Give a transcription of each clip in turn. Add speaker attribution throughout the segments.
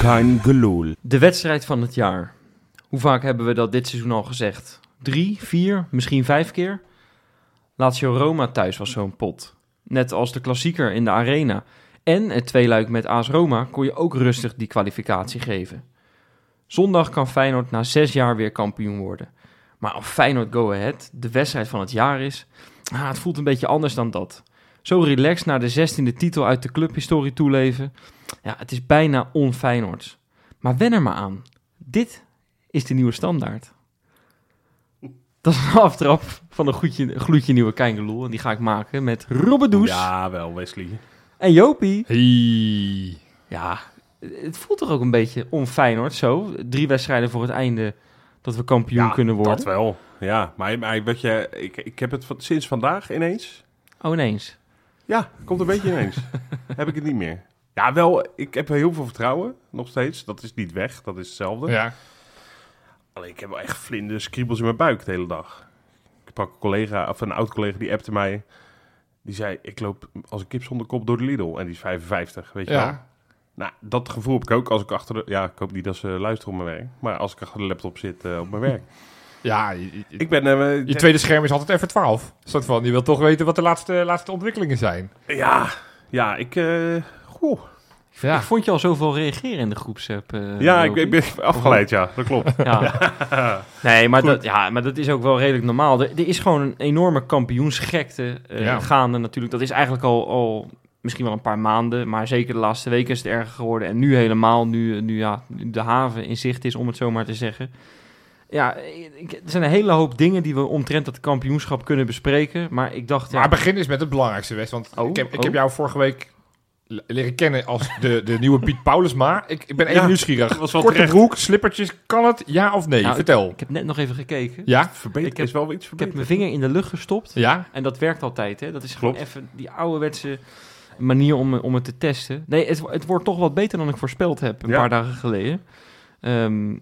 Speaker 1: kein geloel.
Speaker 2: De wedstrijd van het jaar. Hoe vaak hebben we dat dit seizoen al gezegd? Drie, vier, misschien vijf keer? Lazio Roma thuis was zo'n pot. Net als de klassieker in de arena. En het tweeluik met AS Roma kon je ook rustig die kwalificatie geven. Zondag kan Feyenoord na zes jaar weer kampioen worden. Maar of Feyenoord Go Ahead de wedstrijd van het jaar is, ah, het voelt een beetje anders dan dat. Zo relaxed naar de zestiende titel uit de clubhistorie toeleven, ja, het is bijna onfeyenoords. Maar wen er maar aan. Dit is de nieuwe standaard. Dat is een aftrap van een gloedje, gloedje nieuwe Keingeloel. En die ga ik maken met Robben Does
Speaker 3: Ja, wel, Wesley.
Speaker 2: en Jopie.
Speaker 3: Hey.
Speaker 2: Ja, het voelt toch ook een beetje onfeyenoord zo. Drie wedstrijden voor het einde dat we kampioen kunnen worden.
Speaker 3: Dat wel. Ja, maar, maar weet je, ik, ik heb het van- sinds vandaag ineens.
Speaker 2: Oh, ineens.
Speaker 3: Ja, komt een beetje ineens. heb ik het niet meer. Ja, wel, ik heb heel veel vertrouwen nog steeds. Dat is niet weg, dat is hetzelfde.
Speaker 4: Ja.
Speaker 3: Alleen ik heb wel echt vlinders, kriebels in mijn buik de hele dag. Ik pak een collega, of een oud collega, die appte mij. Die zei, ik loop als een kip zonder kop door de Lidl. En die is 55, weet je wel.
Speaker 4: ja.
Speaker 3: Nou, dat gevoel heb ik ook als ik achter de... Ja, ik hoop niet dat ze luisteren op mijn werk. Maar als ik achter de laptop zit eh, op mijn werk.
Speaker 4: Ja, je, je-
Speaker 3: ik ben... eh,
Speaker 4: je
Speaker 3: eh,
Speaker 4: tweede scherm is altijd even 12. Soort van, je wilt toch weten wat de laatste, laatste ontwikkelingen zijn.
Speaker 3: Ja, ja, ik... eh, goh.
Speaker 4: Ja.
Speaker 2: Ik vond je al zoveel reageren in de groepsapp. eh,
Speaker 3: ja, ik,
Speaker 2: Jopie.
Speaker 3: ik ben afgeleid, ja. Dat klopt.
Speaker 2: Ja. Nee, maar dat, ja, maar dat is ook wel redelijk normaal. Er, er is gewoon een enorme kampioensgekte eh,
Speaker 4: Ja.
Speaker 2: gaande natuurlijk. Dat is eigenlijk al, al misschien wel een paar maanden, maar zeker de laatste weken is het erger geworden. En nu helemaal, nu, eh, nu ja, nu de haven in zicht is, om het zo maar te zeggen. Ja, ik- er zijn een hele hoop dingen die we omtrent dat kampioenschap kunnen bespreken. Maar ik dacht, ja,
Speaker 4: Maar begin eens met het belangrijkste, Wes. Want
Speaker 2: Oh,
Speaker 4: ik, heb, ik
Speaker 2: oh.
Speaker 4: heb jou vorige week l- leren kennen als de, de nieuwe Piet Paulusma. Ik, ik ben even
Speaker 3: Ja,
Speaker 4: nieuwsgierig.
Speaker 3: dat was wel
Speaker 4: Korte
Speaker 3: terecht.
Speaker 4: broek, slippertjes, kan het? Ja of nee?
Speaker 2: Nou,
Speaker 4: Vertel.
Speaker 2: ik heb net nog even gekeken.
Speaker 4: Ja?
Speaker 3: Verbeter,
Speaker 2: Ik heb-
Speaker 3: is wel iets
Speaker 2: Ik heb
Speaker 3: verbeterd.
Speaker 2: mijn vinger in de lucht gestopt.
Speaker 4: Ja?
Speaker 2: En dat werkt altijd, hè? Dat is gewoon
Speaker 3: Klopt.
Speaker 2: even die ouderwetse manier om, om het te testen. Nee, het, het wordt toch wat beter dan ik voorspeld heb een
Speaker 3: Ja.
Speaker 2: paar dagen geleden. Ehm,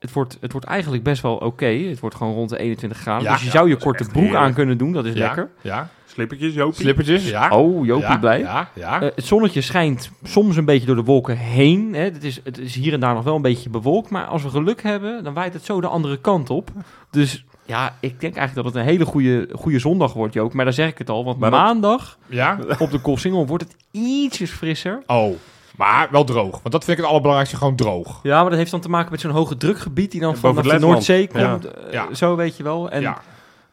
Speaker 2: het, wordt, het wordt eigenlijk best wel oké. Het wordt gewoon rond de 21 graden.
Speaker 4: Ja.
Speaker 2: dus je
Speaker 3: Ja,
Speaker 2: zou je
Speaker 3: dat is
Speaker 2: korte
Speaker 3: echt
Speaker 2: broek aan
Speaker 3: heerlijk.
Speaker 2: kunnen doen, dat is
Speaker 4: Ja?
Speaker 2: lekker.
Speaker 4: Ja?
Speaker 3: Slippertjes, Jopie.
Speaker 4: Slippertjes? Ja?
Speaker 3: Ah.
Speaker 2: Oh, Jopie
Speaker 4: ja?
Speaker 2: blij.
Speaker 4: Ja? Ja?
Speaker 2: Eh, het zonnetje schijnt soms een beetje door de wolken heen. Hè. Het, is, het is hier en daar nog wel een beetje bewolkt. Maar als we geluk hebben, dan waait het zo de andere kant op. Dus ja, ik denk eigenlijk dat het een hele goede, goede zondag wordt, Joop. Maar daar zeg ik het al, want
Speaker 3: Maar dat-
Speaker 2: maandag...
Speaker 4: ja?
Speaker 2: Op de Koolsingel wordt het ietsjes frisser.
Speaker 4: Oh. Maar wel droog. Want dat vind ik het allerbelangrijkste, gewoon droog.
Speaker 2: Ja, maar dat heeft dan te maken met zo'n hoge drukgebied die dan
Speaker 3: Ja,
Speaker 2: vanaf
Speaker 3: boven
Speaker 2: de
Speaker 3: het Letland.
Speaker 2: Noordzee
Speaker 3: Ja.
Speaker 2: komt. eh,
Speaker 4: Ja.
Speaker 2: Zo weet je wel. En
Speaker 4: ja.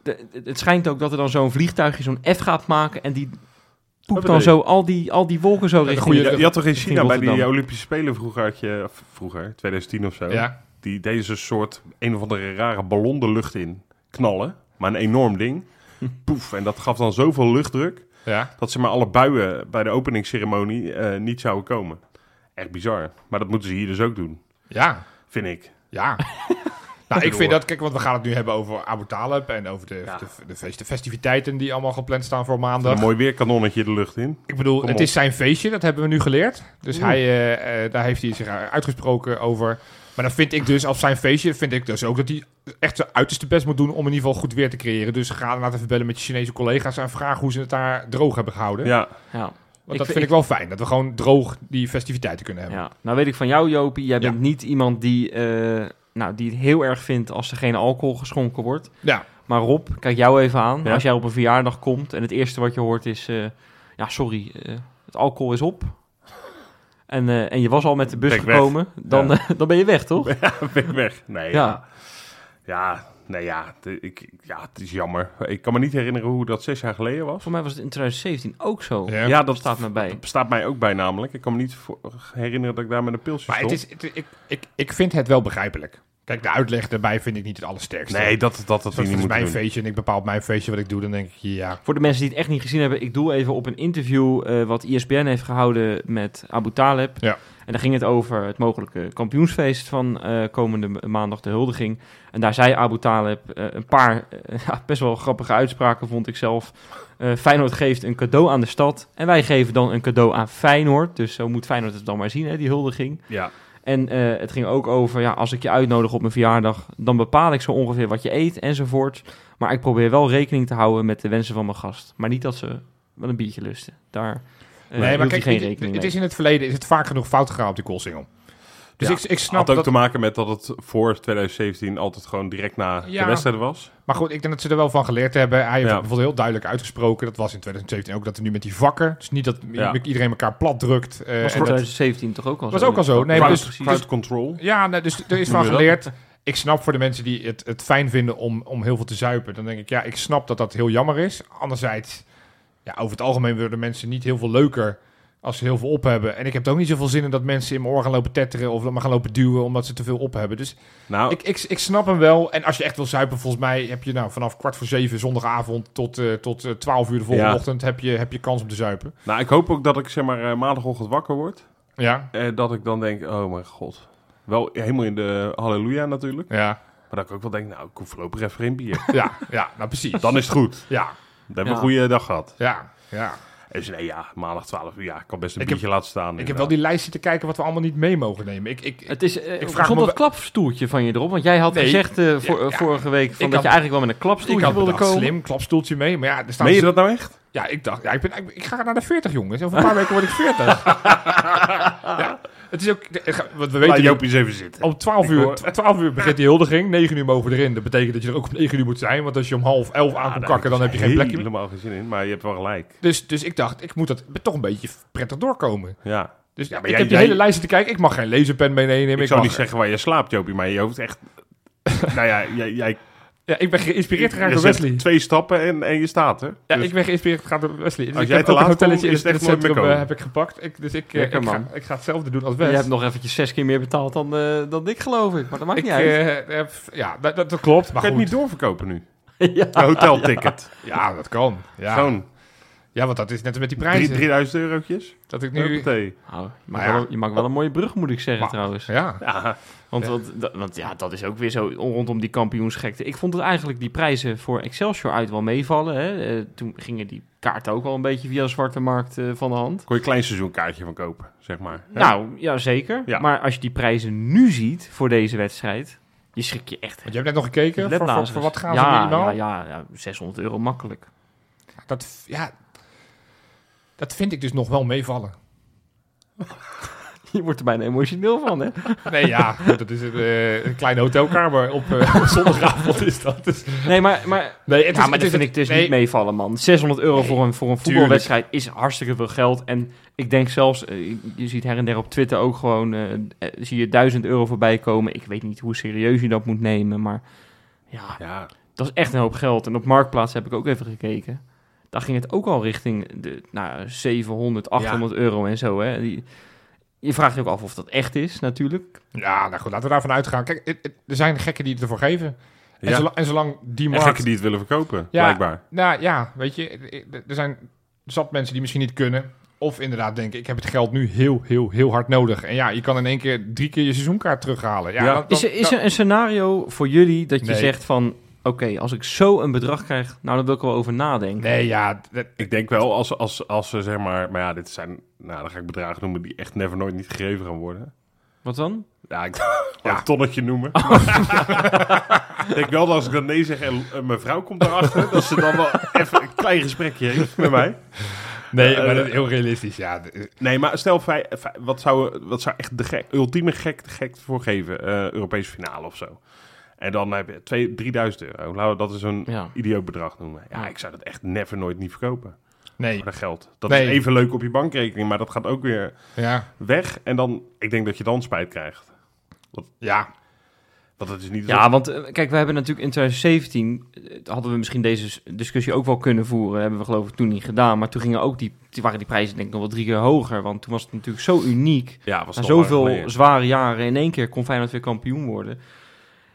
Speaker 2: de- de- het schijnt ook dat er dan zo'n vliegtuigje zo'n F gaat maken en die poept dan
Speaker 3: Hoppatee.
Speaker 2: zo al die, al die wolken zo richting.
Speaker 4: goeie-
Speaker 3: Je, je had toch in China bij die
Speaker 2: Rotterdam.
Speaker 3: Olympische Spelen vroeger had je... of Vroeger, 2010 of zo.
Speaker 4: Ja.
Speaker 3: Die deze soort een of andere rare ballon de lucht in knallen. Maar een enorm ding.
Speaker 2: Hm.
Speaker 3: Poef. En dat gaf dan zoveel luchtdruk...
Speaker 4: Ja.
Speaker 3: dat ze maar alle buien bij de openingsceremonie eh, niet zouden komen. Echt bizar. Maar dat moeten ze hier dus ook doen,
Speaker 4: Ja.
Speaker 3: vind ik.
Speaker 4: Ja. nou, ik vind dat, kijk, want we gaan het nu hebben over Abu Talib en over de, de, de feest- de festiviteiten die allemaal gepland staan voor maandag.
Speaker 3: Een mooi weerkanonnetje de lucht in.
Speaker 4: Ik bedoel,
Speaker 3: Kom
Speaker 4: het
Speaker 3: op.
Speaker 4: is zijn feestje, dat hebben we nu geleerd. Dus hij, eh, eh, daar heeft hij zich uitgesproken over. Maar dan vind ik dus, als zijn feestje, vind ik dus ook dat hij echt zijn uiterste best moet doen om in ieder geval goed weer te creëren. Dus ga laten even bellen met je Chinese collega's en vraag hoe ze het daar droog hebben gehouden.
Speaker 3: Ja,
Speaker 2: Ja,
Speaker 4: Want
Speaker 2: Ik-
Speaker 4: dat vind ik wel fijn, dat we gewoon droog die festiviteiten kunnen hebben.
Speaker 2: ja. Nou weet ik van jou, Jopie. Jij
Speaker 4: Ja.
Speaker 2: bent niet iemand die, eh, nou, die het heel erg vindt als er geen alcohol geschonken wordt.
Speaker 4: Ja,
Speaker 2: Maar Rob, kijk jou even aan.
Speaker 3: Ja.
Speaker 2: Als jij op een verjaardag komt en het eerste wat je hoort is... eh, ja, sorry, eh, het alcohol is op. En, eh, en je was al met de bus
Speaker 3: Ben ik weg.
Speaker 2: gekomen. Dan,
Speaker 3: Ja.
Speaker 2: eh, dan ben je weg, toch?
Speaker 3: dan ben ik weg. Nee, ja.
Speaker 2: ja.
Speaker 3: Ja, nee, ja, de- ik, ja, het is jammer. Ik kan me niet herinneren hoe dat zes jaar geleden was.
Speaker 2: Voor mij was het in 2017 ook zo.
Speaker 4: Ja.
Speaker 3: Ja, dat
Speaker 2: staat me bij.
Speaker 3: Dat staat mij ook bij namelijk. Ik kan me niet voor- herinneren dat ik daar met een pilsje
Speaker 4: maar
Speaker 3: stond.
Speaker 4: het is, het- ik, ik, ik vind het wel begrijpelijk. Kijk, de uitleg daarbij vind ik niet het allersterkste.
Speaker 3: Nee, dat, dat, dat
Speaker 4: dat
Speaker 3: we
Speaker 4: is
Speaker 3: niet
Speaker 4: mijn
Speaker 3: moeten doen.
Speaker 4: feestje en ik bepaal op mijn feestje wat ik doe. Dan denk ik, ja,
Speaker 2: Voor de mensen die het echt niet gezien hebben, ik doe even op een interview eh, wat ISBN heeft gehouden met Abu Taleb.
Speaker 4: Ja.
Speaker 2: En daar ging het over het mogelijke kampioensfeest van eh, komende ma- maandag, de huldiging. En daar zei Abu Taleb eh, een paar eh, ja, best wel grappige uitspraken, vond ik zelf. Eh, Feyenoord geeft een cadeau aan de stad en wij geven dan een cadeau aan Feyenoord. Dus zo moet Feyenoord het dan maar zien, hè, die huldiging.
Speaker 3: Ja,
Speaker 2: En eh, het ging ook over, ja, als ik je uitnodig op mijn verjaardag, dan bepaal ik zo ongeveer wat je eet enzovoort. Maar ik probeer wel rekening te houden met de wensen van mijn gast. Maar niet dat ze wel een biertje lusten. Daar eh
Speaker 4: nee, maar
Speaker 2: hield hij
Speaker 4: kijk,
Speaker 2: geen
Speaker 4: het,
Speaker 2: rekening
Speaker 4: het
Speaker 2: mee.
Speaker 4: is in het verleden is het vaak genoeg fout gegaan op die koolsingel. Dus
Speaker 3: Ja,
Speaker 4: ik, ik snap
Speaker 3: Had ook
Speaker 4: dat...
Speaker 3: te maken met dat het voor 2017 altijd gewoon direct na
Speaker 4: Ja.
Speaker 3: de wedstrijden was.
Speaker 4: Maar goed, ik denk dat ze er wel van geleerd hebben. Hij heeft
Speaker 3: Ja.
Speaker 4: bijvoorbeeld heel duidelijk uitgesproken. Dat was in 2017 ook dat er nu met die vakken. Dus niet dat
Speaker 3: Ja.
Speaker 4: iedereen elkaar plat drukt. eh,
Speaker 2: was
Speaker 4: en
Speaker 2: voor
Speaker 4: dat-
Speaker 2: 2017 toch ook al
Speaker 4: Was
Speaker 2: zo?
Speaker 4: ook al zo. Nee,
Speaker 3: crowd,
Speaker 4: dus-
Speaker 3: crowd control.
Speaker 4: Ja, nee, dus er is
Speaker 3: Noem
Speaker 4: van
Speaker 3: je dat?
Speaker 4: geleerd. Ik snap voor de mensen die het, het fijn vinden om, om heel veel te zuipen. Dan denk ik, ja, ik snap dat dat heel jammer is. Anderzijds, ja, over het algemeen worden mensen niet heel veel leuker als ze heel veel op hebben. En ik heb er ook niet zoveel zin in dat mensen in mijn oor gaan lopen tetteren of maar gaan lopen duwen omdat ze te veel op hebben. Dus
Speaker 3: Nou,
Speaker 4: ik, ik, ik snap hem wel. En als je echt wil zuipen, volgens mij heb je nou vanaf kwart voor zeven zondagavond tot, eh, tot eh, 12 uur de volgende
Speaker 3: Ja.
Speaker 4: ochtend heb je, heb je kans om te zuipen.
Speaker 3: nou, ik hoop ook dat ik zeg maar eh, maandagochtend wakker word.
Speaker 4: Ja,
Speaker 3: En dat ik dan denk, oh mijn god. Wel helemaal in de halleluja natuurlijk.
Speaker 4: ja,
Speaker 3: Maar dat ik ook wel denk, nou, ik hoef voorlopig even geen bier.
Speaker 4: ja, ja, nou precies.
Speaker 3: Dan is het goed.
Speaker 4: Ja,
Speaker 3: Dan hebben we
Speaker 2: Ja.
Speaker 3: een goede dag gehad.
Speaker 4: ja, ja.
Speaker 3: En ze nee, ja, maandag 12 uur. Ja, ik kan best een
Speaker 4: Ik heb-
Speaker 3: biertje laten staan.
Speaker 4: Ik heb wel die lijst zitten kijken wat we allemaal niet mee mogen nemen. Ik, ik,
Speaker 2: Het is, eh,
Speaker 4: Ik vraag
Speaker 2: stond
Speaker 4: me
Speaker 2: dat klapstoeltje van je erop? Want jij had
Speaker 4: Nee.
Speaker 2: gezegd eh, voor-
Speaker 4: Ja,
Speaker 2: eh,
Speaker 4: ja.
Speaker 2: vorige week van
Speaker 4: Ik
Speaker 2: dat
Speaker 4: had-
Speaker 2: je eigenlijk wel met een
Speaker 4: ik
Speaker 2: klapstoeltje
Speaker 4: had
Speaker 2: wilde
Speaker 4: bedacht,
Speaker 2: komen.
Speaker 4: slim, klapstoeltje mee. Maar ja, er staan
Speaker 3: Meen je
Speaker 4: ze-
Speaker 3: dat nou echt?
Speaker 4: ja ik dacht, ja, ik, ben, ik, ik ga naar de 40, jongens. Over een paar weken word ik 40. ja, het is ook, de- eh, ga- wat we
Speaker 3: Laat
Speaker 4: weten,
Speaker 3: Joopie eens even zitten.
Speaker 4: om 12
Speaker 3: Ik
Speaker 4: uur,
Speaker 3: hoor-
Speaker 4: twa- 12 uur begint die huldiging. 9 uur mogen we erin. Dat betekent dat je er ook om 9 uur moet zijn. Want als je om half 11 aan komt kakken, dan heb je geen plekje meer.
Speaker 3: helemaal geen zin in, maar je hebt wel gelijk.
Speaker 4: Dus, dus ik dacht, ik moet dat toch een beetje prettig doorkomen.
Speaker 3: Ja.
Speaker 4: Dus
Speaker 3: Ja,
Speaker 4: ik
Speaker 3: maar
Speaker 4: heb
Speaker 3: jij-
Speaker 4: die
Speaker 3: jij-
Speaker 4: hele lijst te kijken. Ik mag geen laserpen mee meenemen.
Speaker 3: Ik, zou
Speaker 4: mag-
Speaker 3: niet zeggen waar je slaapt, Jopie, maar je hoeft echt... nou ja, jij... jij
Speaker 4: Ja, ik ben geïnspireerd geraakt
Speaker 3: je
Speaker 4: door
Speaker 3: zet
Speaker 4: Wesley.
Speaker 3: Twee stappen en, en je staat er.
Speaker 4: Ja,
Speaker 3: Dus-
Speaker 4: ik ben geïnspireerd gegaan door Wesley. Dus
Speaker 3: Als
Speaker 4: ik
Speaker 3: jij
Speaker 4: heb
Speaker 3: te
Speaker 4: ook een
Speaker 3: laat
Speaker 4: hotelletje
Speaker 3: komt,
Speaker 4: in
Speaker 3: is
Speaker 4: het, in
Speaker 3: het
Speaker 4: het
Speaker 3: echt nooit meer
Speaker 4: centrum eh,
Speaker 3: komen.
Speaker 4: heb ik gepakt. Ik, dus ik, eh,
Speaker 2: Lekker,
Speaker 4: ik, ga,
Speaker 2: man.
Speaker 4: ik ga hetzelfde doen als
Speaker 2: Je
Speaker 4: Wes.
Speaker 2: hebt nog eventjes zes keer meer betaald dan, eh, dan ik, geloof ik. Maar dat maakt
Speaker 4: ik,
Speaker 2: niet uit.
Speaker 4: eh, heb- ja, dat, dat, dat klopt.
Speaker 3: Kan
Speaker 4: Maar
Speaker 3: je het
Speaker 4: goed.
Speaker 3: niet doorverkopen nu?
Speaker 2: ja.
Speaker 3: Een hotelticket.
Speaker 4: Ja, dat kan. Ja.
Speaker 3: Gewoon
Speaker 4: ja, want dat is net als met die
Speaker 3: drie-
Speaker 4: prijzen.
Speaker 3: 3000 eurotjes.
Speaker 4: dat ik nu...
Speaker 3: Huppatee.
Speaker 2: Nou, je, maakt
Speaker 4: Maar ja.
Speaker 2: wel, je maakt wel een mooie brug, moet ik zeggen,
Speaker 4: Maar-
Speaker 2: trouwens.
Speaker 4: Ja.
Speaker 3: Ja,
Speaker 2: Want,
Speaker 4: Ja.
Speaker 2: want, dat- want ja, dat is ook weer zo rondom die kampioensgekte. Ik vond het eigenlijk die prijzen voor Excelsior uit wel meevallen. Hè. Eh, toen gingen die kaarten ook al een beetje via de zwarte markt eh, van de hand.
Speaker 3: kon je een klein seizoenkaartje van kopen, zeg maar. Hè?
Speaker 2: Nou, ja, zeker.
Speaker 3: Ja.
Speaker 2: Maar als je die prijzen nu ziet voor deze wedstrijd, je schrik je echt.
Speaker 4: Want je hebt net nog gekeken. Voor, voor,
Speaker 2: Leplazers.
Speaker 4: voor wat gaan ze
Speaker 2: ja,
Speaker 4: minimaal?
Speaker 2: ja, ja, ja, 600 euro makkelijk.
Speaker 4: Dat, ja, dat vind ik dus nog wel meevallen.
Speaker 2: Je wordt er bijna emotioneel van, hè?
Speaker 4: Nee, ja. goed, dat is een, eh, een kleine hotelkamer op, eh, op zondagavond is dat. Dus,
Speaker 2: Nee, maar, maar,
Speaker 4: nee, het
Speaker 2: ja, maar
Speaker 4: het
Speaker 2: dat vind ik dus niet meevallen, man. 600 euro voor een, voor een voetbalwedstrijd is hartstikke veel geld. En ik denk zelfs, eh, je ziet her en der op Twitter ook gewoon, eh, eh, zie je 1000 euro voorbij komen. Ik weet niet hoe serieus je dat moet nemen, maar ja,
Speaker 3: Ja,
Speaker 2: Dat is echt een hoop geld. En op Marktplaats heb ik ook even gekeken. Daar ging het ook al richting de nou, 700, 800 euro en zo. Hè. Die, je vraagt je ook af of dat echt is, natuurlijk.
Speaker 4: Ja, nou goed, laten we daarvan uitgaan. Kijk, het- het- er zijn gekken die het ervoor geven. En,
Speaker 3: Ja.
Speaker 4: zolang, en zolang die
Speaker 3: en gekken
Speaker 4: markt...
Speaker 3: die het willen verkopen,
Speaker 4: Ja.
Speaker 3: blijkbaar.
Speaker 4: Nou ja, weet je, eh, er- er zijn zat mensen die misschien niet kunnen. Of inderdaad denken, ik heb het geld nu heel, heel, heel hard nodig. En ja, je kan in één keer drie keer je seizoenkaart terughalen. Ja,
Speaker 3: Ja.
Speaker 4: dan- dan-
Speaker 2: Is er, is er een scenario voor jullie dat je
Speaker 4: Nee.
Speaker 2: zegt van... Oké, als ik zo een bedrag krijg, nou dan wil ik er wel over nadenken.
Speaker 4: Nee, ja, dat-
Speaker 3: Ik denk wel, als, als, als ze zeg maar... Maar ja, dit zijn... Nou, dan ga ik bedragen noemen die echt never nooit niet gegeven gaan worden.
Speaker 2: Wat dan?
Speaker 3: Ja, ik ja. Oh. een tonnetje noemen. ik denk wel dat als ik dan nee zeg en eh, mijn vrouw komt erachter... dat ze dan wel even een klein gesprekje heeft met mij.
Speaker 4: nee,
Speaker 3: Eh,
Speaker 4: maar dat is heel realistisch. Ja, D- eh,
Speaker 3: Nee, maar stel, vij- vij- wat, zou, wat zou echt de gek, ultieme gek, gek voor geven? Eh, Europese finale of zo. En dan heb je twee- 3000 euro. Laten we dat eens een
Speaker 2: Ja.
Speaker 3: idioot bedrag noemen. Ja,
Speaker 2: Ja.
Speaker 3: ik zou dat echt never nooit niet verkopen.
Speaker 4: nee.
Speaker 3: Voor dat geld. Dat
Speaker 4: Nee.
Speaker 3: is even leuk op je bankrekening, maar dat gaat ook weer
Speaker 4: Ja,
Speaker 3: weg. En dan, ik denk dat je dan spijt krijgt.
Speaker 4: ja.
Speaker 3: Want het is niet...
Speaker 2: Ja, want eh, kijk, we hebben natuurlijk in 2017... eh, hadden we misschien deze s- discussie ook wel kunnen voeren. hebben we geloof ik toen niet gedaan. Maar toen gingen ook die, die- waren die prijzen denk ik nog wel drie keer hoger. Want toen was het natuurlijk zo uniek...
Speaker 3: ja was
Speaker 2: Na
Speaker 3: nog lang
Speaker 2: zoveel
Speaker 3: geleden.
Speaker 2: zware jaren in één keer kon Feyenoord weer kampioen worden.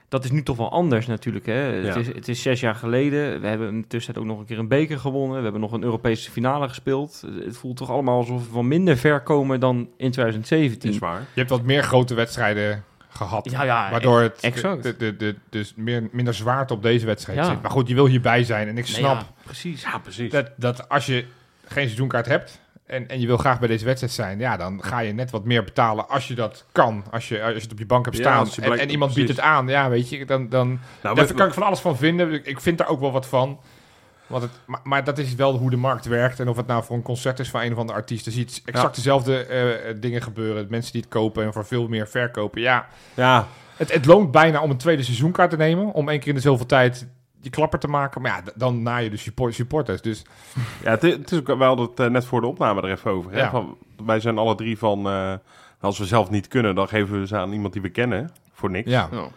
Speaker 2: Dat is nu toch wel anders natuurlijk. Hè? Het,
Speaker 3: Ja.
Speaker 2: is, het is zes jaar geleden. We hebben in de tussentijd ook nog een keer een beker gewonnen. We hebben nog een Europese finale gespeeld. Het voelt toch allemaal alsof we wel minder ver komen dan in 2017.
Speaker 3: is waar.
Speaker 4: Je hebt wat meer grote wedstrijden gehad.
Speaker 2: Ja, ja,
Speaker 4: waardoor het
Speaker 2: exact.
Speaker 4: De, de, de, dus meer, minder zwaarte op deze wedstrijd
Speaker 2: Ja.
Speaker 4: zit. Maar goed, je wil hierbij zijn. En ik
Speaker 2: eh, Nee,
Speaker 4: snap
Speaker 2: ja, precies.
Speaker 3: Ja, precies.
Speaker 4: dat, dat als je geen seizoenkaart hebt en, en je wil graag bij deze wedstrijd zijn, ja, dan ga je net wat meer betalen als je dat kan. Als je, als je het op je bank hebt
Speaker 3: Ja,
Speaker 4: staan
Speaker 3: als je
Speaker 4: en,
Speaker 3: blijkt-
Speaker 4: en iemand biedt het
Speaker 3: precies.
Speaker 4: aan, ja, weet je, dan, dan
Speaker 3: Nou,
Speaker 4: daar
Speaker 3: we-
Speaker 4: kan ik van alles van vinden. Ik- Ik vind daar ook wel wat van. Want het, maar, maar dat is wel hoe de markt werkt. En of het nou voor een concert is van een of andere artiest. Dan zie je het exact
Speaker 3: Ja.
Speaker 4: dezelfde eh, dingen gebeuren. Mensen die het kopen en voor veel meer verkopen. Ja,
Speaker 3: Ja,
Speaker 4: het, het loont bijna om een tweede seizoenkaart te nemen. Om één keer in de zoveel tijd je klapper te maken. Maar ja, d- dan na je de support, supporters. Dus
Speaker 3: ja het, i- het is ook, we hadden het eh, net voor de opname er even over. Hè?
Speaker 4: Ja.
Speaker 3: Van, wij zijn alle drie van, eh, als we zelf niet kunnen, dan geven we ze aan iemand die we kennen. Voor niks.
Speaker 4: ja.
Speaker 2: Ja.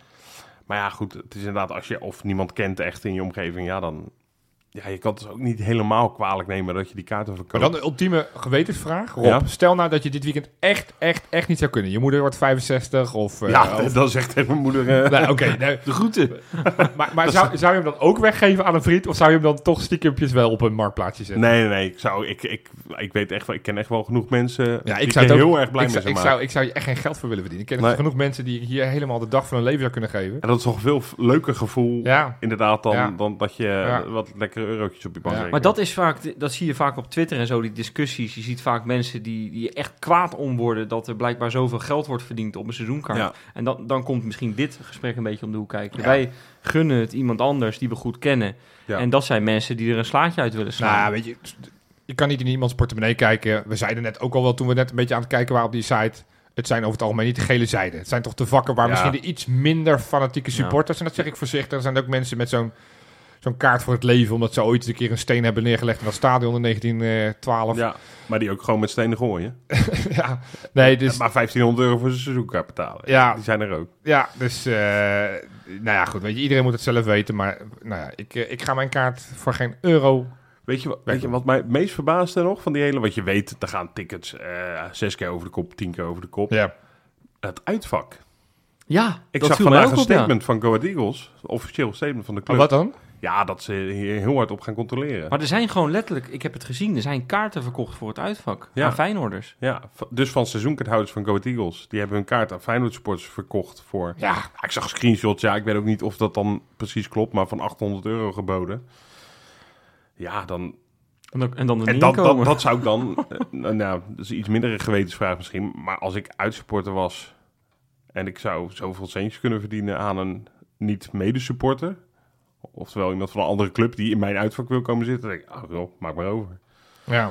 Speaker 3: Maar ja, goed, het is inderdaad, als je of niemand kent echt in je omgeving, ja, dan... Ja, je kan het dus ook niet helemaal kwalijk nemen dat je die kaarten
Speaker 4: Maar
Speaker 3: verkoopt.
Speaker 4: dan de ultieme gewetensvraag. Rob,
Speaker 3: Ja.
Speaker 4: stel nou dat je dit weekend echt, echt, echt niet zou kunnen. Je moeder wordt 65 of... eh,
Speaker 3: ja,
Speaker 4: of-
Speaker 3: dan zegt even mijn moeder... eh,
Speaker 4: Nee, oké. nee.
Speaker 2: De groeten.
Speaker 4: Maar, maar zou, zou je hem dan ook weggeven aan een vriend? Of zou je hem dan toch stiekempjes wel op een marktplaatsje zetten?
Speaker 3: Nee, nee, nee. Ik, zou, ik, ik, ik weet echt wel, ik ken echt wel genoeg mensen
Speaker 4: Ja,
Speaker 3: die
Speaker 4: ik zou
Speaker 3: er
Speaker 4: het ook-
Speaker 3: heel erg blij
Speaker 4: ik
Speaker 3: mee
Speaker 4: zou,
Speaker 3: zijn.
Speaker 4: ik, zou, ik zou je echt geen geld voor willen verdienen. Ik ken
Speaker 3: Nee.
Speaker 4: genoeg mensen die ik hier helemaal de dag van hun leven zou kunnen geven.
Speaker 3: En dat is toch een veel f- leuker gevoel,
Speaker 4: Ja,
Speaker 3: inderdaad, dan,
Speaker 4: Ja.
Speaker 3: dan dat je
Speaker 4: Ja.
Speaker 3: wat lekkere eurotjes op je
Speaker 4: Ja.
Speaker 3: bank rekent.
Speaker 2: Maar dat is vaak, dat zie je vaak op Twitter en zo, die discussies. Je ziet vaak mensen die, die echt kwaad om worden dat er blijkbaar zoveel geld wordt verdiend op een seizoenkaart.
Speaker 3: Ja.
Speaker 2: En dan, dan komt misschien dit gesprek een beetje om de hoek kijken.
Speaker 4: Ja.
Speaker 2: Wij gunnen het iemand anders die we goed kennen.
Speaker 3: Ja.
Speaker 2: En dat zijn mensen die er een slaatje uit willen slaan.
Speaker 4: Nou, weet je, je kan niet in iemands portemonnee kijken. We zeiden net ook al wel toen we net een beetje aan het kijken waren op die site. Het zijn over het algemeen niet de gele zijde. Het zijn toch de vakken waar
Speaker 3: Ja.
Speaker 4: misschien de iets minder fanatieke supporters. En dat zeg ik voorzichtig. Er zijn ook mensen met zo'n zo'n kaart voor het leven. Omdat ze ooit een keer een steen hebben neergelegd in dat stadion in eh, 1912. Ja,
Speaker 3: Ja, maar die ook gewoon met stenen gooien.
Speaker 4: nee, dus.
Speaker 3: Maar 1500 euro voor zijn seizoenkaart betalen.
Speaker 4: Ja.
Speaker 3: Die zijn er ook.
Speaker 4: Ja, dus. eh, nou ja, goed. Weet je, iedereen moet het zelf weten. Maar nou ja, ik, eh, ik ga mijn kaart voor geen euro.
Speaker 3: Weet je, wat-
Speaker 4: Weg
Speaker 3: weet je
Speaker 4: doen.
Speaker 3: wat mij het meest verbaasde nog van die hele... Want je weet, er gaan tickets eh, zes keer over de kop, tien keer over de kop.
Speaker 4: Ja.
Speaker 3: Het uitvak.
Speaker 2: ja,
Speaker 3: Ik
Speaker 2: dat
Speaker 3: zag
Speaker 2: viel mij
Speaker 3: vandaag
Speaker 2: ook
Speaker 3: een
Speaker 2: op, ja.
Speaker 3: statement van Go Ahead Eagles. een Officieel statement van de
Speaker 4: Maar
Speaker 3: club.
Speaker 4: wat dan?
Speaker 3: Ja, dat ze hier heel hard op gaan controleren.
Speaker 2: Maar er zijn gewoon letterlijk, ik heb het gezien, er zijn kaarten verkocht voor het uitvak
Speaker 3: Ja.
Speaker 2: aan Feyenoorders.
Speaker 3: Ja, v- dus van seizoenkaarthouders van Go Ahead Eagles. Die hebben hun kaart aan Feyenoord supporters verkocht voor...
Speaker 4: Ja,
Speaker 3: Ja, ik zag screenshots, ja, ik weet ook niet of dat dan precies klopt, maar van 800 euro geboden. Ja, dan...
Speaker 2: En dan, en dan er
Speaker 3: En
Speaker 2: niet
Speaker 3: dat, dat,
Speaker 2: komen.
Speaker 3: dat zou ik dan... eh, nou, nou, dat is een iets mindere gewetensvraag misschien, maar als ik uitsupporter was... en ik zou zoveel centjes kunnen verdienen aan een niet-medesupporter... oftewel iemand van een andere club die in mijn uitvak wil komen zitten... dan denk ik, ah joh, maak maar over.
Speaker 4: ja.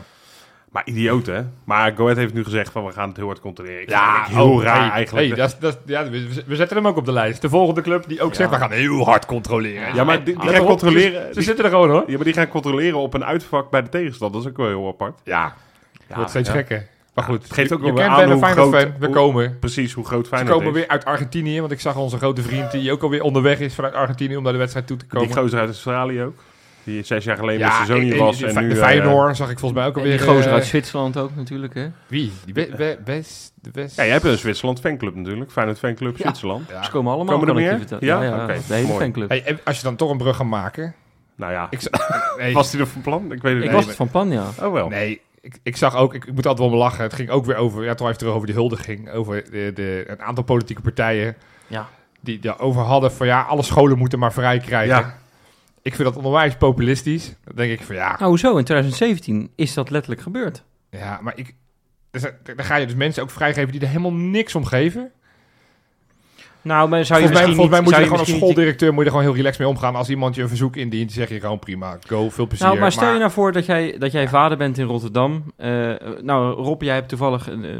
Speaker 3: Maar idioot, hè? Maar Go Ahead heeft nu gezegd van we gaan het heel hard controleren. Ik vind
Speaker 4: Ja,
Speaker 3: het heel
Speaker 4: oh,
Speaker 3: raar
Speaker 4: hey,
Speaker 3: eigenlijk.
Speaker 4: hey, dat is- dat is- ja, we, we zetten hem ook op de lijst. De volgende club die ook zegt, we gaan heel hard controleren. ah,
Speaker 3: ja, maar die, die
Speaker 4: Let
Speaker 3: gaan
Speaker 4: erop,
Speaker 3: controleren.
Speaker 4: Ze, ze
Speaker 3: die-
Speaker 4: zitten er gewoon hoor.
Speaker 3: ja, maar die gaan controleren op een uitvak bij de tegenstander. Dat is ook wel heel apart.
Speaker 4: Ja,
Speaker 3: Ja,
Speaker 4: wordt steeds
Speaker 3: ja.
Speaker 4: gekker. Maar goed,
Speaker 3: het geeft ook
Speaker 4: je,
Speaker 3: wel
Speaker 4: je kent
Speaker 3: aan
Speaker 4: ben een
Speaker 3: hoe
Speaker 4: Feyenoord
Speaker 3: groot-
Speaker 4: fan, we
Speaker 3: hoe-
Speaker 4: komen.
Speaker 3: Precies hoe groot
Speaker 4: Ze
Speaker 3: Feyenoord
Speaker 4: komen
Speaker 3: is.
Speaker 4: weer uit Argentinië, want ik zag onze grote vriend die ook alweer onderweg is vanuit Argentinië om naar de wedstrijd toe te komen.
Speaker 3: Die gozer uit Australië ook. Die zes jaar geleden
Speaker 4: ja,
Speaker 3: met zijn
Speaker 4: ik-
Speaker 3: zoonje
Speaker 4: ik-
Speaker 3: was.
Speaker 4: de,
Speaker 3: en
Speaker 4: Fe-
Speaker 3: nu,
Speaker 4: de
Speaker 3: eh,
Speaker 4: Feyenoord zag ik volgens mij ook
Speaker 2: En
Speaker 4: alweer.
Speaker 2: die gozer
Speaker 4: eh,
Speaker 2: uit Zwitserland ook natuurlijk, hè?
Speaker 4: Wie? Die be, be- best, de best.
Speaker 3: eh, ja, jij hebt een Zwitserland fanclub natuurlijk. Feyenoord fanclub
Speaker 2: Ja.
Speaker 3: Zwitserland.
Speaker 4: Ja.
Speaker 2: Ze komen allemaal,
Speaker 3: Komen er
Speaker 2: kan ik je
Speaker 3: meer?
Speaker 2: vertellen.
Speaker 3: Ja?
Speaker 2: Ja, ja,
Speaker 3: Oké,
Speaker 2: de hele
Speaker 3: mooi.
Speaker 2: fanclub.
Speaker 4: Hey, en als je dan toch een brug gaat maken.
Speaker 3: Nou ja,
Speaker 4: Ik, nee,
Speaker 3: was hij er van plan? Ik weet het
Speaker 2: ik
Speaker 3: niet.
Speaker 2: was het van plan, ja.
Speaker 3: Oh wel.
Speaker 4: Nee, ik, ik zag ook, ik, ik moet altijd wel belachen. Het ging ook weer over, ja, toch even terug over die huldiging. Over de, de, een aantal politieke partijen
Speaker 2: Ja.
Speaker 4: die daarover hadden van ja, alle scholen moeten maar vrij krijgen.
Speaker 3: Ja.
Speaker 4: Ik vind dat onwijs populistisch. Dan denk ik van ja,
Speaker 2: Nou, hoezo? In 2017 is dat letterlijk gebeurd.
Speaker 4: ja maar ik, dus, dan ga je dus mensen ook vrijgeven die er helemaal niks om geven.
Speaker 2: Nou, maar zou je
Speaker 4: Volgens mij, volgens mij moet je,
Speaker 2: misschien
Speaker 4: er
Speaker 2: niet- zou je
Speaker 4: gewoon als
Speaker 2: misschien
Speaker 4: schooldirecteur moet je er gewoon heel relaxed mee omgaan. Als iemand je een verzoek indient, zeg je gewoon prima, go, veel
Speaker 2: niet-
Speaker 4: plezier.
Speaker 2: Nou, maar stel je nou voor dat jij, dat jij vader bent in Rotterdam. Eh, nou, Rob, jij hebt toevallig een, eh,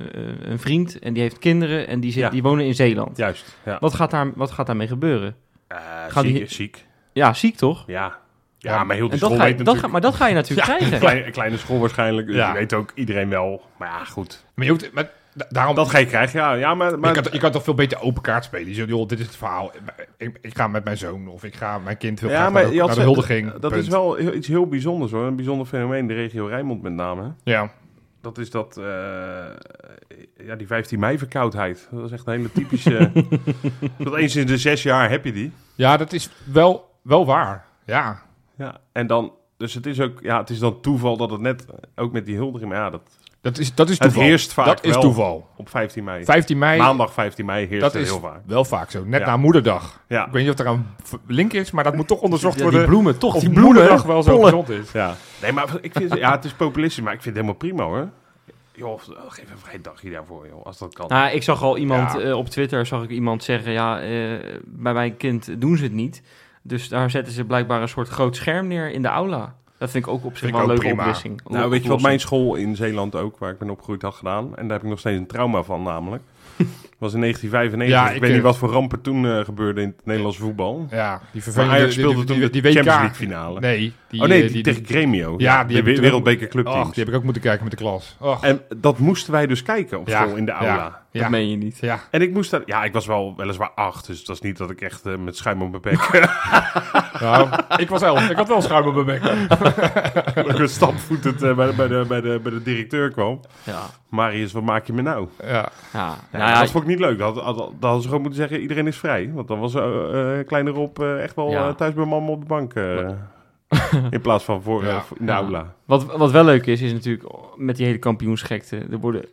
Speaker 2: een vriend en die heeft kinderen en die, zit,
Speaker 3: Ja.
Speaker 2: die wonen in Zeeland.
Speaker 3: Juist. Ja.
Speaker 2: Wat, gaat daar, wat gaat daarmee gebeuren?
Speaker 3: Eh,
Speaker 2: Gaan
Speaker 3: ziek,
Speaker 2: die-
Speaker 3: is ziek.
Speaker 2: Ja, ziek toch?
Speaker 3: Ja.
Speaker 4: Ja,
Speaker 3: Ja, maar heel die
Speaker 2: En dat
Speaker 3: school
Speaker 2: ga je,
Speaker 3: weet
Speaker 2: dat
Speaker 3: natuurlijk...
Speaker 2: ga, maar dat ga je natuurlijk
Speaker 3: Een
Speaker 2: krijgen.
Speaker 3: kleine, een kleine school waarschijnlijk. Dus
Speaker 4: Ja.
Speaker 3: je weet ook iedereen wel. Maar ja, goed.
Speaker 4: maar je hoeft, maar, da- daarom,
Speaker 3: Dat ga je krijgen, ja. ja maar, maar
Speaker 4: je, kan, je kan toch veel beter open kaart spelen. Je zegt, joh, dit is het verhaal. Ik, ik ga met mijn zoon of ik ga mijn kind heel
Speaker 3: ja,
Speaker 4: graag
Speaker 3: maar
Speaker 4: naar de,
Speaker 3: je had
Speaker 4: naar de
Speaker 3: ze-
Speaker 4: huldiging.
Speaker 3: Dat
Speaker 4: Punt.
Speaker 3: is wel heel- iets heel bijzonders hoor. Een bijzonder fenomeen in de regio Rijnmond met name. hè.
Speaker 4: Ja,
Speaker 3: Dat is dat... eh, ja, die 15 mei verkoudheid. Dat is echt een hele typische... dat eens in de zes jaar heb je die.
Speaker 4: ja dat is wel, wel waar. Ja.
Speaker 3: Ja. En dan... Dus het is ook... Ja, het is dan toeval dat het net... Ook met die huldiging... Maar ja, dat,
Speaker 4: Dat is, dat is
Speaker 3: het
Speaker 4: toeval.
Speaker 3: heerst vaak
Speaker 4: dat is
Speaker 3: wel
Speaker 4: toeval.
Speaker 3: op 15 mei.
Speaker 4: 15 mei,
Speaker 3: Maandag 15 mei heerst
Speaker 4: dat
Speaker 3: het
Speaker 4: is
Speaker 3: heel vaak.
Speaker 4: wel vaak zo. Net
Speaker 3: Ja.
Speaker 4: na moederdag.
Speaker 3: Ja.
Speaker 4: Ik weet niet of er aan v- link is, maar dat moet toch onderzocht
Speaker 2: Ja,
Speaker 4: worden.
Speaker 2: die bloemen, toch?
Speaker 4: of
Speaker 2: Die bloemen.
Speaker 4: moederdag wel zo
Speaker 2: pollen.
Speaker 4: gezond is.
Speaker 3: Ja. Nee, maar ik vind, ja, het is populistisch, maar ik vind het helemaal prima hoor. Joh, geef even geen dagje daarvoor, joh, als dat kan.
Speaker 2: Nou, ik zag al iemand
Speaker 4: Ja.
Speaker 2: eh, op Twitter zag ik iemand zeggen: ja, eh, bij mijn kind doen ze het niet. Dus daar zetten ze blijkbaar een soort groot scherm neer in de aula. Dat vind ik ook op zich
Speaker 4: Vind ik
Speaker 2: wel een
Speaker 4: ook
Speaker 2: leuke
Speaker 4: prima.
Speaker 2: oplossing.
Speaker 3: Nou, weet je wat mijn school in Zeeland ook, waar ik ben opgegroeid, had gedaan? En daar heb ik nog steeds een trauma van, namelijk. was in 1995.
Speaker 4: Ja,
Speaker 3: ik,
Speaker 4: ik,
Speaker 3: weet
Speaker 4: eh,
Speaker 3: niet wat voor rampen toen eh, gebeurde in het Nederlands voetbal.
Speaker 4: Ja, die vervelende...
Speaker 3: Maar Ajax
Speaker 4: die-
Speaker 3: speelde
Speaker 4: die-
Speaker 3: toen de
Speaker 4: die- die WK.
Speaker 3: Champions League finale.
Speaker 4: Nee. Die,
Speaker 3: oh nee,
Speaker 4: eh,
Speaker 3: die, tegen Gremio.
Speaker 4: Ja, die
Speaker 3: de
Speaker 4: heb ik
Speaker 3: we-
Speaker 4: toen
Speaker 3: Wereldbeker
Speaker 4: Och,
Speaker 3: clubteams.
Speaker 4: die heb ik ook moeten kijken met de klas. Och.
Speaker 3: En dat moesten wij dus kijken op
Speaker 4: Ja,
Speaker 3: school in de aula.
Speaker 4: Ja.
Speaker 2: Dat meen je niet.
Speaker 4: Ja.
Speaker 3: En ik moest daar... Ja, ik was wel weliswaar acht, dus het was niet dat ik echt eh, met schuim op mijn bek...
Speaker 4: Nou, ik was elf. Ik had wel schuim op mijn bek.
Speaker 3: dat ik stampvoetend eh, bij, de- bij, de, bij, de, bij de directeur kwam.
Speaker 2: Ja.
Speaker 3: Marius, wat maak je me nou?
Speaker 4: Ja.
Speaker 2: Ja.
Speaker 3: Ja,
Speaker 2: Nou ja,
Speaker 3: dat vond ik niet leuk. Dat, dat, dat hadden ze gewoon moeten zeggen, iedereen is vrij. Want dan was eh, eh, Kleine Rob eh, echt wel
Speaker 2: Ja.
Speaker 3: eh, thuis bij mama op de bank. eh, in plaats van voor, eh,
Speaker 4: Ja.
Speaker 3: voor- in de
Speaker 2: Ja.
Speaker 3: aula.
Speaker 2: Wat, wat wel leuk is, is natuurlijk met die hele kampioensgekte. Er, worden,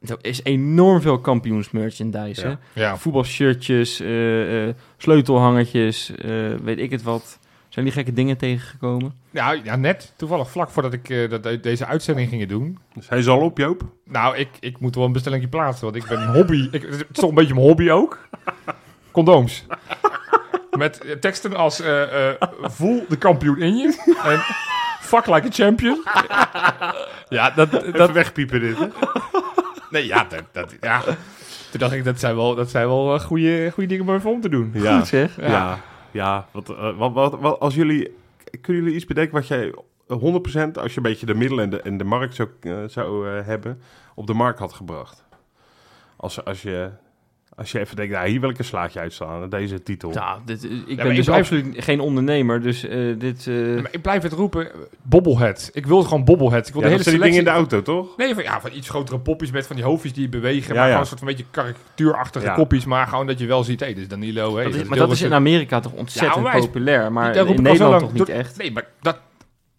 Speaker 2: er is enorm veel kampioensmerchandise. hè?
Speaker 3: Ja.
Speaker 4: Ja.
Speaker 2: Voetbalshirtjes, eh, eh, sleutelhangertjes, eh, weet ik het wat. Zijn die gekke dingen tegengekomen?
Speaker 4: Ja, ja, net toevallig vlak voordat ik eh, dat, de- deze uitzending ging doen.
Speaker 3: Dus hij is al op, Joop.
Speaker 4: Nou, ik, ik moet wel een bestellingje plaatsen, want ik ben een hobby. Ik, het is toch een beetje mijn hobby ook. Condooms. Met eh, teksten als eh, eh, voel de kampioen in je en fuck like a champion. Ja, dat, dat,
Speaker 3: Even wegpiepen dit, hè?
Speaker 4: nee, ja, dat, dat, ja. Toen dacht ik, dat zijn wel, dat zijn wel eh, goede, goede dingen om even om te doen.
Speaker 3: Ja,
Speaker 2: Goed zeg.
Speaker 3: ja. ja. wat, eh, wat, wat, wat- als jullie... Kunnen jullie iets bedenken wat jij 100% als je een beetje de middelen en de, en de markt zou, eh, zou eh, hebben, op de markt had gebracht? Als, als, je, als je even denkt, nou, hier wil ik een slaatje uitslaan, deze titel.
Speaker 2: Nou, dit, eh, ik
Speaker 4: maar
Speaker 2: ben
Speaker 4: ik
Speaker 2: dus
Speaker 4: blijf-
Speaker 2: absoluut geen ondernemer, dus eh, dit... eh,
Speaker 4: Ja, maar ik blijf het roepen, eh, bobblehead. Ik wil gewoon bobblehead. Ik wil
Speaker 3: Ja,
Speaker 4: de
Speaker 3: dat
Speaker 4: hele
Speaker 3: zijn die
Speaker 4: selectie.
Speaker 3: dingen in de auto, toch?
Speaker 4: Nee, van, ja, van iets grotere poppies met van die hoofdjes die bewegen.
Speaker 3: Ja,
Speaker 4: maar
Speaker 3: ja.
Speaker 4: gewoon een soort van beetje karikatuurachtige
Speaker 3: Ja.
Speaker 4: kopjes. Maar gewoon dat je wel ziet, hé, dit is Danilo. Hé,
Speaker 2: dat is, maar
Speaker 4: Deel
Speaker 2: dat is in
Speaker 4: Rousseau.
Speaker 2: Amerika toch ontzettend
Speaker 4: onwijs.
Speaker 2: populair, maar
Speaker 4: Daar roep
Speaker 2: in
Speaker 4: ik al zo
Speaker 2: Nederland toch
Speaker 4: lang.
Speaker 2: niet
Speaker 4: Doe-
Speaker 2: echt?
Speaker 4: Nee, maar dat,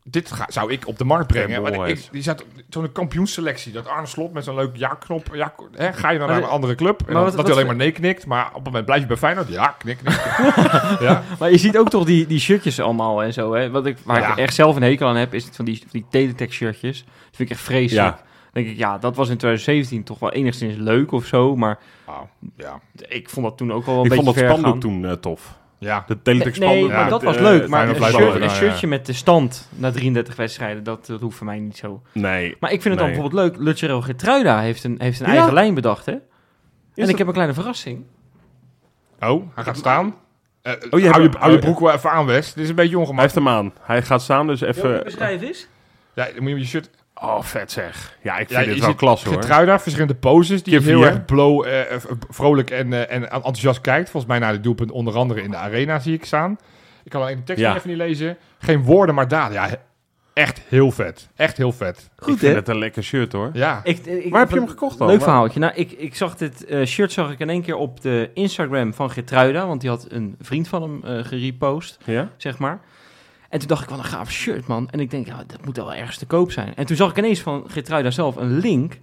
Speaker 4: dit ga, zou ik op de markt brengen.
Speaker 3: Ja,
Speaker 4: Want
Speaker 3: boys.
Speaker 4: ik, die zat zo'n kampioensselectie. Dat Arne Slot met zo'n leuk ja-knop. Ja, hè, ga je
Speaker 2: Maar
Speaker 4: dan naar een
Speaker 2: de-
Speaker 4: andere club? En
Speaker 2: maar
Speaker 4: dan,
Speaker 2: wat-
Speaker 4: dat
Speaker 2: wat-
Speaker 4: hij alleen maar nee knikt. Maar op het moment blijf je bij Feyenoord. Ja, knik, knik. ja.
Speaker 2: Maar je ziet ook toch die, die shirtjes allemaal en zo. Hè? Wat ik, waar
Speaker 4: Ja.
Speaker 2: ik echt zelf een hekel aan heb, is het van die, van die Teletech shirtjes. Dat vind ik echt vreselijk.
Speaker 3: Ja.
Speaker 2: Dan denk ik, ja, dat was in 2017 toch wel enigszins leuk of zo. Maar
Speaker 4: Wauw, Oh, ja.
Speaker 2: ik vond dat toen ook al
Speaker 3: ik
Speaker 2: een beetje
Speaker 3: vond dat
Speaker 2: ver
Speaker 3: spandoek
Speaker 2: gaan.
Speaker 3: toen eh, tof.
Speaker 4: Ja.
Speaker 3: De Teletext
Speaker 2: Nee,
Speaker 3: spandoek.
Speaker 2: maar
Speaker 4: ja,
Speaker 3: met,
Speaker 2: dat was
Speaker 3: eh,
Speaker 2: leuk. Maar
Speaker 4: Feyenoord
Speaker 2: een,
Speaker 3: Feyenoord
Speaker 4: blijft
Speaker 2: shirt-
Speaker 4: wel
Speaker 3: logo.
Speaker 2: een
Speaker 4: winnen, ja.
Speaker 2: shirtje met de stand na 33 wedstrijden, dat, dat hoeft voor mij niet zo.
Speaker 3: Nee.
Speaker 2: Maar ik vind het
Speaker 3: Nee.
Speaker 2: dan bijvoorbeeld leuk. Lucero Getruida heeft een, heeft een
Speaker 3: Ja.
Speaker 2: eigen lijn bedacht, hè? en
Speaker 3: dat-
Speaker 2: ik heb een kleine verrassing.
Speaker 4: Oh, hij gaat staan. Eh,
Speaker 3: Oh, je
Speaker 4: hou,
Speaker 3: hebt-
Speaker 4: je, hou je
Speaker 3: oh,
Speaker 4: broek wel even aan, West. Dit is een beetje
Speaker 3: Hij
Speaker 4: ongemakkelijk.
Speaker 3: heeft hem aan. Hij gaat staan, dus even...
Speaker 2: beschrijven is?
Speaker 4: Ja, dan moet je je shirt
Speaker 3: Oh, vet zeg. Ja, ik
Speaker 4: Ja,
Speaker 3: vind
Speaker 4: je
Speaker 3: dit wel
Speaker 4: ziet
Speaker 3: klasse hoor.
Speaker 4: Getruida, verschillende poses die
Speaker 3: Keer
Speaker 4: heel
Speaker 3: vier.
Speaker 4: erg blow, eh, eh, vrolijk en, eh, en enthousiast kijkt. Volgens mij naar de doelpunt onder andere in de arena zie ik staan. Ik kan alleen de tekst
Speaker 3: Ja.
Speaker 4: nog even niet lezen. Geen woorden, maar daden. Ja, he- echt heel vet. Echt heel vet.
Speaker 3: ik
Speaker 2: Goed,
Speaker 3: vind
Speaker 2: hè?
Speaker 3: het een lekker shirt hoor.
Speaker 4: Ja,
Speaker 2: Ik, ik,
Speaker 3: Waar heb je hem gekocht dan?
Speaker 2: Leuk
Speaker 3: Waar-
Speaker 2: verhaaltje. Nou, ik, ik zag dit eh, shirt zag ik in één keer op de Instagram van Gertruida. Want die had een vriend van hem eh gerepost,
Speaker 3: Ja?
Speaker 2: zeg maar. En toen dacht ik, wat een gaaf shirt, man. En ik denk, ja, dat moet wel ergens te koop zijn. En toen zag ik ineens van Gertruida zelf een link.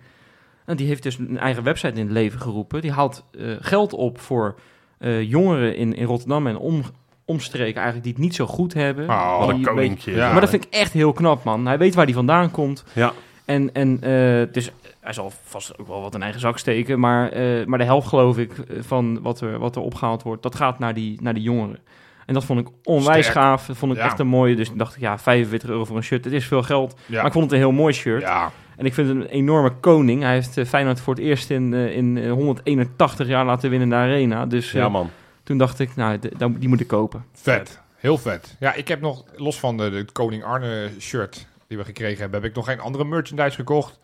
Speaker 2: En die heeft dus een eigen website in het leven geroepen. Die haalt eh, geld op voor eh, jongeren in, in Rotterdam en om, omstreken eigenlijk... die het niet zo goed hebben.
Speaker 4: Oh,
Speaker 3: Ah, Wat
Speaker 2: Die
Speaker 3: een
Speaker 2: beetje-
Speaker 3: koninkje.
Speaker 4: Ja.
Speaker 2: maar dat vind ik echt heel knap, man. Hij weet waar hij vandaan komt.
Speaker 3: Ja.
Speaker 2: En, en eh, dus hij zal vast ook wel wat in eigen zak steken. Maar, eh, maar de helft, geloof ik, eh, van wat er, wat er opgehaald wordt, dat gaat naar die, naar die jongeren. En dat vond ik onwijs
Speaker 4: Sterk.
Speaker 2: gaaf. Dat vond ik
Speaker 4: Ja.
Speaker 2: echt een mooie. Dus toen dacht ik, ja, 45 euro voor een shirt, het is veel geld.
Speaker 4: ja.
Speaker 2: Maar ik vond het een heel mooi shirt.
Speaker 4: ja.
Speaker 2: En ik vind het een enorme koning. Hij heeft eh, Feyenoord voor het eerst in, eh, in eh, 181 jaar laten winnen in de Arena. Dus eh,
Speaker 3: Ja, man.
Speaker 2: toen dacht ik, nou, d- dan- die moet ik kopen.
Speaker 4: vet. Heel vet. Ja, ik heb nog, los van de, de Koning Arne shirt die we gekregen hebben, heb ik nog geen andere merchandise gekocht.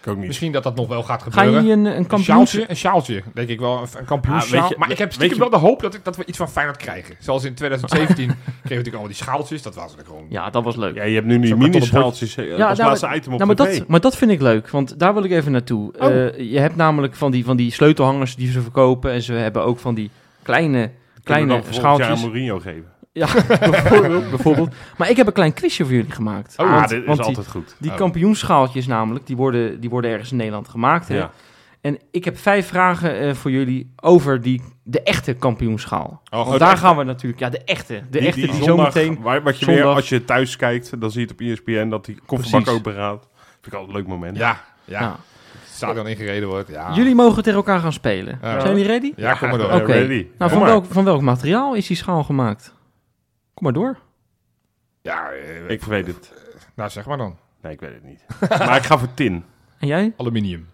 Speaker 3: Ik ook niet.
Speaker 4: Misschien dat dat nog wel gaat
Speaker 2: Ga
Speaker 4: gebeuren.
Speaker 2: je een, een
Speaker 4: Een
Speaker 2: kampioens...
Speaker 4: sjaaltje, een sjaaltje, denk ik wel. Een- Een
Speaker 3: Ah, weet
Speaker 4: kampioensjaal.
Speaker 3: je-
Speaker 4: maar ik heb stiekem
Speaker 3: weet
Speaker 4: wel de hoop dat, ik, dat we iets van Feyenoord krijgen. Zoals in 2017 kregen we natuurlijk allemaal die schaaltjes. Dat was natuurlijk gewoon...
Speaker 2: Ja, dat was leuk.
Speaker 3: Ja, je hebt nu die
Speaker 4: Zo'n kartonnen
Speaker 3: mini-schaaltjes eh,
Speaker 2: Ja,
Speaker 3: als
Speaker 2: nou,
Speaker 3: laatste item op
Speaker 2: Nou, maar,
Speaker 3: tv.
Speaker 2: dat, maar dat vind ik leuk, want daar wil ik even naartoe.
Speaker 4: Oh.
Speaker 2: Eh, je hebt namelijk van die, van die sleutelhangers die ze verkopen. En ze hebben ook van die kleine,
Speaker 3: Kunnen we
Speaker 2: kleine
Speaker 3: dan volgend jaar aan
Speaker 2: schaaltjes.
Speaker 3: Mourinho geven.
Speaker 2: Ja, bijvoorbeeld, bijvoorbeeld. Maar ik heb een klein quizje voor jullie gemaakt.
Speaker 4: Oh,
Speaker 3: Ah,
Speaker 2: want
Speaker 3: dit is
Speaker 2: want die,
Speaker 3: altijd goed.
Speaker 2: die
Speaker 4: Oh.
Speaker 2: kampioenschaaltjes namelijk, die worden, die worden ergens in Nederland gemaakt. Hè?
Speaker 3: Ja.
Speaker 2: En ik heb vijf vragen eh, voor jullie over die, de echte kampioenschaal.
Speaker 4: goed,
Speaker 2: Want daar
Speaker 4: echt.
Speaker 2: gaan we natuurlijk... Ja, de echte. De
Speaker 3: Oh, Die-
Speaker 2: echte die,
Speaker 3: die zondag,
Speaker 2: zometeen...
Speaker 3: waar- Wat je
Speaker 2: zondag-
Speaker 3: weer, als je thuis kijkt, dan zie je het op ESPN dat die kofferbak
Speaker 2: Precies.
Speaker 3: open gaat. Vind ik altijd een leuk moment.
Speaker 4: Ja, ja.
Speaker 2: Nou,
Speaker 4: Het stadion ingereden wordt. Ja,
Speaker 2: Jullie mogen tegen elkaar gaan spelen.
Speaker 4: Ja.
Speaker 2: Zijn jullie ready?
Speaker 4: ja Eh, kom maar door.
Speaker 2: Oké.
Speaker 3: Ready.
Speaker 2: Nou,
Speaker 3: Kom
Speaker 2: van
Speaker 3: maar.
Speaker 2: welk, van welk materiaal is die schaal gemaakt? Kom maar door.
Speaker 4: Ja, eh,
Speaker 3: Ik weet het.
Speaker 4: nou zeg maar dan.
Speaker 3: Nee, ik weet het niet. maar ik ga voor tin.
Speaker 2: En jij?
Speaker 4: Aluminium.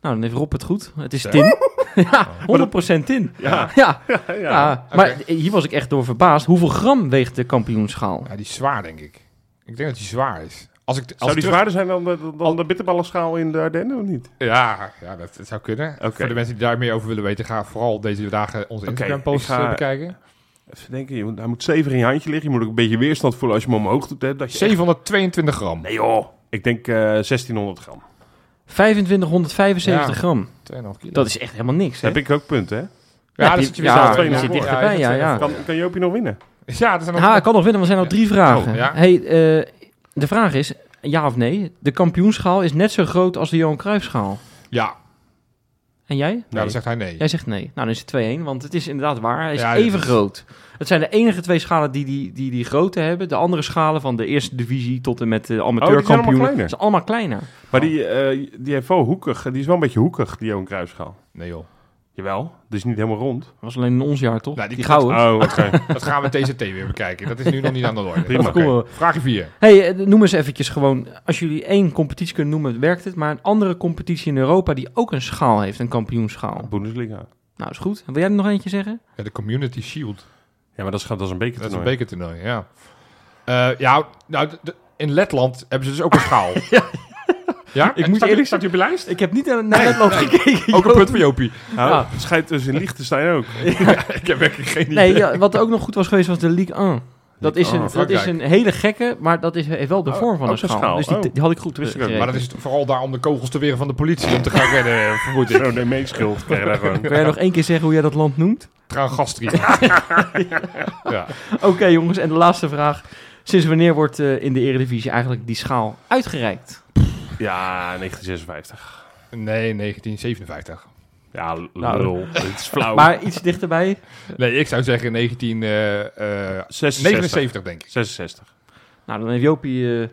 Speaker 2: Nou, dan heeft Rob het goed. Het is
Speaker 4: Zo.
Speaker 2: tin. ja, 100% tin.
Speaker 3: Ja.
Speaker 2: Ja,
Speaker 3: Ja, ja.
Speaker 2: ja.
Speaker 4: Oké.
Speaker 2: maar hier was ik echt door verbaasd. Hoeveel gram weegt de kampioenschaal?
Speaker 4: Ja, die is zwaar, denk ik. Ik denk dat die zwaar is. Als ik, als
Speaker 3: Zou
Speaker 4: ik
Speaker 3: die
Speaker 4: terug-
Speaker 3: zwaarder zijn dan de, dan de bitterballenschaal in de Ardennen of niet?
Speaker 4: Ja, ja dat, dat zou kunnen.
Speaker 3: Oké.
Speaker 4: Voor de mensen die daar meer over willen weten, ga vooral deze dagen onze
Speaker 3: Oké,
Speaker 4: Instagram-posts
Speaker 3: ik ga-
Speaker 4: eh, bekijken.
Speaker 3: Even denken, je moet, hij moet stevig in je handje liggen. Je moet ook een beetje weerstand voelen als je hem omhoog doet. Hè, dat je echt-
Speaker 4: 722 gram.
Speaker 3: Nee joh, ik denk eh 1600 gram.
Speaker 2: 2575
Speaker 4: Ja.
Speaker 2: gram.
Speaker 4: 2,5 kilo.
Speaker 2: Dat is echt helemaal niks, hè?
Speaker 3: Heb ik ook punten, hè?
Speaker 2: Ja,
Speaker 4: dat
Speaker 2: die-
Speaker 4: zit je weer
Speaker 3: ja,
Speaker 4: zo-
Speaker 3: twee nog
Speaker 4: zit
Speaker 3: voor.
Speaker 2: dichterbij, ja, ja.
Speaker 3: Kan, kan Joopie nog winnen?
Speaker 4: Ja, dat zijn nog...
Speaker 2: Ah, ik kan nog winnen, want er zijn al drie vragen.
Speaker 4: Oh, ja.
Speaker 2: hey, eh, de vraag is, ja of nee, de kampioenschaal is net zo groot als de Johan Cruijffschaal.
Speaker 4: Ja, nou,
Speaker 2: En jij?
Speaker 4: dan
Speaker 3: Oh,
Speaker 4: zegt hij nee.
Speaker 2: Jij zegt nee. Nou, dan is het 2-1, want het is inderdaad waar. Hij is
Speaker 4: Ja, dit
Speaker 2: even
Speaker 4: is-
Speaker 2: groot. Het zijn de enige twee schalen die die, die die grootte hebben. De andere schalen van de eerste divisie tot en met de
Speaker 3: allemaal
Speaker 2: amateurkampioenen...
Speaker 3: kleiner.
Speaker 2: zijn allemaal kleiner.
Speaker 3: Maar die, eh, die heeft wel hoekig. Die is wel een beetje hoekig, die Johan Cruijffschaal.
Speaker 4: Nee joh.
Speaker 3: Jawel, dus niet helemaal rond.
Speaker 2: Dat was alleen in ons jaar, toch?
Speaker 4: Nou,
Speaker 2: die,
Speaker 4: die
Speaker 2: gouden.
Speaker 3: Oh, oké.
Speaker 4: Dat gaan we TCT weer bekijken. Dat is nu nog niet aan de orde.
Speaker 3: Prima.
Speaker 2: Cool.
Speaker 4: Oké, Vraag 4.
Speaker 2: Hey, eh, noem eens eventjes gewoon, als jullie één competitie kunnen noemen, werkt het. Maar een andere competitie in Europa die ook een schaal heeft, een kampioenschaal.
Speaker 3: Bundesliga.
Speaker 2: Nou, is goed. Wil jij er nog eentje zeggen?
Speaker 4: Ja, de Community Shield.
Speaker 3: Ja, maar dat is, dat is een
Speaker 4: Dat is
Speaker 3: bekertoernooi.
Speaker 4: een bekertoernooi, ja. Eh, ja, nou, d- d- in Letland hebben ze dus ook een schaal. ja.
Speaker 2: Ik moet eerlijk
Speaker 4: staat je op je lijst?
Speaker 2: Ik heb niet naar naar Letland gekeken.
Speaker 4: Ook een
Speaker 2: joh.
Speaker 4: punt voor Jopie.
Speaker 3: Nou,
Speaker 2: Ja.
Speaker 3: Het schijnt dus in Liechtenstein ook.
Speaker 4: ik heb werkelijk geen idee.
Speaker 2: Nee, ja, wat ook nog goed was geweest was de Ligue 1. Dat is,
Speaker 3: Ligue 1,
Speaker 2: een, dat is een hele gekke, maar dat is, heeft wel de
Speaker 3: Oh,
Speaker 2: vorm van
Speaker 3: ook
Speaker 2: een
Speaker 3: een
Speaker 2: schaal.
Speaker 3: schaal.
Speaker 2: Dus die,
Speaker 3: Oh.
Speaker 2: die had ik goed
Speaker 3: Wist ik ook.
Speaker 2: teruggekregen.
Speaker 4: Maar dat is vooral daar om de kogels te weren van de politie. Om te gaan
Speaker 3: Eh,
Speaker 4: rennen, vermoed ik.
Speaker 3: Zo'n Oh, nee, meeschuld krijg je daar gewoon.
Speaker 2: Wil jij nog één keer zeggen hoe jij dat land noemt?
Speaker 4: Traangastrie. ja.
Speaker 2: Oké jongens, en de laatste vraag. Sinds wanneer wordt eh, in de Eredivisie eigenlijk die schaal uitgereikt?
Speaker 3: Ja, 1956.
Speaker 4: Nee, 1957.
Speaker 3: Ja, l-
Speaker 2: Nou,
Speaker 3: lul. Het is flauw.
Speaker 2: Maar iets dichterbij.
Speaker 4: Nee, ik zou zeggen 1979,
Speaker 3: 66.
Speaker 4: denk ik.
Speaker 3: 66.
Speaker 2: Nou, dan heeft Jopie... eh,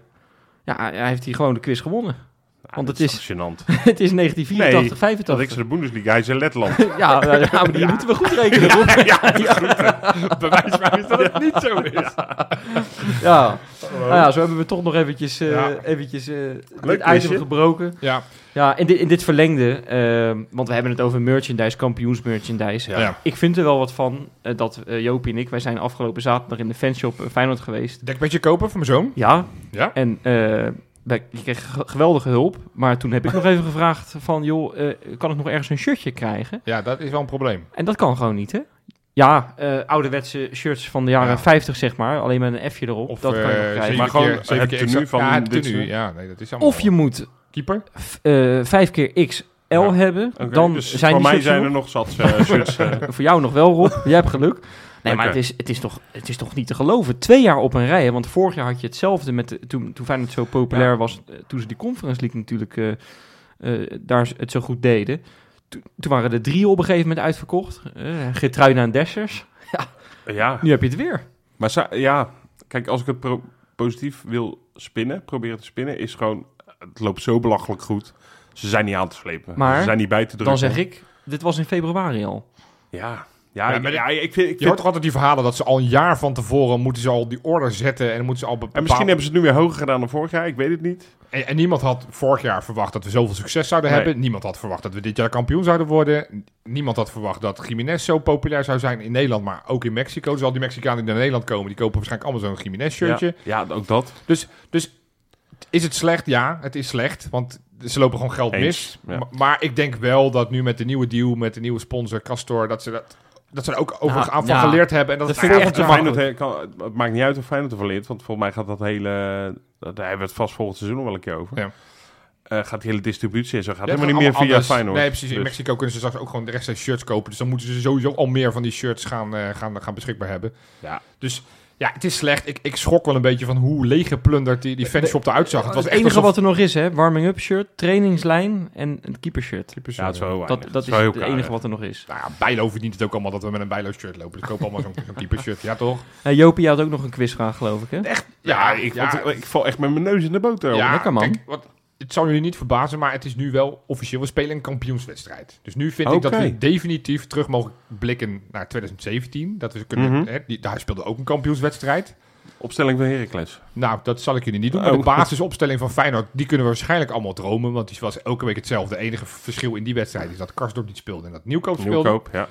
Speaker 2: ja, hij heeft hier gewoon de quiz gewonnen.
Speaker 3: Ja,
Speaker 2: Want
Speaker 3: dit
Speaker 2: het
Speaker 3: is... toch Gênant.
Speaker 2: het is 1984,
Speaker 3: Nee, Dat ik
Speaker 2: 85.
Speaker 3: ze de Bundesliga, hij is in Letland.
Speaker 2: Ja, nou, ja, maar die moeten we goed rekenen. hoor.
Speaker 4: Bewijs maar is dat het niet zo is.
Speaker 2: Ja. Nou ja, zo hebben we toch nog eventjes, eh
Speaker 4: Ja.
Speaker 2: eventjes eh dit
Speaker 3: Oh. Leuk
Speaker 2: item
Speaker 3: quizje.
Speaker 2: gebroken.
Speaker 4: Ja,
Speaker 2: Ja, in, dit in dit verlengde, ehm, want we hebben het over merchandise, kampioensmerchandise.
Speaker 4: ja.
Speaker 2: Ik vind er wel wat van eh, dat eh, Joopie en ik, wij zijn afgelopen zaterdag in de fanshop eh, Feyenoord geweest.
Speaker 4: dekbedje kopen voor mijn zoon.
Speaker 2: Ja,
Speaker 4: Ja.
Speaker 2: en eh wij, ik kreeg ge- geweldige hulp. Maar toen heb ik nog even gevraagd van, joh, eh, kan ik nog ergens een shirtje krijgen?
Speaker 4: Ja, dat is wel een probleem.
Speaker 2: En dat kan gewoon niet, hè? Ja, eh, ouderwetse shirts van de jaren
Speaker 4: Ja.
Speaker 2: 50, zeg maar. Alleen met een F'je erop.
Speaker 4: Of
Speaker 2: dat kan je nog
Speaker 4: eh,
Speaker 2: krijgen.
Speaker 4: zeven
Speaker 3: Maar gewoon
Speaker 4: keer, zeven
Speaker 3: het
Speaker 4: keer
Speaker 3: tenue
Speaker 4: extra-
Speaker 3: van
Speaker 4: ja, het
Speaker 3: dit
Speaker 4: tenue.
Speaker 3: seizoen.
Speaker 4: Ja, nee, dat is allemaal
Speaker 2: Of je moet
Speaker 4: keeper.
Speaker 2: v- eh, vijf keer XL
Speaker 4: Ja.
Speaker 2: hebben,
Speaker 3: Oké,
Speaker 2: dan
Speaker 3: dus
Speaker 2: zijn
Speaker 3: voor
Speaker 2: die
Speaker 3: mij
Speaker 2: shirts
Speaker 3: zijn er nog zat eh, shirts. eh.
Speaker 2: nog- Voor jou nog wel, Rob. Jij hebt geluk. Nee, maar
Speaker 3: Lekker.
Speaker 2: het is, het, is toch, het is toch niet te geloven. Twee jaar op een rij. hè? Want vorig jaar had je hetzelfde met de, toen, toen Feyenoord zo populair was. eh, Toen ze die Conference League natuurlijk eh, eh, daar het zo goed deden. Toen, toen waren er drie op een gegeven moment uitverkocht. Eh Getruida en Dessers.
Speaker 3: ja,
Speaker 2: Nu heb je het weer.
Speaker 3: maar za- ja, kijk, als ik het pro- positief wil spinnen, proberen te spinnen, is gewoon, het loopt zo belachelijk goed. Ze zijn niet aan te slepen.
Speaker 2: Maar
Speaker 3: ze zijn niet bij te drukken.
Speaker 2: Dan zeg ik, dit was in februari al.
Speaker 3: Ja, ja,
Speaker 4: Ja,
Speaker 3: ik,
Speaker 4: maar
Speaker 3: ja, ik vind... Ik
Speaker 4: Je hoort
Speaker 3: vind
Speaker 4: toch altijd die verhalen dat ze al een jaar van tevoren moeten ze al die order zetten en moeten ze al bepalen.
Speaker 3: en misschien hebben ze het nu weer hoger gedaan dan vorig jaar, ik weet het niet.
Speaker 4: En, en niemand had vorig jaar verwacht dat we zoveel succes zouden
Speaker 3: Nee.
Speaker 4: hebben. Niemand had verwacht dat we dit jaar kampioen zouden worden. Niemand had verwacht dat Jiménez zo populair zou zijn in Nederland, maar ook in Mexico. Dus al die Mexicanen die naar Nederland komen, die kopen waarschijnlijk allemaal zo'n Jiménez shirtje.
Speaker 3: Ja, ja, ook dat.
Speaker 4: Dus, dus is het slecht? Ja, het is slecht. Want ze lopen gewoon geld
Speaker 3: Eens,
Speaker 4: mis.
Speaker 3: ja.
Speaker 4: Ma- Maar ik denk wel dat nu met de nieuwe deal, met de nieuwe sponsor Castor, dat ze dat, dat ze er ook over
Speaker 2: Nou,
Speaker 4: aan van
Speaker 2: ja.
Speaker 4: geleerd hebben. En dat,
Speaker 2: Dat
Speaker 4: het
Speaker 2: vind ik
Speaker 4: volgend
Speaker 2: echt
Speaker 4: jaar-
Speaker 3: Feyenoord, eh, kan, het maakt niet uit of Feyenoord ervan leert, want volgens mij gaat dat hele... Daar hebben we het vast volgend seizoen nog wel een keer over.
Speaker 4: Ja.
Speaker 3: Eh, gaat die hele distributie en zo, gaat
Speaker 4: Ja,
Speaker 3: helemaal niet meer via
Speaker 4: allemaal anders.
Speaker 3: Feyenoord.
Speaker 4: Nee, precies. In
Speaker 3: Dus-
Speaker 4: Mexico kunnen ze straks ook gewoon de rest zijn shirts kopen. Dus dan moeten ze sowieso al meer van die shirts gaan, eh, gaan, gaan beschikbaar hebben.
Speaker 3: Ja.
Speaker 4: Dus ja, het is slecht. Ik, ik schrok wel een beetje van hoe leeggeplunderd die, die fanshop eruit zag. Het was
Speaker 2: het
Speaker 4: echt
Speaker 2: enige
Speaker 4: alsof-
Speaker 2: wat er nog is, hè? Warming-up shirt, trainingslijn en een keepershirt.
Speaker 3: Ja, het is wel heel weinig.
Speaker 2: Dat, dat is
Speaker 3: wel heel
Speaker 2: het
Speaker 3: klein,
Speaker 2: enige
Speaker 3: hè.
Speaker 2: wat er nog is.
Speaker 4: Nou ja, Bijlo verdient het ook allemaal dat we met een Bijlo shirt lopen. Dus koop allemaal zo'n zo'n keeper shirt. Ja, toch?
Speaker 2: Hey, Jopie, jij had ook nog een quizvraag, geloof ik, hè?
Speaker 3: Ja, ik,
Speaker 4: ja.
Speaker 3: want ik- ik val echt met mijn neus in de boter.
Speaker 4: Ja,
Speaker 2: lekker, man.
Speaker 4: Kijk, wat, het zal jullie niet verbazen, maar het is nu wel officieel. We spelen een kampioenswedstrijd. Dus nu vind ik dat we
Speaker 3: Oké.
Speaker 4: definitief terug mogen blikken naar 2017. Dat we kunnen,
Speaker 3: Mhm.
Speaker 4: hè, die, daar speelde ook een kampioenswedstrijd.
Speaker 3: Opstelling van Heracles.
Speaker 4: Nou, dat zal ik jullie niet doen. Maar de
Speaker 3: Oh.
Speaker 4: basisopstelling van Feyenoord, die kunnen we waarschijnlijk allemaal dromen. Want die was elke week hetzelfde. Het enige verschil in die wedstrijd is dat Karsdorp niet speelde en dat Nieuwkoop speelde.
Speaker 3: Nieuwkoop, ja.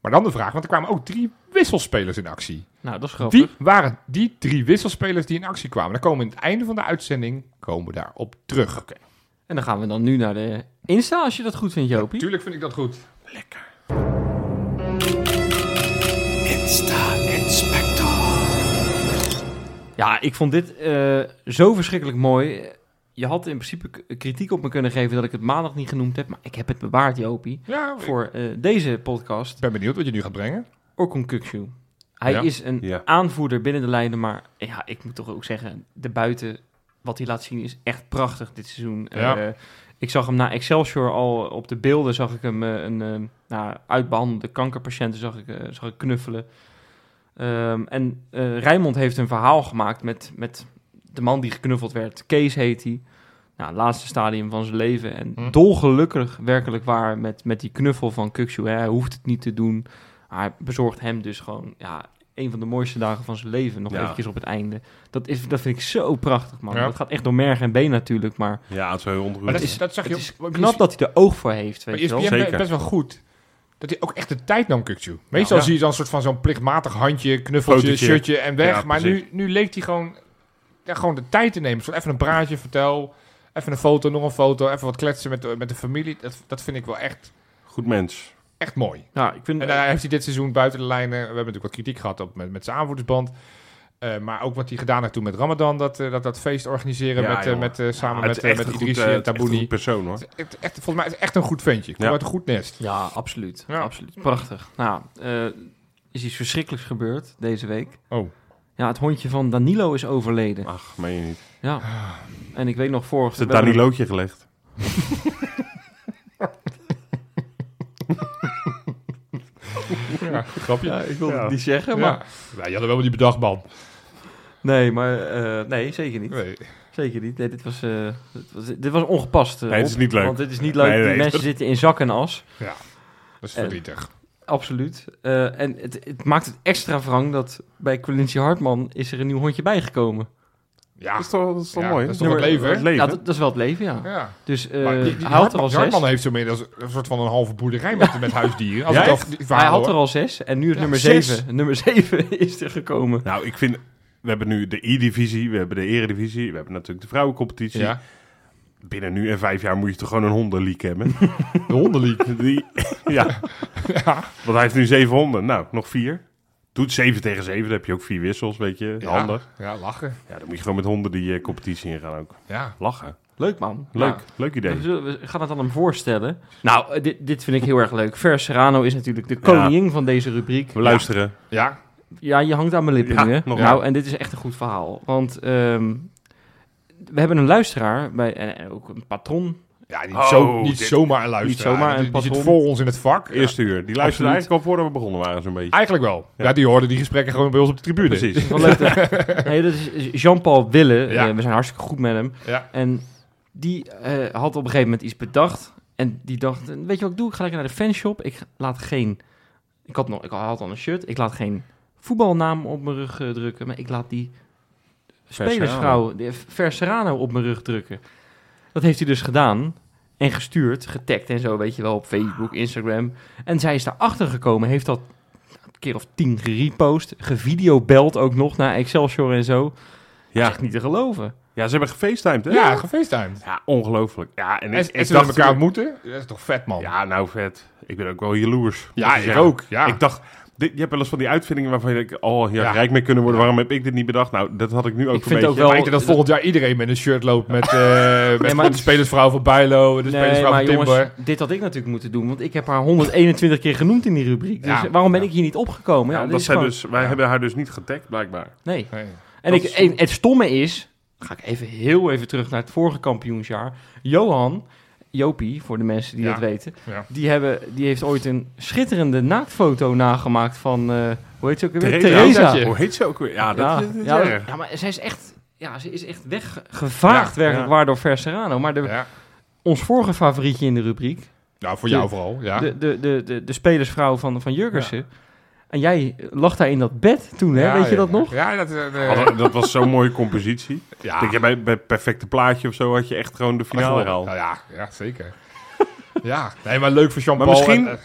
Speaker 4: Maar dan de vraag, want er kwamen ook drie wisselspelers in actie.
Speaker 2: Nou, dat is grappig.
Speaker 4: Wie waren die drie wisselspelers die in actie kwamen? Daar komen we in het einde van de uitzending komen we daarop terug.
Speaker 2: En dan gaan we dan nu naar de Insta, als je dat goed vindt, Jopie.
Speaker 4: Tuurlijk vind ik dat goed.
Speaker 2: Ja, ik vond dit eh, zo verschrikkelijk mooi. Je had in principe k- kritiek op me kunnen geven dat ik het maandag niet genoemd heb. Maar ik heb het bewaard, Jopie.
Speaker 4: Ja, ik
Speaker 2: Voor eh, deze podcast.
Speaker 4: ben benieuwd wat je nu gaat brengen.
Speaker 2: Orkun Kukcu. Hij
Speaker 4: Ja.
Speaker 2: is een
Speaker 3: Ja.
Speaker 2: aanvoerder binnen de lijnen. Maar ja, ik moet toch ook zeggen, de buiten, wat hij laat zien, is echt prachtig dit seizoen.
Speaker 4: Ja.
Speaker 2: Eh, ik zag hem na Excelsior al op de beelden, zag ik hem eh, een eh, nou, uitbehandelde kankerpatiënten zag ik, eh, zag ik knuffelen. Ehm, en eh Rijmond heeft een verhaal gemaakt met, met de man die geknuffeld werd. Kees heet hij. Nou, het laatste stadium van zijn leven. En
Speaker 4: Hm.
Speaker 2: dolgelukkig, werkelijk waar, met, met die knuffel van Kukshu. Hij hoeft het niet te doen. Maar hij bezorgt hem dus gewoon ja, een van de mooiste dagen van zijn leven. Nog
Speaker 3: Ja.
Speaker 2: eventjes op het einde. Dat, is, dat vind ik zo prachtig, man.
Speaker 4: Ja.
Speaker 2: Dat gaat echt door merg en been natuurlijk. Maar
Speaker 3: Ja, het is wel heel ontroerend.
Speaker 4: Maar dat,
Speaker 2: is-
Speaker 4: is, dat zag
Speaker 2: het
Speaker 4: je
Speaker 2: is
Speaker 4: op- op
Speaker 2: knap dat hij er oog voor heeft, weet je
Speaker 4: ESPN
Speaker 2: wel.
Speaker 4: is
Speaker 3: Zeker.
Speaker 4: best wel goed. Dat hij ook echt de tijd nam, Kukju. Meestal
Speaker 3: Ja.
Speaker 4: zie je dan een soort van zo'n plichtmatig handje, knuffeltje,
Speaker 3: Fotootje.
Speaker 4: shirtje en weg.
Speaker 3: Ja,
Speaker 4: maar
Speaker 3: precies.
Speaker 4: nu, nu leek hij gewoon, ja, gewoon de tijd te nemen. Zo even een praatje, vertel. Even een foto, nog een foto. Even wat kletsen met de, met de familie. Dat, dat vind ik wel echt,
Speaker 3: Goed mens.
Speaker 4: echt mooi.
Speaker 2: Nou, ik vind...
Speaker 4: En daar heeft hij dit seizoen buiten de lijnen. We hebben natuurlijk wat kritiek gehad op, met, met zijn aanvoerdersband. Eh, maar ook wat hij gedaan heeft toen met Ramadan, dat, eh, dat, dat feest organiseren
Speaker 3: Ja,
Speaker 4: met, eh,
Speaker 3: joh.
Speaker 4: met, eh, samen
Speaker 3: Ja, het
Speaker 4: met,
Speaker 3: is
Speaker 4: eh,
Speaker 3: echt
Speaker 4: met
Speaker 3: een goed,
Speaker 4: Idrissi
Speaker 3: eh,
Speaker 4: en
Speaker 3: het is echt een
Speaker 4: Tabouni.
Speaker 3: goed persoon, hoor.
Speaker 4: Echt, echt, volgens mij is het echt een goed ventje. Komt
Speaker 3: Ja.
Speaker 4: uit een goed nest.
Speaker 2: Ja, absoluut.
Speaker 4: Ja.
Speaker 2: Absoluut. Prachtig. Nou, eh, is iets verschrikkelijks gebeurd deze week.
Speaker 4: Oh.
Speaker 2: Ja, het hondje van Danilo is overleden.
Speaker 3: Ach, meen je niet.
Speaker 2: Ja. En ik weet nog vorig...
Speaker 3: Is het
Speaker 2: we hebben-
Speaker 3: Danilootje gelegd?
Speaker 4: Ja, grapje.
Speaker 2: Ja, ik wilde
Speaker 3: Ja.
Speaker 2: het niet zeggen, maar...
Speaker 4: Ja. Ja, je had er wel die bedacht, man.
Speaker 2: Nee, maar... eh, nee, zeker niet.
Speaker 4: Nee.
Speaker 2: Zeker niet. Nee, dit, was, eh, dit, was, dit was ongepast. eh,
Speaker 3: Nee, dit is
Speaker 2: Rob.
Speaker 3: niet leuk.
Speaker 2: Want dit is niet leuk.
Speaker 3: Nee, nee,
Speaker 2: Die mensen zitten in zak en as.
Speaker 4: Ja, dat is
Speaker 2: Eh.
Speaker 4: verdrietig.
Speaker 2: Absoluut. Eh, en het, het maakt het extra wrang dat bij Quincy Hartman is er een nieuw hondje bijgekomen.
Speaker 4: Ja,
Speaker 3: Dat is toch, dat is toch
Speaker 4: Ja,
Speaker 3: mooi?
Speaker 4: dat is
Speaker 3: hè?
Speaker 4: toch het
Speaker 3: Nummer-
Speaker 4: leven, hè?
Speaker 3: Het leven.
Speaker 2: Ja, dat, dat is wel het leven, ja.
Speaker 4: ja.
Speaker 2: Dus eh
Speaker 4: Maar die, die
Speaker 2: hij had er
Speaker 4: Hartman,
Speaker 2: al zes.
Speaker 4: Hartman heeft zo meer als een soort van een halve boerderij met, met huisdieren. Als
Speaker 3: Ja,
Speaker 4: ik al
Speaker 3: echt?
Speaker 4: die
Speaker 2: Hij
Speaker 4: verhalen
Speaker 2: had
Speaker 4: hoor.
Speaker 2: er al zes en nu is
Speaker 4: Ja,
Speaker 2: nummer
Speaker 4: zes.
Speaker 2: zeven. Nummer zeven is er gekomen.
Speaker 3: Nou, ik vind... We hebben nu de E-divisie, we hebben de Eredivisie, we hebben natuurlijk de vrouwencompetitie.
Speaker 4: Ja.
Speaker 3: Binnen nu en vijf jaar moet je toch gewoon een hondenleak hebben?
Speaker 4: De hondenliek.
Speaker 3: Die, ja. Want hij heeft nu zeven honden. Nou, nog vier. Doet zeven tegen zeven, dan heb je ook vier wissels, weet je.
Speaker 4: Ja.
Speaker 3: Handig.
Speaker 4: Ja, lachen.
Speaker 3: Ja, dan moet je gewoon met honden die eh, competitie ingaan ook.
Speaker 4: Ja.
Speaker 3: Lachen.
Speaker 2: Leuk man.
Speaker 3: Leuk,
Speaker 2: Nou,
Speaker 3: leuk
Speaker 2: we,
Speaker 3: idee.
Speaker 2: zullen- we gaan het aan hem voorstellen. Nou, eh, dit, dit vind ik heel erg leuk. Ver Serrano is natuurlijk de koningin van deze rubriek.
Speaker 3: We luisteren.
Speaker 4: Ja.
Speaker 2: Ja, je hangt aan mijn lippen
Speaker 3: Ja,
Speaker 2: nu, hè?
Speaker 3: nog
Speaker 2: Nou, en dit is echt een goed verhaal. Want ehm, we hebben een luisteraar, bij, en en ook een patron.
Speaker 4: Ja, niet,
Speaker 3: Oh,
Speaker 4: zo, niet
Speaker 3: dit-
Speaker 4: zomaar een luisteraar.
Speaker 2: zomaar een
Speaker 4: Die- die zit
Speaker 2: patron.
Speaker 4: voor ons in het vak.
Speaker 3: Eerste uur. Die luisteren
Speaker 2: Absoluut.
Speaker 3: eigenlijk al voordat we begonnen waren zo'n beetje.
Speaker 4: Eigenlijk wel. Ja. die hoorden die gesprekken gewoon bij ons op de tribune.
Speaker 3: Precies.
Speaker 2: Wel leuk dat- nee, dat is Jean-Paul Wille.
Speaker 4: Ja.
Speaker 2: Eh, we zijn hartstikke goed met hem.
Speaker 4: Ja.
Speaker 2: En die eh, had op een gegeven moment iets bedacht. En die dacht, weet je wat ik doe? Ik ga lekker naar de fanshop. Ik laat geen... Ik had, nog, ik had al een shirt. Ik laat geen voetbalnaam op mijn rug eh, drukken. Maar ik laat die spelersvrouw, de Ver Serrano, op mijn rug drukken. Dat heeft hij dus gedaan. En gestuurd, getagd en zo, weet je wel, op Facebook, Instagram. En zij is daarachter gekomen, heeft dat een keer of tien gerepost. Gevideobeld ook nog naar Excelsior en zo.
Speaker 3: Ja.
Speaker 2: Echt niet te geloven.
Speaker 3: ja, ze hebben gefacetimed, hè?
Speaker 4: Ja, gefacetimed.
Speaker 3: Ja, ongelooflijk. Ja, en
Speaker 4: En,
Speaker 3: ik,
Speaker 4: en
Speaker 3: ik
Speaker 4: ze dacht
Speaker 3: dacht
Speaker 4: elkaar ontmoeten. Dat is toch vet, man.
Speaker 3: Ja, nou vet. Ik ben ook wel jaloers.
Speaker 4: Ja,
Speaker 3: moet
Speaker 4: ik
Speaker 3: zeggen.
Speaker 4: ook, ja.
Speaker 3: Ik dacht... Dit, je hebt wel eens van die uitvindingen waarvan je denkt... Oh, hier had ik
Speaker 4: Ja.
Speaker 3: rijk mee kunnen worden. Waarom heb ik dit niet bedacht? Nou, dat had ik nu ook
Speaker 2: Ik
Speaker 3: een
Speaker 2: vind
Speaker 3: beetje.
Speaker 2: ook wel-
Speaker 4: Maar ik denk dat volgend jaar iedereen met een shirt loopt met, eh, met,
Speaker 2: Nee, maar-
Speaker 4: met de spelersvrouw van Bijlo, de
Speaker 2: Nee,
Speaker 4: spelersvrouw
Speaker 2: maar
Speaker 4: van Timber.
Speaker 2: jongens, dit had ik natuurlijk moeten doen, want ik heb haar 121 keer genoemd in die rubriek. Dus
Speaker 4: Ja.
Speaker 2: waarom ben ik hier niet opgekomen? Ja,
Speaker 3: Ja,
Speaker 2: dit
Speaker 3: dat
Speaker 2: is
Speaker 3: zij
Speaker 2: gewoon-
Speaker 3: dus, wij
Speaker 4: Ja.
Speaker 3: hebben haar dus niet getagd, blijkbaar.
Speaker 2: Nee.
Speaker 4: Nee.
Speaker 2: En,
Speaker 3: Dat
Speaker 2: ik,
Speaker 3: is
Speaker 2: en het stomme is, ga ik even heel even terug naar het vorige kampioensjaar. Johan, Jopie, voor de mensen die
Speaker 4: Ja.
Speaker 2: dat weten,
Speaker 4: Ja.
Speaker 2: die, hebben, die heeft ooit een schitterende naaktfoto nagemaakt van, eh, hoe heet ze ook weer?
Speaker 3: Theresa.
Speaker 2: Theresa.
Speaker 4: Ja.
Speaker 3: Hoe heet ze ook weer? Ja, dat
Speaker 2: Ja,
Speaker 3: is, dat is
Speaker 2: ja,
Speaker 3: erg.
Speaker 2: ja, maar zij is echt, ja, ze is echt weggevaagd
Speaker 4: Ja,
Speaker 2: werkelijk
Speaker 3: ja.
Speaker 2: waar door Ver Serrano. Maar de,
Speaker 4: Ja.
Speaker 2: ons vorige favorietje in de rubriek,
Speaker 4: Nou, voor
Speaker 2: De-
Speaker 4: jou vooral. Ja.
Speaker 2: de, de, de, de, de spelersvrouw van, van Jurgensen. En jij lag daar in dat bed toen, hè?
Speaker 4: Ja,
Speaker 2: Weet je
Speaker 4: ja,
Speaker 2: dat
Speaker 4: ja.
Speaker 2: nog?
Speaker 4: Ja, dat, eh, eh,
Speaker 3: Hadden- dat was zo'n mooie compositie.
Speaker 4: ja.
Speaker 3: Denk je, bij, bij Perfecte Plaatje of zo had je echt gewoon de finale
Speaker 4: Nou,
Speaker 3: gehaald.
Speaker 4: ja, ja, zeker. ja, nee, maar leuk voor Jean-Paul.
Speaker 3: Maar misschien-
Speaker 4: en, eh,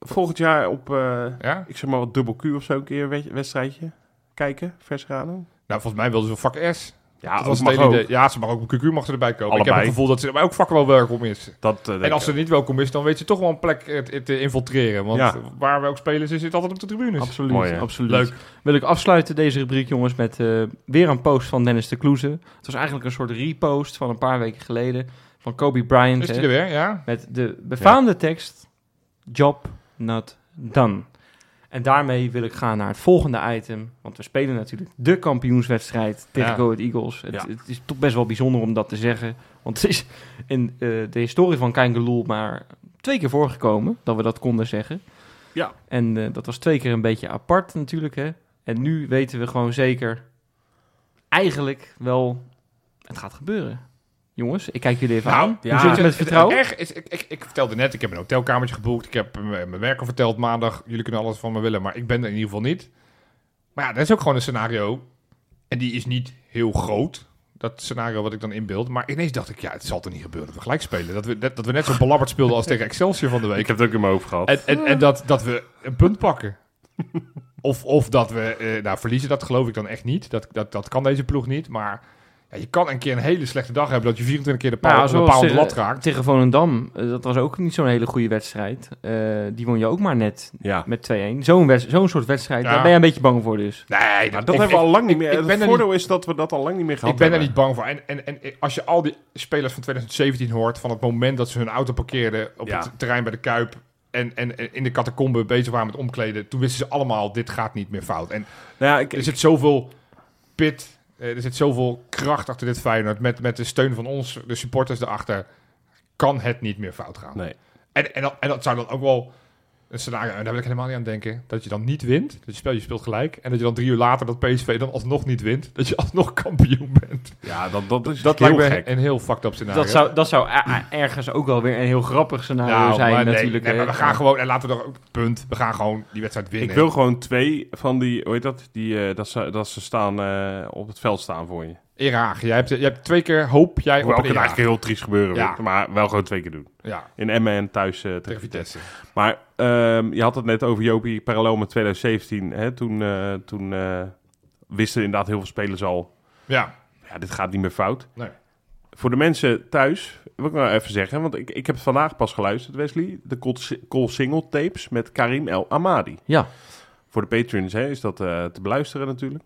Speaker 3: Volgend jaar op, eh,
Speaker 4: ja?
Speaker 3: ik zeg maar, wat dubbel Q of zo een keer een wedstrijdje kijken, vers Rado.
Speaker 4: Nou, volgens mij wilden ze vak S.
Speaker 3: Ja,
Speaker 4: dat was het
Speaker 3: mag
Speaker 4: hele
Speaker 3: ook.
Speaker 4: idee. Ja, ze mag ook QQ mag erbij komen. Ik heb
Speaker 3: Allebei.
Speaker 4: het gevoel dat ze maar ook vak wel welkom is.
Speaker 3: Dat, eh, denk
Speaker 4: En als
Speaker 3: ik
Speaker 4: ze niet welkom is, dan weet je toch wel een plek eh, te- te infiltreren. Want
Speaker 3: Ja.
Speaker 4: waar we ook spelen, ze zit altijd op de tribunes.
Speaker 2: Absoluut,
Speaker 3: Mooi, hè?
Speaker 2: absoluut.
Speaker 4: Leuk.
Speaker 2: Wil ik afsluiten deze rubriek, jongens, met eh, weer een post van Dennis de Kloeze. Het was eigenlijk een soort repost van een paar weken geleden van Kobe Bryant.
Speaker 4: Is
Speaker 2: hè?
Speaker 4: die er weer? Ja.
Speaker 2: Met de befaamde tekst Job not done. En daarmee wil ik gaan naar het volgende item. Want we spelen natuurlijk de kampioenswedstrijd tegen
Speaker 4: Ja.
Speaker 2: Go Ahead Eagles. Het,
Speaker 3: Ja.
Speaker 2: het is toch best wel bijzonder om dat te zeggen. Want het is in eh, de historie van Kein Geloel maar twee keer voorgekomen dat we dat konden zeggen.
Speaker 3: Ja.
Speaker 2: En eh, dat was twee keer een beetje apart natuurlijk. Hè? En nu weten we gewoon zeker eigenlijk wel, het gaat gebeuren. Jongens, ik kijk jullie even
Speaker 4: Nou,
Speaker 2: aan.
Speaker 3: ja.
Speaker 2: Hoe zit het met vertrouwen?
Speaker 4: Erg is, ik, ik, ik vertelde net, ik heb een hotelkamertje geboekt. Ik heb m- mijn werk al verteld maandag. Jullie kunnen alles van me willen, maar ik ben er in ieder geval niet. Maar ja, dat is ook gewoon een scenario. En die is niet heel groot. Dat scenario wat ik dan inbeeld. Maar ineens dacht ik, ja, het zal toch niet gebeuren dat we gelijk spelen. Dat we, dat, dat we net zo belabberd speelden als tegen Excelsior van de
Speaker 3: Ik
Speaker 4: week.
Speaker 3: heb het ook in mijn hoofd gehad.
Speaker 4: En, en, en dat, dat we een punt pakken. Of, of dat we, eh, nou verliezen, dat geloof ik dan echt niet. Dat, dat, dat kan deze ploeg niet. Maar ja, je kan een keer een hele slechte dag hebben dat je 24 keer de paal,
Speaker 2: Nou,
Speaker 4: de
Speaker 2: zoals
Speaker 4: paal aan de
Speaker 2: tegen-
Speaker 4: lat raakt.
Speaker 2: Tegen Volendam, eh, dat was ook niet zo'n hele goede wedstrijd. Eh, die won je ook maar net
Speaker 3: ja.
Speaker 2: met 2-1. Zo'n wedst- zo'n soort wedstrijd,
Speaker 4: Ja.
Speaker 2: daar ben je een beetje bang voor dus.
Speaker 4: Nee,
Speaker 3: Maar
Speaker 4: dat,
Speaker 3: dat
Speaker 4: ik,
Speaker 3: hebben we al lang niet
Speaker 4: ik-
Speaker 3: meer.
Speaker 4: ik ben
Speaker 3: het
Speaker 4: er
Speaker 3: voordeel is dat we dat al lang niet meer
Speaker 4: ik,
Speaker 3: gehad
Speaker 4: ik ben er
Speaker 3: hebben.
Speaker 4: niet bang voor. En, en, en als je al die spelers van 2017 hoort, van het moment dat ze hun auto parkeerden op
Speaker 3: Ja.
Speaker 4: het terrein bij de Kuip en, en, en in de catacombe bezig waren met omkleden, toen wisten ze allemaal, dit gaat niet Dus meer fout. En
Speaker 3: Nou ja, ik,
Speaker 4: er zit zoveel pit, eh, er zit zoveel kracht achter dit Feyenoord, met, met de steun van ons, de supporters erachter, kan het niet meer fout gaan.
Speaker 3: nee.
Speaker 4: En, en, dat, en dat zou dan ook wel een scenario, en daar wil ik helemaal niet aan denken, dat je dan niet wint, dat je speelt, je speelt gelijk, en dat je dan drie uur later dat PSV dan alsnog niet wint, dat je alsnog kampioen bent.
Speaker 3: Ja, dat, dat is
Speaker 4: Dat
Speaker 3: heel
Speaker 4: lijkt me
Speaker 3: gek.
Speaker 4: een heel fucked up scenario.
Speaker 2: dat zou, dat zou a- a- ergens ook wel weer een heel grappig scenario
Speaker 4: Nou,
Speaker 2: zijn
Speaker 4: maar nee,
Speaker 2: natuurlijk.
Speaker 4: nee,
Speaker 2: hè.
Speaker 4: maar we gaan gewoon, en laten we dan ook, punt, we gaan gewoon die wedstrijd winnen.
Speaker 3: Ik wil gewoon twee van die, hoe heet dat, die, eh, dat, ze, dat ze staan eh, op het veld staan voor je.
Speaker 4: Eraag, jij hebt, jij hebt twee keer hoop, jij op
Speaker 3: Hoewel
Speaker 4: een
Speaker 3: kan
Speaker 4: Eraag.
Speaker 3: eigenlijk heel triest gebeuren,
Speaker 4: Ja.
Speaker 3: weet je, maar wel gewoon twee keer doen.
Speaker 4: Ja,
Speaker 3: In Emmen en thuis eh, tegen
Speaker 4: tegen
Speaker 3: Vitesse.
Speaker 4: Vitesse.
Speaker 3: Maar ehm, je had het net over Jopie, parallel met 2017. Hè? Toen, eh, toen eh, wisten inderdaad heel veel spelers al,
Speaker 4: Ja,
Speaker 3: ja, dit gaat niet meer fout.
Speaker 4: Nee.
Speaker 3: Voor de mensen thuis, wil ik nou even zeggen, want ik, ik heb het vandaag pas geluisterd, Wesley. De Col- Col Single tapes met Karim El Amadi.
Speaker 2: Ja.
Speaker 3: Voor de patrons hè, is dat eh, te beluisteren natuurlijk.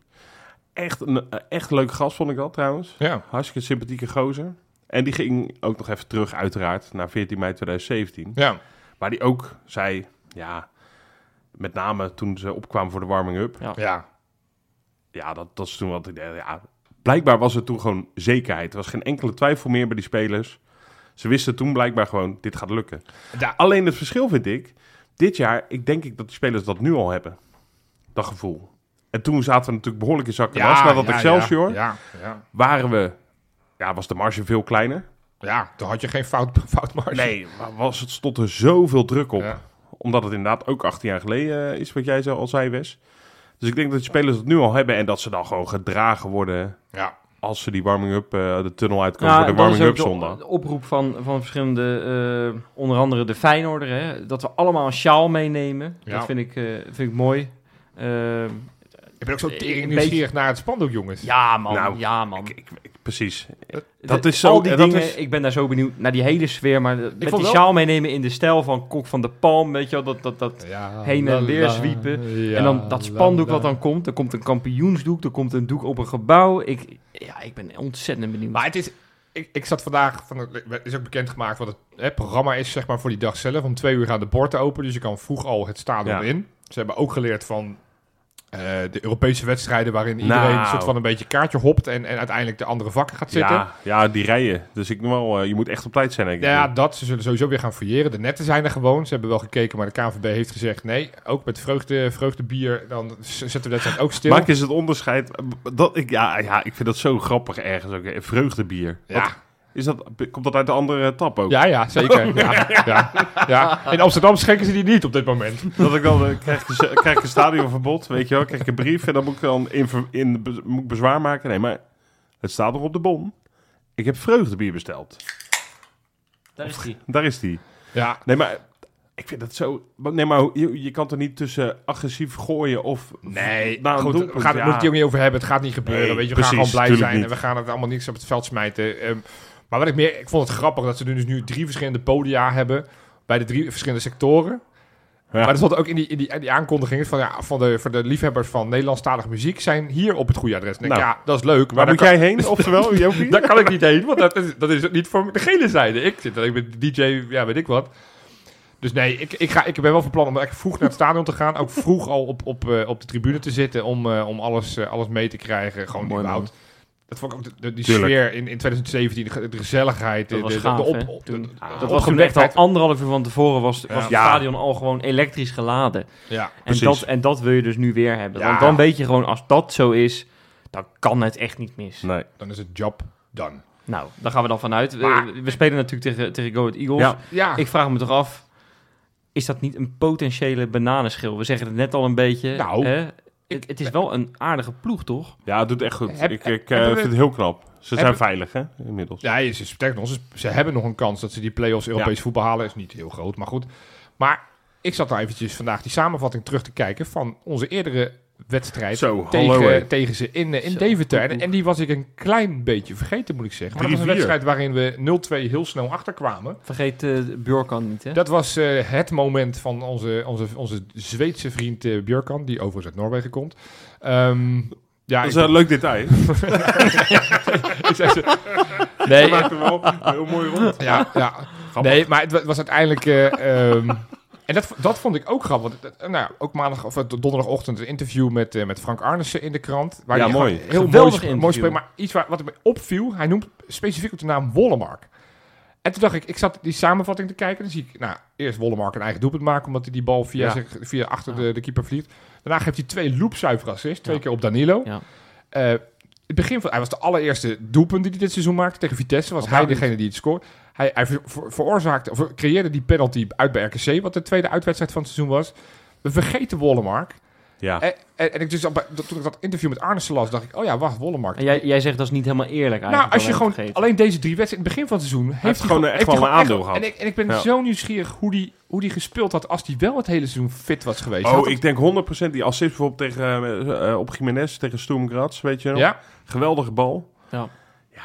Speaker 3: Echt een eh, echt leuk gast vond ik dat trouwens.
Speaker 4: ja.
Speaker 3: Hartstikke sympathieke gozer. En die ging ook nog even terug uiteraard naar 14 mei 2017.
Speaker 4: ja.
Speaker 3: Waar die ook zei, ja, met name toen ze opkwamen voor de warming-up.
Speaker 4: Ja,
Speaker 3: Ja, dat, dat is toen wat ik dacht, ja, Blijkbaar was er toen gewoon zekerheid. Er was geen enkele twijfel meer bij die spelers. Ze wisten toen blijkbaar gewoon, dit gaat lukken.
Speaker 4: Da-
Speaker 3: Alleen het verschil vind ik, dit jaar, ik denk ik dat die spelers dat nu al hebben. Dat gevoel. En toen zaten we natuurlijk behoorlijk in zakken. Ja, nadat Excelsior
Speaker 4: Ja, ja,
Speaker 3: waren we, ja, was de marge veel kleiner.
Speaker 4: ja, toen had je geen fout, foutmarge.
Speaker 3: Nee, maar was het, stond er zoveel druk op.
Speaker 4: Ja.
Speaker 3: Omdat het inderdaad ook 18 jaar geleden eh, is, wat jij zo al zei, Wes. Dus ik denk dat de spelers het nu al hebben en dat ze dan gewoon gedragen worden
Speaker 4: Ja,
Speaker 3: als ze die warming-up eh, de tunnel uitkomen
Speaker 2: Nou,
Speaker 3: voor
Speaker 2: en
Speaker 3: de
Speaker 2: dat is
Speaker 3: warming-up
Speaker 2: ook
Speaker 3: zondag.
Speaker 2: De oproep van, van verschillende, eh, onder andere de Feyenoorder, hè, dat we allemaal een sjaal meenemen.
Speaker 4: Ja.
Speaker 2: Dat vind ik, eh, vind ik mooi. Eh,
Speaker 4: ik ben ook zo
Speaker 2: Een
Speaker 4: tering
Speaker 2: beetje-
Speaker 4: nieuwsgierig naar het spandoek, jongens.
Speaker 2: ja man,
Speaker 3: Nou,
Speaker 2: ja man.
Speaker 3: Ik- ik- ik- precies.
Speaker 2: De-
Speaker 3: dat is zo-
Speaker 2: al die
Speaker 3: dat
Speaker 2: dingen,
Speaker 3: is-
Speaker 2: ik ben daar zo benieuwd naar die hele sfeer. Maar de- met die
Speaker 4: vond wel-
Speaker 2: sjaal meenemen in de stijl van Kok van de Palm, weet je wel, dat... dat, dat
Speaker 4: Ja,
Speaker 2: Heen en weer zwiepen.
Speaker 4: ja,
Speaker 2: en dan dat spandoek
Speaker 4: la,
Speaker 2: wat
Speaker 4: la.
Speaker 2: dan komt. Er komt een kampioensdoek, er komt een doek op een gebouw. Ik, ja, ik ben ontzettend benieuwd.
Speaker 4: Maar het is... Ik, ik zat vandaag... Van, het is ook bekendgemaakt wat het hè, programma is, zeg maar, voor die dag zelf. Om twee uur gaan de borden open, dus je kan vroeg al het stadion
Speaker 3: Ja.
Speaker 4: in. Ze hebben ook geleerd van eh, de Europese wedstrijden... waarin iedereen
Speaker 3: Nou.
Speaker 4: een soort van een beetje kaartje hopt... en, en uiteindelijk de andere vakken gaat zitten.
Speaker 3: Ja, ja, die rijen. Dus ik noem wel, eh, je moet echt op tijd zijn. Denk ik.
Speaker 4: Ja, dat. Ze zullen sowieso weer gaan fouilleren. De netten zijn er gewoon. Ze hebben wel gekeken, maar de KNVB heeft gezegd... nee, ook met vreugde, vreugdebier, dan z- zetten we dat dan ook stil.
Speaker 3: Maak eens het onderscheid. Dat, ik, ja, ja, ik vind dat zo grappig ergens ook. hè. Vreugdebier.
Speaker 4: ja,
Speaker 3: Wat, Is dat, komt dat uit de andere tap ook?
Speaker 4: Ja, ja, zeker. Ja, ja, ja. In Amsterdam schenken ze die niet op dit moment.
Speaker 3: Dat ik dan eh, krijg, ik een- krijg ik een stadionverbod, weet je wel, krijg ik een brief en dan moet ik dan in, ver- in, be- moet ik bezwaar maken. Nee, maar het staat nog op de bon. Ik heb vreugdebier besteld.
Speaker 2: Daar is die.
Speaker 3: Daar is die.
Speaker 4: Ja,
Speaker 3: Nee, maar ik vind dat zo. Nee, maar je, je kan er niet tussen agressief gooien of.
Speaker 4: Nee,
Speaker 3: Nou, een
Speaker 4: goed, we
Speaker 3: doelpunt,
Speaker 4: gaan,
Speaker 3: ja.
Speaker 4: moet het hier ook niet over hebben. Het gaat niet gebeuren.
Speaker 3: Nee,
Speaker 4: weet je, we
Speaker 3: precies,
Speaker 4: gaan gewoon blij
Speaker 3: tuurlijk
Speaker 4: zijn. En
Speaker 3: niet.
Speaker 4: we gaan het allemaal niks op het veld smijten. Ehm, maar wat ik meer... Ik vond het grappig dat ze dus nu drie verschillende podia hebben... bij de drie verschillende sectoren. Maar dat stond ook in die, in die, in die aankondigingen van, ja, van de, voor de liefhebbers van Nederlandstalige muziek... zijn hier op het goede adres. En ik denk,
Speaker 3: Nou,
Speaker 4: ja, dat is leuk.
Speaker 3: Waar
Speaker 4: Maar
Speaker 3: moet
Speaker 4: daar,
Speaker 3: jij heen? Oftewel, Jopie?
Speaker 4: kan, daar kan ik niet heen, want dat is, dat is niet voor de gele zijde. Ik zit ik ben DJ, ja, weet ik wat. Dus nee, ik, ik, ga, ik ben wel van plan om echt vroeg naar het stadion te gaan. Ook vroeg al op, op, eh, op de tribune te zitten om, eh, om alles, eh, alles mee te krijgen. Gewoon
Speaker 2: Mooi,
Speaker 4: überhaupt. Dat vond ik ook de, de- die
Speaker 3: Tuurlijk.
Speaker 4: sfeer in, in 2017, de, ge- de gezelligheid.
Speaker 2: Dat
Speaker 4: de,
Speaker 2: was
Speaker 4: de, de
Speaker 2: gaaf,
Speaker 4: op-
Speaker 2: hè,
Speaker 4: op-
Speaker 2: toen. Ah,
Speaker 4: de-
Speaker 2: Dat was
Speaker 4: de
Speaker 2: toen echt
Speaker 4: opgewektheid.
Speaker 2: al anderhalf uur van tevoren was, was het
Speaker 3: Ja.
Speaker 2: stadion al gewoon elektrisch geladen.
Speaker 4: Ja,
Speaker 2: En
Speaker 3: Precies.
Speaker 2: dat, en dat wil je dus nu weer hebben.
Speaker 4: Ja.
Speaker 2: Want dan weet je gewoon, als dat zo is, dan kan het echt niet mis.
Speaker 3: Nee.
Speaker 4: dan is het job done.
Speaker 2: Nou, daar gaan we dan vanuit.
Speaker 4: Maar-
Speaker 2: Eh, we spelen natuurlijk tegen, tegen Go Ahead Eagles.
Speaker 3: Ja.
Speaker 4: Ja,
Speaker 2: Ik vraag me toch af, is dat niet een potentiële bananenschil? We zeggen het net al een beetje.
Speaker 4: Nou,
Speaker 2: hè? het, het is wel een aardige ploeg, toch?
Speaker 3: Ja, het doet echt goed.
Speaker 4: Heb-
Speaker 3: ik ik eh,
Speaker 4: hebben we-
Speaker 3: vind het heel knap. Ze zijn
Speaker 4: hebben-
Speaker 3: veilig, hè? Inmiddels.
Speaker 4: Ja, ze, sterker nog, ze, Dus ze hebben nog een kans dat ze die play-offs Europees voetbal halen. Is niet heel groot, maar goed. Maar ik zat nou eventjes vandaag die samenvatting terug te kijken van onze eerdere wedstrijd
Speaker 3: Zo, hallo. hè.
Speaker 4: tegen, tegen ze in, eh, in
Speaker 2: Zo,
Speaker 4: Deventer.
Speaker 2: oeh,
Speaker 4: En,
Speaker 2: oeh.
Speaker 4: en die was ik een klein beetje vergeten, moet ik zeggen. Maar dat was een
Speaker 3: 3-4.
Speaker 4: wedstrijd waarin we 0-2 heel snel achterkwamen.
Speaker 2: Vergeet eh Bjorkan niet, hè?
Speaker 4: Dat was eh, het moment van onze, onze, onze Zweedse vriend eh Björkan, die overigens uit Noorwegen komt. Ehm, ja,
Speaker 3: Dat is
Speaker 4: ik-
Speaker 3: een leuk detail.
Speaker 4: ik zei ze-
Speaker 3: Ze
Speaker 4: nee,
Speaker 3: maakt er wel heel mooi rond.
Speaker 4: ja, ja,
Speaker 3: Grappig.
Speaker 4: Nee, maar het wa- was uiteindelijk. eh, ehm, en dat, v- dat vond ik ook grappig. Want, eh, nou, ja, ook maandag of eh, donderdagochtend een interview met, eh, met Frank Arnissen in de krant. Waar
Speaker 3: Ja,
Speaker 4: hij
Speaker 3: mooi.
Speaker 4: gewoon Heel mooi,
Speaker 2: Geweldig
Speaker 4: sp- mooi
Speaker 2: interview.
Speaker 4: spreekt. Maar iets waar, wat me opviel, hij noemt specifiek op de naam Wollemark. En toen dacht ik, ik zat die samenvatting te kijken. Dan zie ik, nou, eerst Wollemark een eigen doelpunt maken, omdat hij die bal via,
Speaker 2: Ja.
Speaker 4: zich, via achter de, de keeper vliegt. Daarna geeft hij twee loopzuiverassists, twee keer op Danilo.
Speaker 2: Ja.
Speaker 4: Eh, het begin van, hij was de allereerste doelpunt die hij dit seizoen maakte tegen Vitesse. Was
Speaker 2: Wat
Speaker 4: hij
Speaker 2: daar niet.
Speaker 4: degene die het scoort. Hij, hij ver- ver- veroorzaakte, of creëerde die penalty uit bij RKC, wat de tweede uitwedstrijd van het seizoen was. We vergeten Wollemark.
Speaker 3: Ja.
Speaker 4: En, en, en ik dus, al bij- dat- toen ik dat interview met Arnissen las, dacht ik, oh ja, wacht, Wollemark.
Speaker 2: En jij, jij zegt dat is niet helemaal eerlijk eigenlijk.
Speaker 4: nou, als je
Speaker 2: alleen
Speaker 4: gewoon
Speaker 2: vergeten.
Speaker 4: alleen deze drie wedstrijden, in het begin van het seizoen, heeft, hij
Speaker 3: gewoon, eh, echt
Speaker 4: heeft
Speaker 3: wel
Speaker 4: hij
Speaker 3: een
Speaker 4: gewoon
Speaker 3: aandeel
Speaker 4: echt- En ik, en ik ben
Speaker 3: Ja.
Speaker 4: zo nieuwsgierig hoe die, hoe die gespeeld had als hij wel het hele seizoen fit was geweest. Had
Speaker 3: Oh,
Speaker 4: het-
Speaker 3: ik denk 100% die assist bijvoorbeeld tegen, eh, eh, op Jiménez tegen Sturm Graz, weet je wel.
Speaker 4: ja,
Speaker 3: Geweldige bal.
Speaker 2: Ja.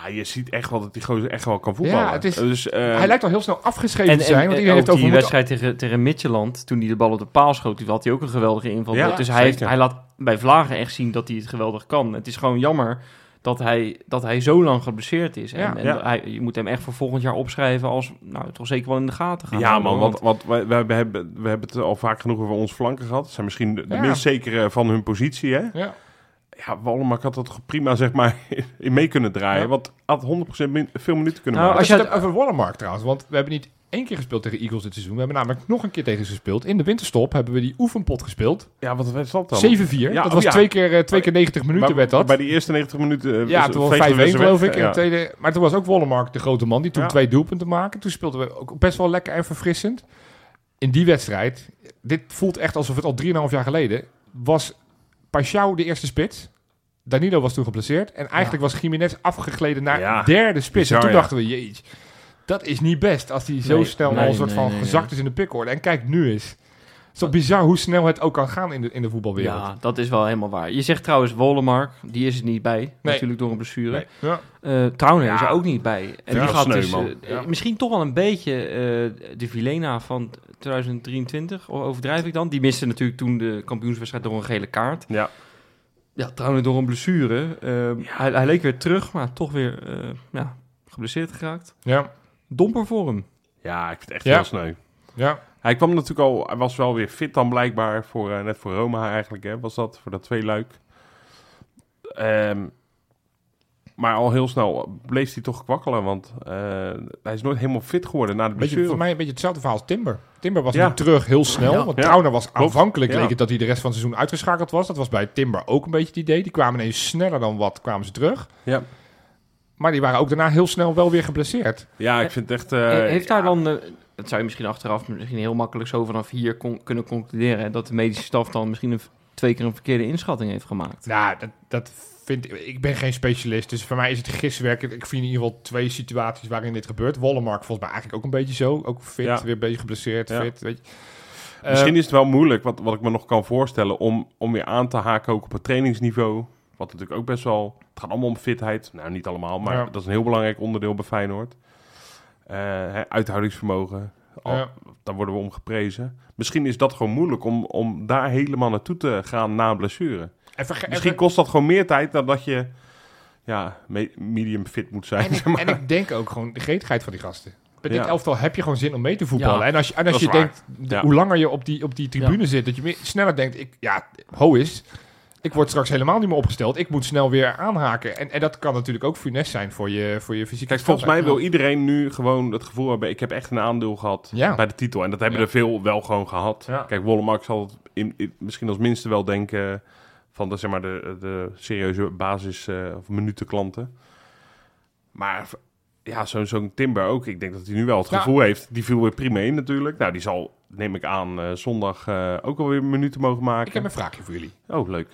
Speaker 3: Ja, je ziet echt wel dat die gozer echt wel kan voetballen.
Speaker 4: Ja, het is-
Speaker 3: dus, eh,
Speaker 4: hij lijkt al heel snel afgeschreven
Speaker 2: En,
Speaker 4: te zijn,
Speaker 2: en,
Speaker 4: want
Speaker 2: en
Speaker 4: iedereen
Speaker 2: ook
Speaker 4: heeft over
Speaker 2: die
Speaker 4: moeten
Speaker 2: wedstrijd tegen, tegen Midtjylland, toen hij de bal op de paal schoot, die had hij ook een geweldige inval.
Speaker 3: Ja,
Speaker 2: dus hij, heeft,
Speaker 3: zeker.
Speaker 2: hij laat bij Vlagen echt zien dat hij het geweldig kan. Het is gewoon jammer dat hij, dat hij zo lang geblesseerd is. En,
Speaker 4: Ja.
Speaker 2: en
Speaker 3: Ja.
Speaker 2: Hij, je moet hem echt voor volgend jaar opschrijven als, nou, toch zeker wel in de gaten gaan.
Speaker 3: ja,
Speaker 2: houden,
Speaker 3: man,
Speaker 2: hoor.
Speaker 3: want, want wij, wij hebben, we hebben het al vaak genoeg over onze flanken gehad. Ze zijn misschien de, de
Speaker 4: Ja.
Speaker 3: minst zekere van hun positie, hè.
Speaker 4: Ja.
Speaker 3: Ja, Wallemak had dat prima, zeg maar, in mee kunnen draaien.
Speaker 4: Ja.
Speaker 3: Want had 100% min- veel minuten kunnen
Speaker 2: Nou,
Speaker 3: maken.
Speaker 4: Als
Speaker 2: Als
Speaker 4: je
Speaker 2: je
Speaker 4: het hebt over Wallenmark trouwens, want we hebben niet één keer gespeeld tegen Eagles dit seizoen. We hebben namelijk nog een keer tegen ze gespeeld. In de winterstop hebben we die oefenpot gespeeld. 7-4.
Speaker 3: Ja, wat was dat dan? Ja,
Speaker 4: dat
Speaker 3: oh
Speaker 4: was
Speaker 3: ja.
Speaker 4: twee, keer, eh, twee keer 90 minuten
Speaker 3: Maar-
Speaker 4: werd dat.
Speaker 3: Bij die eerste 90 minuten... eh,
Speaker 4: ja, toen was
Speaker 3: vegen
Speaker 4: 5-1
Speaker 3: we ze weg.
Speaker 4: geloof ik. En
Speaker 3: Ja.
Speaker 4: de tweede, maar toen was ook Wallenmark de grote man die toen
Speaker 3: Ja.
Speaker 4: twee doelpunten maakte. Toen speelden we ook best wel lekker en verfrissend. In die wedstrijd, dit voelt echt alsof het al 3,5 jaar geleden, was Pashao de eerste spits. Danilo was toen geblesseerd. En eigenlijk was Jiménez afgegleden naar
Speaker 3: Ja,
Speaker 4: derde spits. en
Speaker 3: bizar,
Speaker 4: toen
Speaker 3: ja.
Speaker 4: dachten we, jeetje, dat is niet best als hij zo
Speaker 2: Nee,
Speaker 4: snel
Speaker 2: nee,
Speaker 4: al een soort
Speaker 2: nee,
Speaker 4: van
Speaker 2: nee,
Speaker 4: gezakt is in de pickorde. En kijk nu eens. Het is toch bizar hoe snel het ook kan gaan in de, in de voetbalwereld.
Speaker 2: Ja, dat is wel helemaal waar. Je zegt trouwens Wolemark, die is er niet bij. Natuurlijk door een blessure.
Speaker 3: Nee.
Speaker 2: Eh
Speaker 4: Ja.
Speaker 2: Trauner is
Speaker 3: Ja.
Speaker 2: er ook niet bij. En
Speaker 3: Ja,
Speaker 2: die gaat
Speaker 3: sneu,
Speaker 2: dus,
Speaker 3: man.
Speaker 2: eh,
Speaker 4: Ja.
Speaker 2: misschien toch wel een beetje eh, de Vilena van 2023, o- overdrijf ik dan. Die miste natuurlijk toen de kampioenswedstrijd door een gele kaart.
Speaker 3: Ja.
Speaker 2: Ja, Trauner door een blessure. Eh, hij, hij leek weer terug, maar toch weer eh, ja, geblesseerd geraakt.
Speaker 4: ja,
Speaker 2: Domper voor hem.
Speaker 3: Ja, ik vind het echt
Speaker 4: Ja.
Speaker 3: heel sneu.
Speaker 4: ja.
Speaker 3: Hij kwam natuurlijk al, hij was wel weer fit dan blijkbaar, voor, eh, net voor Roma eigenlijk, hè, was dat, voor dat tweeluik. Ehm maar al heel snel bleef hij toch kwakkelen, want eh, hij is nooit helemaal fit geworden na de
Speaker 4: Beetje, voor
Speaker 3: blessure.
Speaker 4: mij een beetje hetzelfde verhaal als Timber. Timber was
Speaker 3: Ja.
Speaker 4: nu terug heel snel.
Speaker 2: Ja.
Speaker 4: Want
Speaker 3: Ja.
Speaker 4: Trauner was
Speaker 3: Klopt.
Speaker 4: aanvankelijk
Speaker 3: Ja.
Speaker 4: leek het dat hij de rest van het seizoen uitgeschakeld was. Dat was bij Timber ook een beetje het idee. Die kwamen ineens sneller dan wat kwamen ze terug.
Speaker 3: Ja.
Speaker 4: Maar die waren ook daarna heel snel wel weer geblesseerd.
Speaker 3: Ja, ik vind het echt... eh,
Speaker 2: He- Heeft daar
Speaker 3: ja,
Speaker 2: dan, eh, dat zou je misschien achteraf misschien heel makkelijk zo vanaf hier con- kunnen concluderen, hè, dat de medische staf dan misschien een, v- twee keer een verkeerde inschatting heeft gemaakt.
Speaker 4: Nou, dat, dat vind ik... Ik ben geen specialist, dus voor mij is het giswerk. Ik vind in ieder geval twee situaties waarin dit gebeurt. Wallenmark volgens mij eigenlijk ook een beetje zo. Ook fit,
Speaker 3: Ja.
Speaker 4: weer een beetje geblesseerd,
Speaker 3: Ja.
Speaker 4: fit. Weet je. Eh,
Speaker 3: Misschien is het wel moeilijk, wat, wat ik me nog kan voorstellen, om, om weer aan te haken ook op het trainingsniveau. Wat natuurlijk ook best wel... Het gaat allemaal om fitheid. Nou, niet allemaal, maar
Speaker 4: Ja.
Speaker 3: dat is een heel belangrijk onderdeel bij Feyenoord. Eh, hè, uithoudingsvermogen.
Speaker 4: Eh,
Speaker 3: Al,
Speaker 4: ja.
Speaker 3: Daar worden we om geprezen. Misschien is dat gewoon moeilijk om, om daar helemaal naartoe te gaan na een blessure.
Speaker 4: En verge- en
Speaker 3: Misschien
Speaker 4: ver-
Speaker 3: kost dat gewoon meer tijd dan dat je ja, me- medium fit moet zijn.
Speaker 4: En ik,
Speaker 3: zeg maar.
Speaker 4: en ik denk ook gewoon de gretigheid van die gasten. Bij dit
Speaker 3: Ja.
Speaker 4: elftal heb je gewoon zin om mee te voetballen.
Speaker 2: Ja,
Speaker 4: en als je, en als
Speaker 3: dat
Speaker 4: je
Speaker 3: is waar.
Speaker 4: denkt, de-
Speaker 3: Ja.
Speaker 4: hoe langer je op die, op die tribune zit, dat je meer, sneller denkt, ik, ja, ho is, ik word straks helemaal niet meer opgesteld. Ik moet snel weer aanhaken. En, en dat kan natuurlijk ook funest zijn voor je, voor je fysieke
Speaker 3: Kijk, volgens mij
Speaker 4: gezondheid.
Speaker 3: wil iedereen nu gewoon het gevoel hebben... ik heb echt een aandeel gehad
Speaker 4: Ja.
Speaker 3: bij de titel. En dat hebben
Speaker 4: Ja.
Speaker 3: er veel wel gewoon gehad.
Speaker 4: Ja.
Speaker 3: Kijk, Wollemark zal het in- in- misschien als minste wel denken... van de, zeg maar, de, de serieuze basis- eh, of minutenklanten. Maar ja, zo- zo'n Timber ook. Ik denk dat hij nu wel het
Speaker 4: Ja.
Speaker 3: gevoel heeft. Die viel weer prima in natuurlijk. Nou, die zal, neem ik aan, eh, zondag eh ook alweer minuten mogen maken.
Speaker 4: Ik heb een vraagje voor jullie.
Speaker 3: Oh, leuk.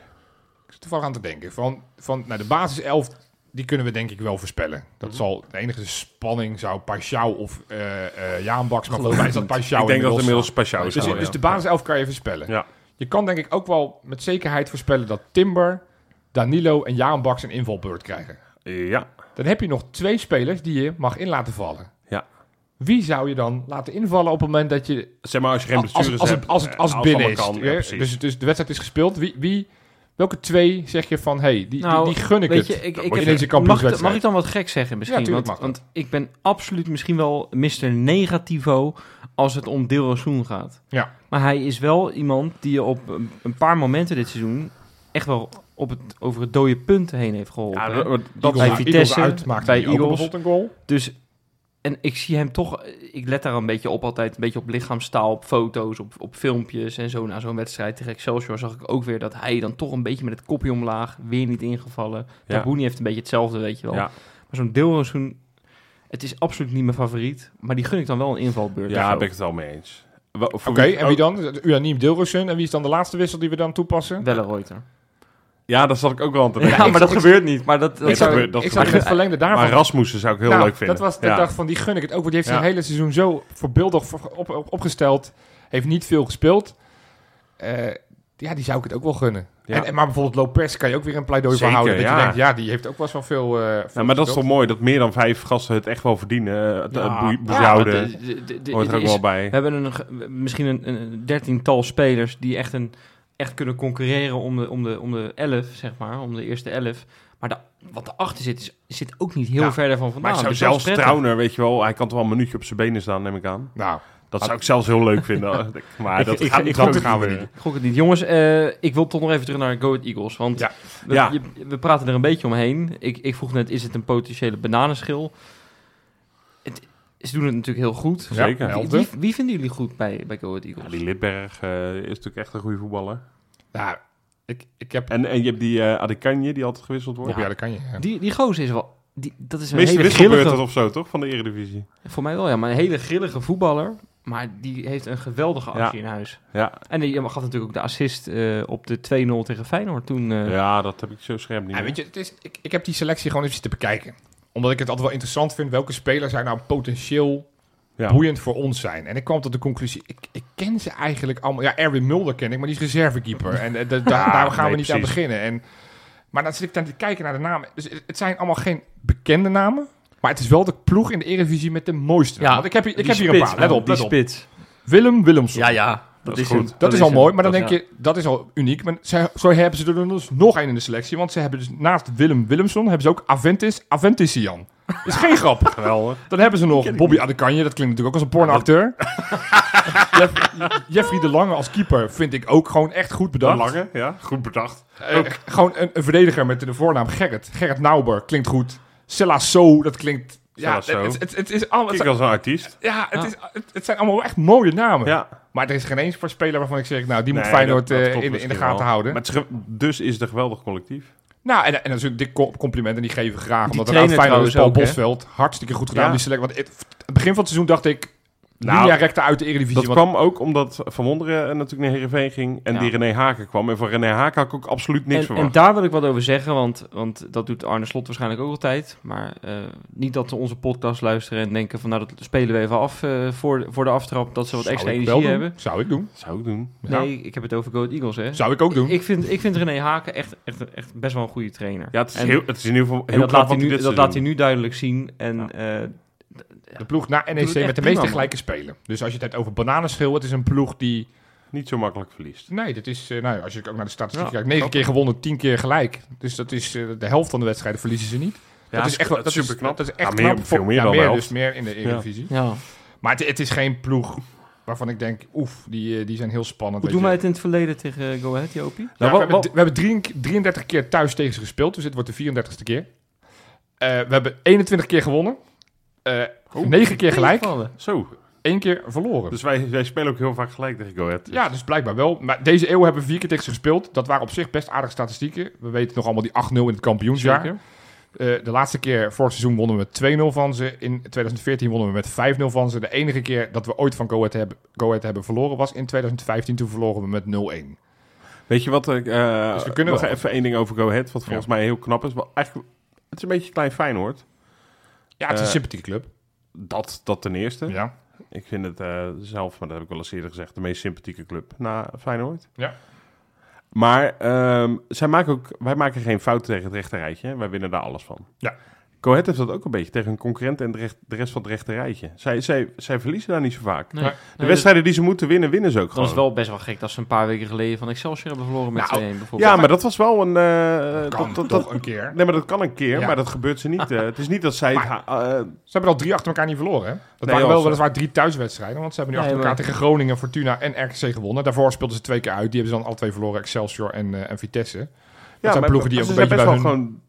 Speaker 4: Ik zit toevallig aan te denken. Van, van nou, de basiself, die kunnen we denk ik wel voorspellen. Dat
Speaker 3: Mhm.
Speaker 4: zal, de enige spanning zou Paschal of eh eh Jaan Baks, maar volgens mij is dat Paschal
Speaker 3: ik denk dat het
Speaker 4: inmiddels.
Speaker 3: inmiddels speciaal is.
Speaker 4: Dus,
Speaker 3: geworden,
Speaker 4: dus
Speaker 3: ja.
Speaker 4: de basiself kan je voorspellen.
Speaker 3: Ja.
Speaker 4: Je kan denk ik ook wel met zekerheid voorspellen dat Timber, Danilo en Jaan Baks een invalbeurt krijgen.
Speaker 3: Ja,
Speaker 4: Dan heb je nog twee spelers die je mag in laten vallen.
Speaker 3: Ja.
Speaker 4: Wie zou je dan laten invallen op het moment dat je...
Speaker 3: zeg maar als je geen
Speaker 4: Als, als,
Speaker 3: blessures
Speaker 4: als, het,
Speaker 3: hebt.
Speaker 4: als, het,
Speaker 3: eh,
Speaker 4: als het binnen is.
Speaker 3: allemaal kan, ja,
Speaker 4: hè?
Speaker 3: precies.
Speaker 4: dus, dus de wedstrijd is gespeeld. Wie, wie, welke twee zeg je van, hey, die,
Speaker 2: Nou,
Speaker 4: die, die gun ik
Speaker 2: Weet
Speaker 4: het.
Speaker 2: je, ik,
Speaker 3: Dan
Speaker 2: ik
Speaker 3: word
Speaker 4: je
Speaker 2: heb- mag,
Speaker 4: deze kampioenswedstrijd.
Speaker 2: mag ik dan wat gek zeggen misschien?
Speaker 4: Ja, tuurlijk
Speaker 2: want,
Speaker 4: mag dat.
Speaker 2: want ik ben absoluut misschien wel Mr. Negativo als het om Deel Rosoen gaat.
Speaker 4: Ja.
Speaker 2: Maar hij is wel iemand die je op een- een paar momenten dit seizoen echt wel op het, over het dode punt heen heeft geholpen.
Speaker 3: Ja,
Speaker 2: hè?
Speaker 3: dat- dat,
Speaker 2: bij
Speaker 4: Eagles uit-
Speaker 2: Vitesse,
Speaker 4: Eagles uit maakte
Speaker 2: bij
Speaker 4: die ook
Speaker 2: Eagles.
Speaker 4: bijvoorbeeld een goal.
Speaker 2: Dus, en ik zie hem toch, ik let daar een beetje op altijd, een beetje op lichaamstaal, op foto's, op, op filmpjes en zo. Na zo'n wedstrijd tegen Excelsior zag ik ook weer dat hij dan toch een beetje met het kopje omlaag, weer niet ingevallen.
Speaker 3: Ja.
Speaker 2: Tabouni heeft een beetje hetzelfde, weet je wel.
Speaker 3: Ja.
Speaker 2: Maar zo'n deelrozoen, het is absoluut niet mijn favoriet, maar die gun ik dan wel een invalbeurt.
Speaker 3: ja,
Speaker 2: of
Speaker 3: daar
Speaker 2: zo.
Speaker 3: ben ik het wel mee eens. Wa-
Speaker 4: Oké,
Speaker 3: voor
Speaker 4: en wie oh, dan? Unaniem Dilrosun. En wie is dan de laatste wissel die we dan toepassen?
Speaker 2: Wellenreuter.
Speaker 3: Ja, daar zat ik ook wel aan te denken.
Speaker 2: Ja, maar dat
Speaker 4: ik-
Speaker 2: gebeurt niet. Maar dat, dat
Speaker 3: Nee,
Speaker 4: ik
Speaker 2: zou-
Speaker 4: zou,
Speaker 3: gebeurt- dat
Speaker 4: ik zou in
Speaker 2: gebeurt.
Speaker 4: het verlengde daarvan
Speaker 3: maar Rasmussen zou ik heel
Speaker 4: Nou,
Speaker 3: leuk vinden.
Speaker 4: Dat was de
Speaker 3: ja.
Speaker 4: dag van die gun ik het ook. Want die heeft
Speaker 3: Ja.
Speaker 4: zijn hele seizoen zo voorbeeldig voor- op, op- opgesteld. Heeft niet veel gespeeld. Eh, ja, die zou ik het ook wel gunnen.
Speaker 3: Ja.
Speaker 4: En, en maar bijvoorbeeld Lopez kan je ook weer een pleidooi voor
Speaker 3: Zeker,
Speaker 4: houden. Dat
Speaker 3: ja.
Speaker 4: je denkt, ja, die heeft ook wel zo'n veel... eh, veel
Speaker 3: Ja, maar dat is toch
Speaker 4: gespeeld.
Speaker 3: mooi dat meer dan vijf gasten het echt wel verdienen. eh, Het
Speaker 2: Ja.
Speaker 3: ja.
Speaker 2: Ja,
Speaker 3: boezouden
Speaker 2: maar de- de- de-
Speaker 3: hoort er
Speaker 2: er
Speaker 3: ook
Speaker 2: is-
Speaker 3: wel bij.
Speaker 2: We hebben een, ge- misschien een, een dertiental spelers die echt, een, echt kunnen concurreren om de, om, de, om de elf, zeg maar, om de eerste elf. Maar de, wat erachter zit, is, zit ook niet heel
Speaker 4: Ja,
Speaker 2: ver daarvan
Speaker 3: maar
Speaker 2: vandaan.
Speaker 3: ik zou
Speaker 2: Dus dat is
Speaker 3: zelfs
Speaker 2: prettig.
Speaker 3: Trauner, weet je wel, hij kan toch wel een minuutje op zijn benen staan, neem ik aan.
Speaker 4: Nou,
Speaker 3: Dat zou ik zelfs heel leuk vinden. Maar
Speaker 4: Ik-
Speaker 3: dat
Speaker 4: ik-
Speaker 3: gaat
Speaker 4: ik-
Speaker 3: niet
Speaker 4: dat
Speaker 3: goed
Speaker 4: gaan we
Speaker 3: gebeuren.
Speaker 2: Ik gok het niet. Jongens, eh, ik wil toch nog even terug naar Go Ahead Eagles. Want
Speaker 4: Ja.
Speaker 2: We,
Speaker 3: Ja.
Speaker 2: je- we praten er een beetje omheen. Ik, ik vroeg net, is het een potentiële bananenschil? Het, ze doen het natuurlijk heel goed.
Speaker 4: Ja,
Speaker 3: Zeker.
Speaker 4: ja.
Speaker 2: Wie, wie, wie vinden jullie goed bij, bij Go Ahead
Speaker 3: Ja,
Speaker 2: Eagles?
Speaker 3: die Lidberg eh, is natuurlijk echt een goede voetballer.
Speaker 4: nou, ik, ik heb...
Speaker 3: En, en je hebt die eh Adekanje die altijd gewisseld wordt.
Speaker 4: Ja, dat kan je. ja.
Speaker 2: Die, die gozer is wel... Die, dat is
Speaker 3: De
Speaker 2: een
Speaker 3: meeste
Speaker 2: hele grillige
Speaker 3: wisselbeurten of zo, toch? Van de Eredivisie.
Speaker 2: Voor mij wel, ja. Maar een hele grillige voetballer. Maar die heeft een geweldige actie in huis.
Speaker 3: Ja.
Speaker 2: En die gaf natuurlijk ook de assist eh, op de 2-0 tegen Feyenoord toen. eh,
Speaker 3: ja, dat heb ik zo scherp niet
Speaker 4: Ja,
Speaker 3: meer.
Speaker 4: weet je, het is, ik, ik heb die selectie gewoon even te bekijken. Omdat ik het altijd wel interessant vind welke spelers zijn nou potentieel
Speaker 3: Ja.
Speaker 4: boeiend voor ons zijn. En ik kwam tot de conclusie, ik, ik ken ze eigenlijk allemaal. Ja, Erwin Mulder ken ik, maar die is reservekeeper. En eh, da- da-
Speaker 3: Ja,
Speaker 4: daar gaan
Speaker 3: nee,
Speaker 4: we niet aan
Speaker 3: precies.
Speaker 4: beginnen. En, maar dan zit ik dan te kijken naar de namen. Dus het, het zijn allemaal geen bekende namen. Maar het is wel de ploeg in de Eredivisie met de mooiste. namen.
Speaker 2: Ja,
Speaker 4: Want ik heb, hier- ik
Speaker 2: die
Speaker 4: heb hier een
Speaker 2: spits,
Speaker 4: paar. Let
Speaker 2: man,
Speaker 4: op,
Speaker 2: die
Speaker 4: let op.
Speaker 2: spits.
Speaker 4: Willem Willemson.
Speaker 2: ja. Dat,
Speaker 3: is
Speaker 2: hem.
Speaker 3: goed.
Speaker 4: Dat, is, al
Speaker 2: hem.
Speaker 4: mooi, maar dan
Speaker 2: Dat
Speaker 4: denk je, dat is al uniek. Maar ze, zo hebben ze er dus nog één in de selectie. Want ze hebben dus naast Willem Willemson hebben ze ook Aventis Aventisian. Dat is geen grap.
Speaker 3: Geweldig.
Speaker 4: Dan hebben ze nog Bobby Adekanje, dat klinkt natuurlijk ook als een pornoacteur. Jeff- Jeffrey de Lange als keeper vind ik ook gewoon echt goed
Speaker 3: De
Speaker 4: bedacht.
Speaker 3: Lange, ja. Goed bedacht.
Speaker 4: Eh, gewoon een, een verdediger met de voornaam Gerrit. Gerrit Nauber klinkt goed. Sella So, dat klinkt... Ja, het,
Speaker 3: Sella So.
Speaker 4: het, het, het is allemaal, het,
Speaker 3: Kijk als
Speaker 4: zijn,
Speaker 3: een artiest.
Speaker 4: ja, het, is, het, het zijn allemaal echt mooie namen.
Speaker 3: Ja.
Speaker 4: Maar er is geen eens speler waarvan ik zeg, nou, die moet
Speaker 3: Nee,
Speaker 4: Feyenoord
Speaker 3: dat- dat
Speaker 4: eh,
Speaker 3: klopt
Speaker 4: in, de- in de
Speaker 3: misschien
Speaker 4: gaten
Speaker 3: wel.
Speaker 4: houden.
Speaker 3: Maar het is ge- dus is het een geweldig collectief.
Speaker 4: Nou, en, en dat is een dik co- compliment en die geven we graag.
Speaker 2: Die
Speaker 4: Omdat
Speaker 2: trainer
Speaker 4: Raad Feyenoord is Paul
Speaker 2: trouwens ook,
Speaker 4: Bosveld. Hartstikke goed gedaan,
Speaker 3: Ja.
Speaker 4: die select. Want het, het begin van het seizoen dacht ik,
Speaker 3: Nou,
Speaker 4: nou, recta uit de Eredivisie.
Speaker 3: Dat
Speaker 4: want-
Speaker 3: kwam ook omdat Van Wonderen eh, natuurlijk naar Heerenveen ging en
Speaker 4: Ja.
Speaker 3: die René Haken kwam. En van René Haken had ik ook absoluut niks
Speaker 2: en,
Speaker 3: verwacht.
Speaker 2: en daar wil ik wat over zeggen, want, want dat doet Arne Slot waarschijnlijk ook altijd. Maar eh, niet dat ze onze podcast luisteren en denken van nou, dat spelen we even af eh, voor, voor de aftrap. Dat ze wat
Speaker 4: Zou
Speaker 2: extra
Speaker 4: ik wel
Speaker 2: energie
Speaker 4: doen.
Speaker 2: hebben.
Speaker 4: Zou ik doen.
Speaker 3: Zou ik doen.
Speaker 4: Ja.
Speaker 2: Nee, ik heb het over Go Ahead Eagles, hè.
Speaker 4: Zou ik ook doen.
Speaker 2: Ik vind, ik vind René Haken echt, echt, echt best wel een goede trainer.
Speaker 3: Ja, het is,
Speaker 2: En-
Speaker 3: heel, het is in ieder geval
Speaker 2: En
Speaker 3: heel
Speaker 2: dat,
Speaker 3: knap wat
Speaker 2: laat hij,
Speaker 3: hij dit
Speaker 2: nu, dat
Speaker 3: seizoen
Speaker 2: laat hij
Speaker 3: doet.
Speaker 2: nu duidelijk zien. En
Speaker 3: Ja.
Speaker 2: eh,
Speaker 4: de ploeg na NEC
Speaker 2: echt
Speaker 4: met de meeste
Speaker 2: prima, man.
Speaker 4: gelijke spelen. Dus als je het hebt over bananenschil, het is een ploeg die...
Speaker 3: niet zo makkelijk verliest.
Speaker 4: Nee, dat is, eh, nou, ja, als je ook naar de statistiek
Speaker 2: Ja,
Speaker 4: kijkt, negen
Speaker 3: klopt.
Speaker 4: keer gewonnen, tien keer gelijk. Dus dat is eh, de helft van de wedstrijden verliezen ze niet. dat is echt wel- dat is-
Speaker 3: superknap.
Speaker 4: Dat is echt
Speaker 3: Ja,
Speaker 2: Nou,
Speaker 3: meer-
Speaker 4: knap voor-
Speaker 3: veel meer
Speaker 4: ja,
Speaker 3: dan de
Speaker 4: dus
Speaker 3: helft.
Speaker 4: meer in de Eredivisie.
Speaker 2: ja.
Speaker 4: Maar het, het is geen ploeg waarvan ik denk, oef, die, eh, die zijn heel spannend.
Speaker 2: Hoe
Speaker 4: weet
Speaker 2: doen wij
Speaker 4: je.
Speaker 2: het in het verleden tegen eh, Go Ahead, Jopie?
Speaker 4: Ja,
Speaker 3: Nou, wat-
Speaker 4: we, hebben,
Speaker 3: wat-
Speaker 4: d- we hebben drie- 33 keer thuis tegen ze gespeeld, dus dit wordt de 34ste keer. Eh, we hebben 21 keer gewonnen, eh
Speaker 2: Oh.
Speaker 4: 9 keer gelijk,
Speaker 2: Tegenvallen.
Speaker 3: Zo,
Speaker 4: 1 keer verloren.
Speaker 3: dus wij, wij spelen ook heel vaak gelijk tegen Go Ahead.
Speaker 4: Ja, dus blijkbaar wel. Maar deze eeuw hebben we vier keer tegen ze gespeeld. Dat waren op zich best aardige statistieken. We weten nog allemaal die 8-0 in het kampioensjaar.
Speaker 2: Zeker.
Speaker 4: Eh, de laatste keer vorig seizoen wonnen we 2-0 van ze. In 2014 wonnen we met 5-0 van ze. De enige keer dat we ooit van Go Ahead hebben, Go Ahead hebben verloren was in 2015. Toen verloren we met 0-1.
Speaker 3: Weet je wat ik... eh,
Speaker 4: Dus we kunnen
Speaker 3: nog
Speaker 4: wel.
Speaker 3: even één ding over Go Ahead, wat volgens mij heel knap is. Wel, eigenlijk, het is een beetje klein Feyenoord.
Speaker 4: Ja, het is een
Speaker 3: Eh,
Speaker 4: sympathieke club.
Speaker 3: Dat, dat ten eerste.
Speaker 4: Ja.
Speaker 3: Ik vind het eh, zelf, maar dat heb ik wel eens eerder gezegd, de meest sympathieke club na Feyenoord.
Speaker 4: Ja.
Speaker 3: Maar ehm, zij maken ook, wij maken geen fouten tegen het rechterrijtje. hè. Wij winnen daar alles van.
Speaker 4: Ja.
Speaker 3: Go Ahead heeft dat ook een beetje tegen hun concurrent en de, recht- de rest van het rechterrijtje. Zij, zij, zij verliezen daar niet zo vaak.
Speaker 2: Nee.
Speaker 4: De
Speaker 2: Nee,
Speaker 3: De wedstrijden die ze moeten winnen, winnen ze ook
Speaker 2: Dat dat
Speaker 3: gewoon.
Speaker 2: is wel best wel gek dat ze een paar weken geleden van Excelsior hebben verloren met
Speaker 4: Nou,
Speaker 2: 2-1 bijvoorbeeld.
Speaker 3: Ja, maar dat was wel een... eh,
Speaker 4: Kan
Speaker 3: dat, dat,
Speaker 4: toch
Speaker 3: dat-
Speaker 4: een keer.
Speaker 3: nee, maar dat kan een keer,
Speaker 4: Ja.
Speaker 3: maar dat gebeurt ze niet. eh. het is niet dat zij... het
Speaker 4: Maar-
Speaker 3: ha- eh,
Speaker 4: Ze hebben al drie achter elkaar niet verloren. Hè? Dat
Speaker 3: Nee,
Speaker 4: waren
Speaker 3: joh,
Speaker 4: wel
Speaker 3: ze-
Speaker 4: weliswaar drie thuiswedstrijden. Want ze hebben nu
Speaker 2: Nee,
Speaker 4: achter elkaar
Speaker 2: maar-
Speaker 4: tegen Groningen, Fortuna en RKC gewonnen. Daarvoor speelden ze twee keer uit. Die hebben ze dan alle twee verloren. Excelsior en, eh, en Vitesse. Dat zijn
Speaker 3: maar-
Speaker 4: ploegen die ook
Speaker 3: ze
Speaker 4: een
Speaker 3: zijn
Speaker 4: beetje
Speaker 3: best wel
Speaker 4: bij hun...
Speaker 3: gewoon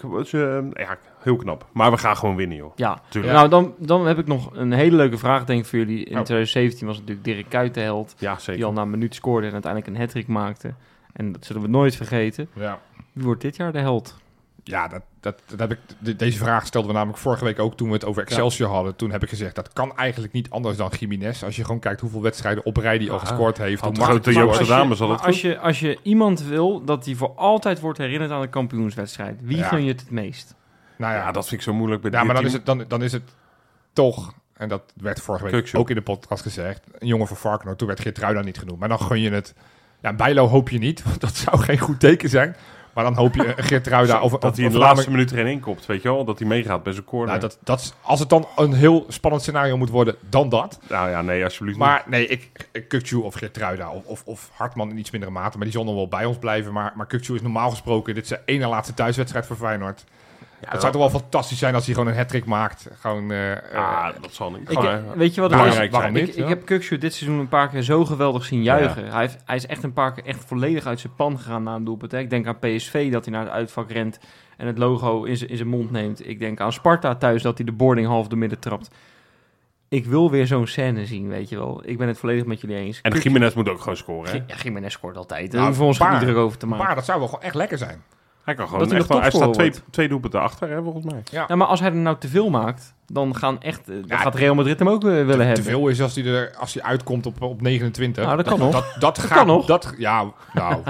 Speaker 3: degelijk. Ze, ehm, ja, heel knap. Maar we gaan gewoon winnen, joh.
Speaker 2: Ja.
Speaker 3: Tuurlijk.
Speaker 2: Nou, dan, dan heb ik nog een hele leuke vraag denk ik voor jullie. In
Speaker 4: Oh.
Speaker 2: 2017 was natuurlijk Dirk Kuyt de held.
Speaker 3: Ja, zeker.
Speaker 2: Die al na een minuut scoorde en uiteindelijk een hat-trick maakte. En dat zullen we nooit vergeten.
Speaker 4: Ja,
Speaker 2: Wie wordt dit jaar de held?
Speaker 4: ja dat, dat, dat heb ik, de- deze vraag stelden we namelijk vorige week ook toen we het over Excelsior hadden. Toen heb ik gezegd, dat kan eigenlijk niet anders dan Jiménez. Als je gewoon kijkt hoeveel wedstrijden op rij die al
Speaker 3: Ja,
Speaker 4: gescoord heeft.
Speaker 3: Ah, had
Speaker 4: hoe
Speaker 3: de
Speaker 4: makkelijk
Speaker 3: grote
Speaker 4: het
Speaker 3: Joost
Speaker 4: wordt.
Speaker 3: de dames al
Speaker 2: maar
Speaker 3: het
Speaker 2: als, je, als je iemand wil dat hij voor altijd wordt herinnerd aan een kampioenswedstrijd, wie
Speaker 4: Ja.
Speaker 2: gun je het het meest?
Speaker 4: Nou ja,
Speaker 3: Ja, dat vind ik zo moeilijk bij
Speaker 4: Ja,
Speaker 3: dit
Speaker 4: maar dan
Speaker 3: team.
Speaker 4: is, het, dan, dan is het toch, en dat werd vorige week
Speaker 3: Kukzu.
Speaker 4: ook in de podcast gezegd, een jongen van Varkenoord, toen werd Geertruida niet genoemd. Maar dan gun je het, ja, Bijlo hoop je niet, want dat zou geen goed teken zijn. Maar dan hoop je een Geertruida of,
Speaker 3: dat
Speaker 4: of,
Speaker 3: hij in
Speaker 4: of
Speaker 3: de
Speaker 4: Laming-
Speaker 3: laatste minuut erin inkopt, weet je wel? Dat hij meegaat bij zijn corner.
Speaker 4: Nou,
Speaker 3: Nou,
Speaker 4: dat, dat, is- als het dan een heel spannend scenario moet worden, dan dat.
Speaker 3: Nou ja, nee, alsjeblieft
Speaker 4: Maar nee, ik, ik- Kukçu of Geertruida of, of, of Hartman in iets mindere mate, maar die zal nog wel bij ons blijven. Maar, maar Kukçu is normaal gesproken, dit is zijn ene laatste thuiswedstrijd voor Feyenoord.
Speaker 3: niet.
Speaker 4: het zou toch wel fantastisch zijn als hij gewoon een hat maakt. Gewoon, eh,
Speaker 2: Ah,
Speaker 4: eh,
Speaker 3: Ja, dat zal niet.
Speaker 2: Ik,
Speaker 3: Gewoon,
Speaker 2: eh,
Speaker 3: hè.
Speaker 2: weet je wat het is?
Speaker 4: Oh,
Speaker 3: Belangrijk
Speaker 4: belangrijk waarom
Speaker 3: zijn.
Speaker 4: niet?
Speaker 2: Ik, ik heb Kukshoe dit seizoen een paar keer zo geweldig zien juichen. Hij, heeft, hij is echt een paar keer echt volledig uit zijn pan gegaan na een doelpunt. Hè. Ik denk aan PSV dat hij naar het uitvak rent en het logo in zijn, in zijn mond neemt. Ik denk aan Sparta thuis dat hij de boarding half door midden trapt. Ik wil weer zo'n scène zien, weet je wel. Ik ben het volledig met jullie eens.
Speaker 3: En
Speaker 2: Kukçu-
Speaker 3: Jiménez moet ook gewoon scoren, hè?
Speaker 2: Gi- ja, Jiménez scoort altijd. Daar
Speaker 4: Nou,
Speaker 2: hoeven we ons
Speaker 4: paar.
Speaker 2: niet druk over te maken.
Speaker 4: maar dat zou wel gewoon echt lekker zijn.
Speaker 3: Hij kan
Speaker 2: Dat
Speaker 3: gewoon
Speaker 2: hij
Speaker 3: echt
Speaker 2: nog
Speaker 3: wel... Hij staat
Speaker 2: topscorer
Speaker 3: twee, twee doelpunten achter, hè, volgens mij.
Speaker 2: Ja, maar als hij er nou te veel maakt, dan, gaan echt, eh, dan
Speaker 4: Ja,
Speaker 2: gaat Real Madrid hem ook eh, willen
Speaker 4: Te
Speaker 2: hebben.
Speaker 4: veel is als hij, er, als hij uitkomt op, op 29.
Speaker 2: Nou, dat kan nog.
Speaker 4: Dat, dat gaat,
Speaker 2: kan nog.
Speaker 4: Dat, ja, nou,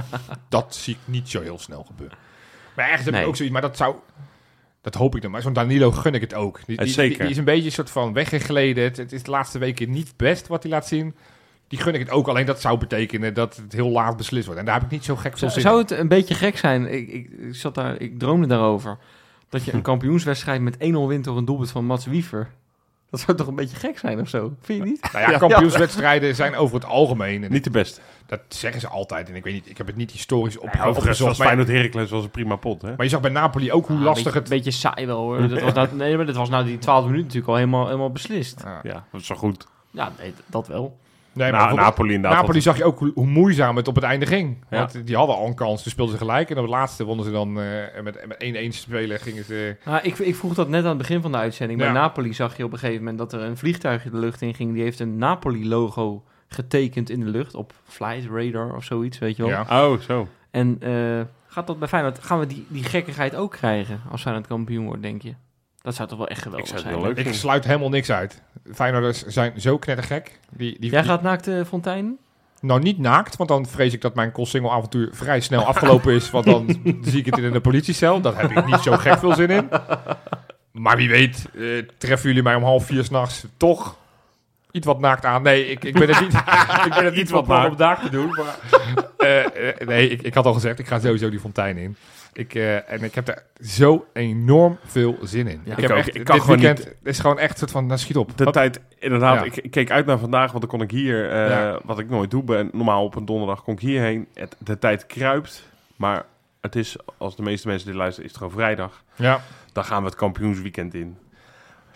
Speaker 4: dat zie ik niet zo heel snel gebeuren. Maar ergens heb
Speaker 2: Nee.
Speaker 4: ik ook zoiets, maar dat zou... Dat hoop ik dan. Maar zo'n Danilo gun ik het ook. Die, die,
Speaker 3: Zeker.
Speaker 4: die is een beetje een soort van weggegleden. Het, het is de laatste weken niet best wat hij laat zien. Die gun ik het ook. Alleen dat zou betekenen dat het heel laat beslist wordt. En daar heb ik niet zo gek veel
Speaker 2: Zou,
Speaker 4: zin
Speaker 2: zou
Speaker 4: in.
Speaker 2: het een beetje gek zijn? Ik, ik, ik zat daar, ik droomde daarover. Dat je een kampioenswedstrijd met 1-0 wint door een doelpunt van Mats Wiever. Dat zou toch een beetje gek zijn of zo? Vind je niet?
Speaker 4: Nou ja,
Speaker 3: Ja.
Speaker 4: kampioenswedstrijden zijn over het algemeen. En
Speaker 3: Niet de beste.
Speaker 4: Dat zeggen ze altijd. En ik weet niet, ik heb het niet historisch op,
Speaker 3: Overigens
Speaker 4: opgezocht.
Speaker 3: was
Speaker 4: Maar,
Speaker 3: Feyenoord Heracles was een prima pot, hè?
Speaker 4: maar je zag bij Napoli ook hoe
Speaker 2: Ah,
Speaker 4: lastig
Speaker 2: beetje,
Speaker 4: het...
Speaker 2: beetje saai wel hoor. Dat was na, nee, maar dat was na die 12 minuten natuurlijk al helemaal, helemaal beslist.
Speaker 4: Ja.
Speaker 3: Ja, dat is wel goed.
Speaker 2: Ja, nee, d- dat wel.
Speaker 3: Na,
Speaker 4: Nee, maar bijvoorbeeld-
Speaker 3: Nou, Napoli inderdaad.
Speaker 4: Napoli
Speaker 3: was-
Speaker 4: zag je ook hoe, hoe moeizaam het op het einde ging.
Speaker 3: Ja.
Speaker 4: Want die hadden al een kans, toen speelden ze gelijk. En op het laatste wonnen ze dan eh, met, met 1-1 spelen. Gingen ze...
Speaker 2: Nou, ik, ik vroeg dat net aan het begin van de uitzending.
Speaker 4: Ja.
Speaker 2: Bij Napoli zag je op een gegeven moment dat er een vliegtuigje de lucht in ging. Die heeft een Napoli-logo getekend in de lucht op Flight Radar of zoiets, weet je wel.
Speaker 4: Ja.
Speaker 3: Oh, zo.
Speaker 2: En eh, Gaat dat bij Feyenoord, gaan we die, die gekkigheid ook krijgen als Feyenoord kampioen wordt, denk je? Dat zou toch wel echt geweldig
Speaker 3: Ik zou het
Speaker 2: zijn.
Speaker 3: wel
Speaker 2: hè?
Speaker 3: leuk
Speaker 4: Ik
Speaker 3: vinden.
Speaker 4: sluit helemaal niks uit. Feyenoorders zijn zo knettergek. Die, die,
Speaker 2: Jij
Speaker 4: die-
Speaker 2: gaat naakt eh, Fontein?
Speaker 4: Nou, niet naakt, want dan vrees ik dat mijn single avontuur vrij snel afgelopen is. Want dan zie ik het in de politiecel. Daar heb ik niet zo gek veel zin in. Maar wie weet, eh, treffen jullie mij om half vier s'nachts toch iets wat naakt aan? Nee, ik, ik ben het niet, ik ben het niet
Speaker 3: Iets
Speaker 4: van
Speaker 3: wat
Speaker 4: plan
Speaker 3: naakt.
Speaker 4: om naakt te doen. Maar, eh, eh, nee, ik, ik had al gezegd, ik ga sowieso die fontein in. Ik, eh, en ik heb daar zo enorm veel zin in.
Speaker 2: Ja,
Speaker 4: ik,
Speaker 2: ik
Speaker 4: heb
Speaker 3: ook.
Speaker 4: echt,
Speaker 3: Ik kan
Speaker 4: dit
Speaker 3: gewoon
Speaker 4: weekend is gewoon echt een soort van, nou schiet op.
Speaker 3: De
Speaker 4: Wat-
Speaker 3: tijd, inderdaad,
Speaker 4: Ja.
Speaker 3: ik, ik keek uit naar vandaag, want dan kon ik hier, eh,
Speaker 4: Ja.
Speaker 3: wat ik nooit doe, ben, normaal op een donderdag kom ik hierheen. Het, de tijd kruipt, maar het is, als de meeste mensen dit luisteren, is het gewoon vrijdag.
Speaker 4: Ja,
Speaker 3: Dan gaan we het kampioensweekend in.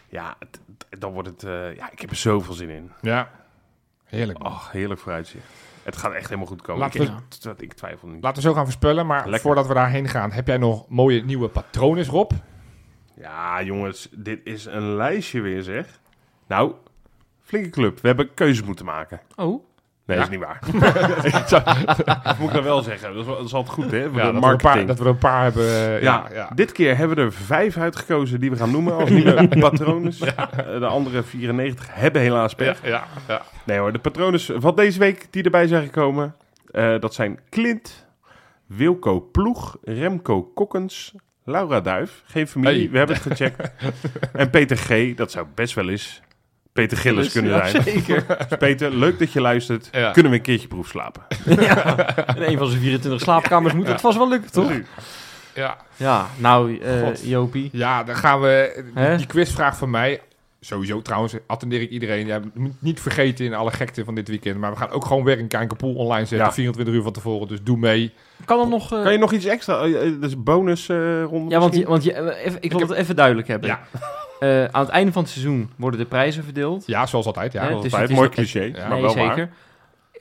Speaker 3: Ja, het- het- dan wordt het, eh, ja, ik heb er zoveel zin in.
Speaker 4: ja. Heerlijk. man.
Speaker 3: Ach, heerlijk vooruitzicht. Het gaat echt helemaal goed komen.
Speaker 4: Laten
Speaker 3: ik,
Speaker 2: we-
Speaker 3: ik- twa- ik twijfel niet.
Speaker 4: Laten we zo gaan voorspellen, maar
Speaker 3: Lekker.
Speaker 4: voordat we daarheen gaan, heb jij nog mooie nieuwe patronen, Rob?
Speaker 3: Ja, jongens, dit is een lijstje weer, zeg. Nou, flinke club. We hebben keuzes moeten maken.
Speaker 2: Oh,
Speaker 3: Nee,
Speaker 4: Ja.
Speaker 3: is niet waar. dat moet ik dan wel zeggen. Dat is, wel- dat is altijd goed, hè? voor de
Speaker 4: dat, we er een
Speaker 3: marketing.
Speaker 4: paar, dat we er een paar hebben. eh,
Speaker 3: ja,
Speaker 4: ja, ja.
Speaker 3: dit keer hebben we er vijf uitgekozen die we gaan noemen als nieuwe patronen. De andere 94 hebben helaas pech.
Speaker 4: Ja, ja, ja.
Speaker 3: Nee hoor, de patronen van deze week die erbij zijn gekomen, eh, dat zijn Clint, Wilco Ploeg, Remco Kokkens, Laura Duif, geen familie,
Speaker 4: Hey.
Speaker 3: we hebben het gecheckt. en Peter G, dat zou best wel eens Peter Gillis
Speaker 2: Dus-
Speaker 3: kunnen
Speaker 2: ja,
Speaker 3: zijn.
Speaker 2: Zeker.
Speaker 3: Dus Peter, leuk dat je luistert.
Speaker 4: Ja.
Speaker 3: Kunnen we een keertje proef slapen?
Speaker 2: ja. In een van zijn 24 slaapkamers moet het vast wel lukken, toch?
Speaker 3: Nu.
Speaker 4: Ja.
Speaker 2: Ja, nou, eh,
Speaker 4: God.
Speaker 2: Jopie.
Speaker 4: Ja, dan gaan we.
Speaker 2: Hè?
Speaker 4: Die quizvraag van mij. Sowieso trouwens, attendeer ik iedereen. Ja, moet niet vergeten in alle gekte van dit weekend. Maar we gaan ook gewoon weer een Kijkerpool online zetten.
Speaker 3: Ja.
Speaker 4: 24 uur van tevoren. Dus doe mee.
Speaker 2: Kan er nog... eh,
Speaker 3: Kan je nog iets extra? eh, eh, Dus bonus eh ronde
Speaker 2: Ja, want, je,
Speaker 3: misschien?
Speaker 2: want je, eh, even, ik wil het even duidelijk hebben.
Speaker 4: Ja.
Speaker 2: Eh, aan het einde van het seizoen worden de prijzen verdeeld.
Speaker 4: Ja, zoals altijd. Ja.
Speaker 2: Hè?
Speaker 3: Dat is
Speaker 2: dus
Speaker 3: altijd
Speaker 2: het is
Speaker 3: mooi
Speaker 2: nog-
Speaker 3: cliché,
Speaker 4: Ja.
Speaker 3: maar
Speaker 2: Nee,
Speaker 3: wel waar.
Speaker 2: zeker.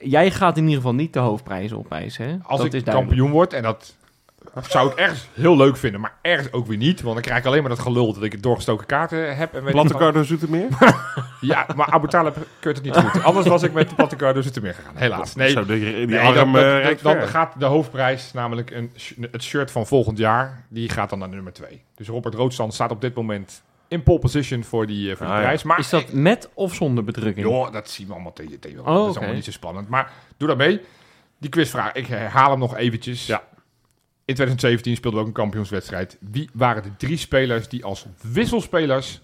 Speaker 2: Jij gaat in ieder geval niet de hoofdprijzen opeisen, hè?
Speaker 4: Als
Speaker 2: dat
Speaker 4: ik
Speaker 2: is duidelijk.
Speaker 4: kampioen word. En dat zou ik ergens heel leuk vinden. Maar ergens ook weer niet. Want dan krijg ik alleen maar dat gelul dat ik doorgestoken kaarten heb. En weet ik
Speaker 3: Platte
Speaker 4: wat.
Speaker 3: Cardo Zoetermeer? Nou,
Speaker 4: Ja, maar Abu Talib keurt het niet goed. Anders was ik met de Patacar door Zoetermeer gegaan. Helaas. Nee,
Speaker 3: Zo, die, die
Speaker 4: nee,
Speaker 3: arm
Speaker 4: dan,
Speaker 3: eh,
Speaker 4: dan-
Speaker 3: reikt
Speaker 4: dan
Speaker 3: ver.
Speaker 4: gaat de hoofdprijs, namelijk een, sh- het shirt van volgend jaar, die gaat dan naar nummer 2. Dus Robert Roodstand staat op dit moment in pole position voor die, eh, voor die
Speaker 3: Ah, ja.
Speaker 4: prijs. Maar
Speaker 2: Is dat met of zonder bedrukking?
Speaker 4: joh, dat zien we allemaal tegen. tegen
Speaker 2: Oh,
Speaker 4: dat is
Speaker 2: oké.
Speaker 4: allemaal niet zo spannend. Maar doe dat mee. Die quizvraag, ik herhaal hem nog eventjes.
Speaker 3: Ja.
Speaker 4: In 2017 speelden we ook een kampioenswedstrijd. Wie waren de drie spelers die als wisselspelers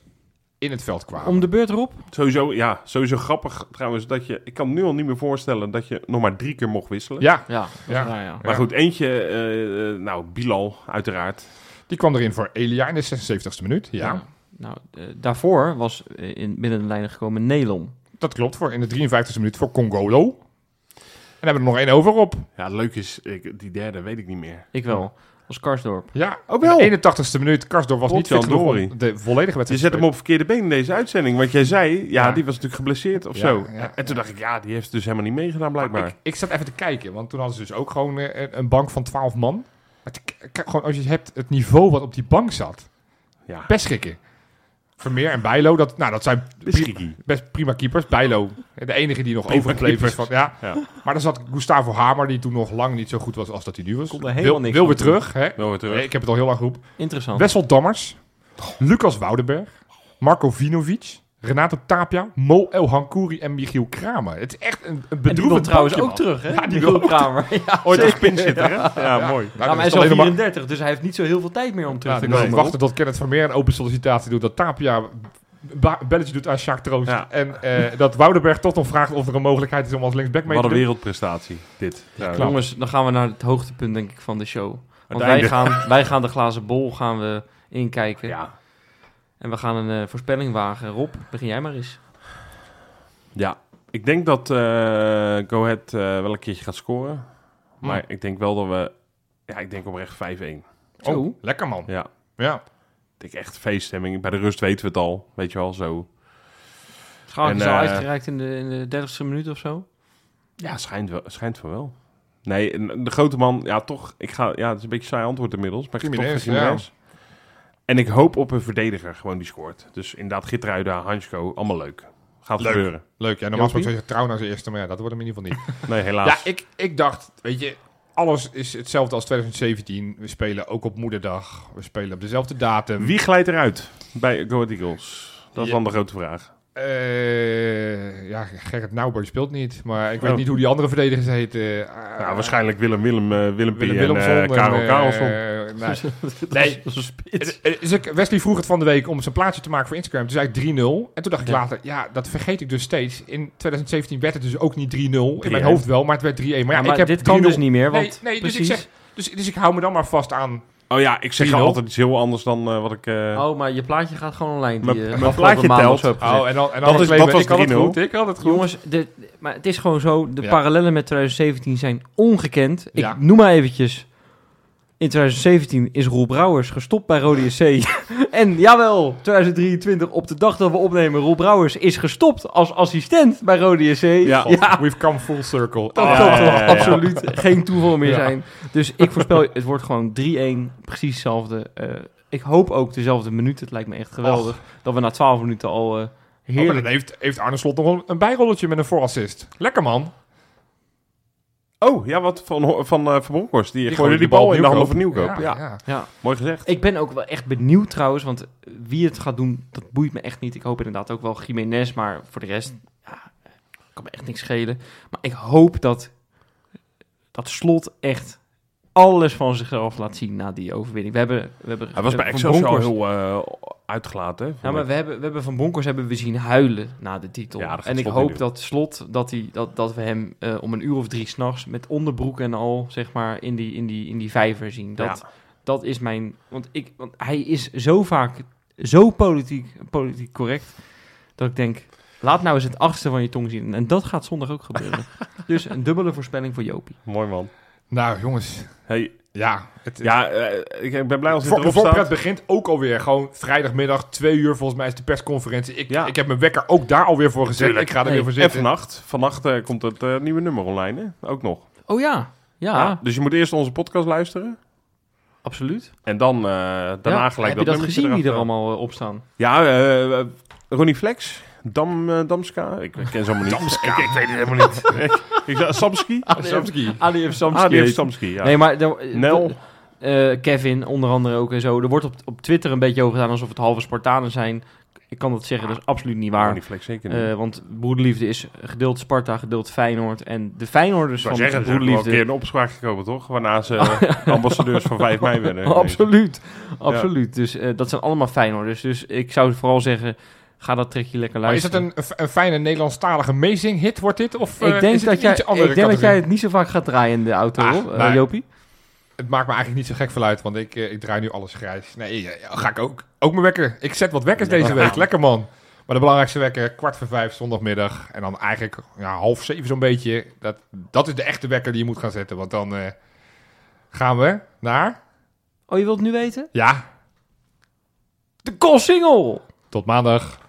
Speaker 4: in het veld kwamen?
Speaker 2: Om de beurt erop?
Speaker 3: Sowieso, ja, sowieso grappig trouwens dat je... Ik kan me nu al niet meer voorstellen dat je nog maar drie keer mocht wisselen.
Speaker 4: Ja,
Speaker 2: Ja, dat is
Speaker 4: Ja.
Speaker 2: raar, ja.
Speaker 3: Maar
Speaker 4: Ja.
Speaker 3: goed, eentje, eh, eh, nou, Bilal uiteraard.
Speaker 4: Die kwam erin voor Elia in de 76e minuut. Ja,
Speaker 2: Nou, eh, daarvoor was eh, in, binnen de lijnen gekomen Nelon.
Speaker 4: dat klopt. Voor in de 53e minuut voor Congolo. En hebben we er nog één over op.
Speaker 3: Ja, leuk is, ik, die derde weet ik niet meer.
Speaker 2: Ik wel. Als Karsdorp.
Speaker 4: Ja,
Speaker 3: Oh, wel.
Speaker 4: In de 81e minuut. Karsdorp was niet fit
Speaker 3: Potjan
Speaker 4: genoeg
Speaker 3: Dori.
Speaker 4: om de volledige
Speaker 3: Je
Speaker 4: wedstrijd
Speaker 3: zet hem op verkeerde been in deze uitzending. Want jij zei, ja,
Speaker 4: Ja.
Speaker 3: die was natuurlijk geblesseerd of
Speaker 4: Ja,
Speaker 3: zo.
Speaker 4: ja,
Speaker 3: en toen dacht ik, ja, die heeft dus helemaal niet meegedaan blijkbaar.
Speaker 4: Ik, ik zat even te kijken, want toen hadden ze dus ook gewoon eh, een, een bank van 12 man. Maar te k- k- gewoon als je hebt het niveau wat op die bank zat,
Speaker 3: ja,
Speaker 4: best schrikken. Vermeer en Bijlo, dat, nou, dat zijn pri-
Speaker 3: Beschikkie.
Speaker 4: best prima keepers. Bijlo, de enige die nog
Speaker 3: Prima
Speaker 4: overgebleven is. Van,
Speaker 3: keepers.
Speaker 4: ja.
Speaker 3: Ja.
Speaker 4: Maar er zat Gustavo Hamer, die toen nog lang niet zo goed was als dat hij nu was.
Speaker 2: Kon er helemaal
Speaker 4: wil,
Speaker 2: niks
Speaker 4: wil
Speaker 2: van
Speaker 4: weer terug, hè?
Speaker 3: Wel weer terug.
Speaker 4: Nee, ik heb het al heel lang geroepen.
Speaker 2: Interessant.
Speaker 4: Wessel Dammers, Lucas Woudenberg, Marco Vinovic, Renato Tapia, Mo El Hankouri en Michiel Kramer. Het is echt een, een
Speaker 2: en die wil
Speaker 4: bedroevend
Speaker 2: trouwens
Speaker 4: bankje,
Speaker 2: ook
Speaker 4: man.
Speaker 2: terug, hè?
Speaker 4: Ja, die
Speaker 2: Die
Speaker 4: wil
Speaker 2: wil
Speaker 4: ook
Speaker 2: Kramer. Ja,
Speaker 3: Ooit als
Speaker 2: zeker.
Speaker 3: pinzitter, hè? Ja, mooi.
Speaker 4: Nou,
Speaker 2: Ja, maar
Speaker 4: dat
Speaker 2: hij is
Speaker 4: alleen
Speaker 2: al
Speaker 4: nog maar-
Speaker 2: 34, dus hij heeft niet zo heel veel tijd meer om terug
Speaker 4: Ja,
Speaker 2: te
Speaker 4: dan kan je
Speaker 2: komen.
Speaker 4: wachten tot Kenneth Vermeer een open sollicitatie doet. Dat Tapia ba- een belletje doet aan Sjaak Troost.
Speaker 3: Ja.
Speaker 4: En eh, dat Woudenberg toch nog vraagt of er een mogelijkheid is om als linksback mee
Speaker 3: Wat
Speaker 4: te
Speaker 3: een
Speaker 4: doen.
Speaker 3: wereldprestatie, dit. trouwens.
Speaker 2: Jongens, dan gaan we naar het hoogtepunt, denk ik, van de show. Want wij
Speaker 3: einde.
Speaker 2: gaan, wij gaan de glazen bol gaan we inkijken.
Speaker 3: ja.
Speaker 2: En we gaan een eh, voorspelling wagen. Rob, begin jij maar eens.
Speaker 3: Ja, ik denk dat eh Go Ahead eh, wel een keertje gaat scoren. Maar ik denk wel dat we... Ja, ik denk oprecht 5-1.
Speaker 2: Zo.
Speaker 4: Oh, lekker man.
Speaker 3: Ja,
Speaker 4: Ja.
Speaker 3: ik denk echt feeststemming. Bij de rust weten we het al. Weet je wel, zo.
Speaker 2: Schaakje
Speaker 3: En,
Speaker 2: is
Speaker 3: eh,
Speaker 2: al uitgereikt in de, in de 30 e minuut of zo.
Speaker 3: Ja, schijnt, wel, schijnt van wel. Nee, en de grote man... Ja, toch... Ik ga, ja, het is een beetje saai antwoord inmiddels. Maar ik ga toch
Speaker 4: Jiménez,
Speaker 3: voor Jiménez. En ik hoop op een verdediger gewoon die scoort. Dus inderdaad, Gitruida, Hansko, allemaal leuk. Gaat
Speaker 4: Leuk.
Speaker 3: gebeuren.
Speaker 4: Leuk. Ja, normaal
Speaker 2: Jopie?
Speaker 4: gesproken zou je trouw naar zijn eerste, maar ja, dat wordt hem in ieder geval niet.
Speaker 3: Nee, helaas.
Speaker 4: Ja, ik, ik dacht, weet je, alles is hetzelfde als 2017. We spelen ook op moederdag. We spelen op dezelfde datum.
Speaker 3: Wie glijdt eruit bij Go Ahead Eagles? Dat is
Speaker 4: Ja.
Speaker 3: dan de grote vraag.
Speaker 4: Eh, ja, Gerrit Nauber speelt niet. Maar ik weet
Speaker 3: Oh.
Speaker 4: niet hoe die andere verdedigers heten. Eh,
Speaker 3: Nou, waarschijnlijk Willem, Willem, eh, Willem, Willem,
Speaker 4: Willem
Speaker 3: P en
Speaker 4: Willemson.
Speaker 3: eh, Karel
Speaker 4: eh,
Speaker 3: Karelson.
Speaker 4: nee.
Speaker 2: Nee.
Speaker 4: Nee.
Speaker 2: Dat is een spits.
Speaker 4: Eh, eh, dus ik- Wesley vroeg het van de week om zijn plaatje te maken voor Instagram. Toen zei ik 3-0. En toen dacht ik
Speaker 2: Ja.
Speaker 4: later, ja, dat vergeet ik dus steeds. In 2017 werd het dus ook niet 3-0. In mijn
Speaker 3: 3-1.
Speaker 4: hoofd wel, maar het werd 3-1. Maar ja,
Speaker 2: maar
Speaker 4: ik heb
Speaker 2: dit kan
Speaker 4: 3-0.
Speaker 2: dus niet meer,
Speaker 4: Nee,
Speaker 2: want
Speaker 4: nee, dus ik
Speaker 2: precies.
Speaker 4: zeg... Dus, dus ik hou me dan maar vast aan.
Speaker 3: Oh ja, ik zeg
Speaker 4: 3-0.
Speaker 3: altijd iets heel anders dan eh, wat ik... eh,
Speaker 2: oh, maar je plaatje gaat gewoon online.
Speaker 3: Mijn-
Speaker 2: die je
Speaker 3: mijn
Speaker 2: afgelopen
Speaker 3: plaatje
Speaker 2: maand
Speaker 3: telt.
Speaker 2: of zo hebt gezet.
Speaker 4: Oh, en dan, en
Speaker 3: dan is-
Speaker 4: claimen,
Speaker 3: dat was
Speaker 4: ik had het
Speaker 3: 3-0.
Speaker 4: goed, ik had het goed.
Speaker 2: Jongens, de, maar het is gewoon zo. De
Speaker 4: Ja.
Speaker 2: parallellen met 2017 zijn ongekend. Ik
Speaker 4: Ja.
Speaker 2: noem maar eventjes. In 2017 is Roel Brouwers gestopt bij Rode SC. en jawel, 2023, op de dag dat we opnemen, Roel Brouwers is gestopt als assistent bij Rode SC.
Speaker 3: Ja.
Speaker 4: God, We've come full circle.
Speaker 2: Dat
Speaker 3: Ah,
Speaker 2: kan
Speaker 3: ja,
Speaker 2: toch
Speaker 3: ja, ja.
Speaker 2: absoluut geen toeval meer
Speaker 4: Ja.
Speaker 2: zijn. Dus ik voorspel, het wordt gewoon 3-1. Precies hetzelfde. Eh, ik hoop ook dezelfde minuten. Het lijkt me echt geweldig. Dat we na 12 minuten al eh
Speaker 4: Oh, maar
Speaker 2: heerlijk...
Speaker 4: dan heeft, heeft Arne Slot nog een, een bijrolletje met een voorassist. Lekker man.
Speaker 3: Oh, ja, wat van, Ho- van eh Van Bronckhorst. Die, gooide die bal in de handen van Nieuwkoop. Ja,
Speaker 2: ja.
Speaker 3: mooi gezegd.
Speaker 2: Ik ben ook wel echt benieuwd trouwens, want wie het gaat doen, dat boeit me echt niet. Ik hoop inderdaad ook wel Jiménez, maar voor de rest ja, eh, kan me echt niks schelen. Maar ik hoop dat dat slot echt alles van zichzelf laat zien na die overwinning. We hebben, we hebben
Speaker 3: Hij was bij
Speaker 2: Van
Speaker 3: Excelsior al
Speaker 2: Bronckhorst-
Speaker 3: heel eh, uitgelaten. hè, vond
Speaker 2: Ja, Nou, maar
Speaker 3: ik.
Speaker 2: we hebben, we hebben Van Bonkers hebben we zien huilen na de titel.
Speaker 3: Ja, dat gaat
Speaker 2: en ik
Speaker 3: Slot niet
Speaker 2: hoop
Speaker 3: doen.
Speaker 2: dat Slot, dat, hij, dat, dat we hem eh, om een uur of drie s'nachts met onderbroek en al, zeg maar, in die, in die, in die vijver zien. Dat, dat is mijn... Want, ik, want hij is zo vaak zo politiek, politiek correct, dat ik denk, laat nou eens het achtste van je tong zien. En dat gaat zondag ook gebeuren. dus een dubbele voorspelling voor Jopie.
Speaker 3: Mooi man.
Speaker 4: Nou jongens,
Speaker 3: Hey,
Speaker 4: ja. Het,
Speaker 3: ja, eh, ik, ik ben blij als dit
Speaker 4: voor, de
Speaker 3: erop staat.
Speaker 4: voorpret begint ook alweer. Gewoon vrijdagmiddag, twee uur volgens mij is de persconferentie. Ik,
Speaker 3: Ja.
Speaker 4: ik heb mijn wekker ook daar alweer voor gezet.
Speaker 3: Tuurlijk.
Speaker 4: Ik ga er
Speaker 2: Nee,
Speaker 4: weer voor
Speaker 3: En
Speaker 4: zitten.
Speaker 3: vannacht, vannacht eh, komt het eh, nieuwe nummer online, hè? Ook nog.
Speaker 2: Oh ja, ja,
Speaker 3: Ja, dus je moet eerst onze podcast luisteren.
Speaker 2: absoluut.
Speaker 3: En dan eh, daarna
Speaker 2: Ja.
Speaker 3: gelijk
Speaker 2: Heb je dat
Speaker 3: nummertje
Speaker 2: gezien, wie er
Speaker 3: erachter.
Speaker 2: allemaal eh, op staan?
Speaker 3: Ja, eh, eh, Ronnie Flex. Dam, eh, Damska. Ik ken ze allemaal niet. Damska. Ik, ik weet het helemaal niet. Ik- ik zei Samski.
Speaker 2: Ah,
Speaker 4: Samsky.
Speaker 2: Ali of
Speaker 3: Ah, die heeft Samski, ja.
Speaker 2: Nee, maar... er-
Speaker 3: Nel.
Speaker 2: eh, Kevin onder andere ook en zo. Er wordt op, op Twitter een beetje over gedaan alsof het halve Spartanen zijn. Ik kan dat zeggen, dat is absoluut niet waar.
Speaker 3: Ronnie Flex zeker Oh, niet.
Speaker 2: Eh, want broederliefde is gedeeld Sparta, gedeeld Feyenoord. En de Feyenoorders
Speaker 3: ik zou
Speaker 2: van
Speaker 3: zeggen, ze hebben wel een
Speaker 2: broederliefde...
Speaker 3: keer in opspraak gekomen, toch? Waarna ze eh, ambassadeurs van eh, 5 mei werden.
Speaker 2: absoluut, absoluut. Dus eh, dat zijn allemaal Feyenoorders. Dus ik zou vooral zeggen, ga dat trekje lekker
Speaker 4: Maar is
Speaker 2: luisteren.
Speaker 4: het een, een fijne Nederlandstalige amazing hit wordt dit? Of eh,
Speaker 2: ik denk,
Speaker 4: is dit
Speaker 2: dat,
Speaker 4: een
Speaker 2: jij,
Speaker 4: iets andere
Speaker 2: ik denk dat jij
Speaker 4: categorie?
Speaker 2: het niet zo vaak gaat draaien in de auto,
Speaker 4: Ah,
Speaker 2: hoor, eh,
Speaker 4: maar-
Speaker 2: Jopie.
Speaker 4: Het maakt me eigenlijk niet zo gek veel uit, want ik, eh, ik draai nu alles grijs. Nee, ja, ja, ga ik ook. Ook mijn wekker. Ik zet wat wekkers deze week. Lekker man. Maar de belangrijkste wekker, kwart voor vijf zondagmiddag. En dan eigenlijk ja, half zeven zo'n beetje. Dat, dat is de echte wekker die je moet gaan zetten. Want dan eh, gaan we naar...
Speaker 2: Oh, je wilt het nu weten?
Speaker 4: Ja,
Speaker 2: De single.
Speaker 4: tot maandag.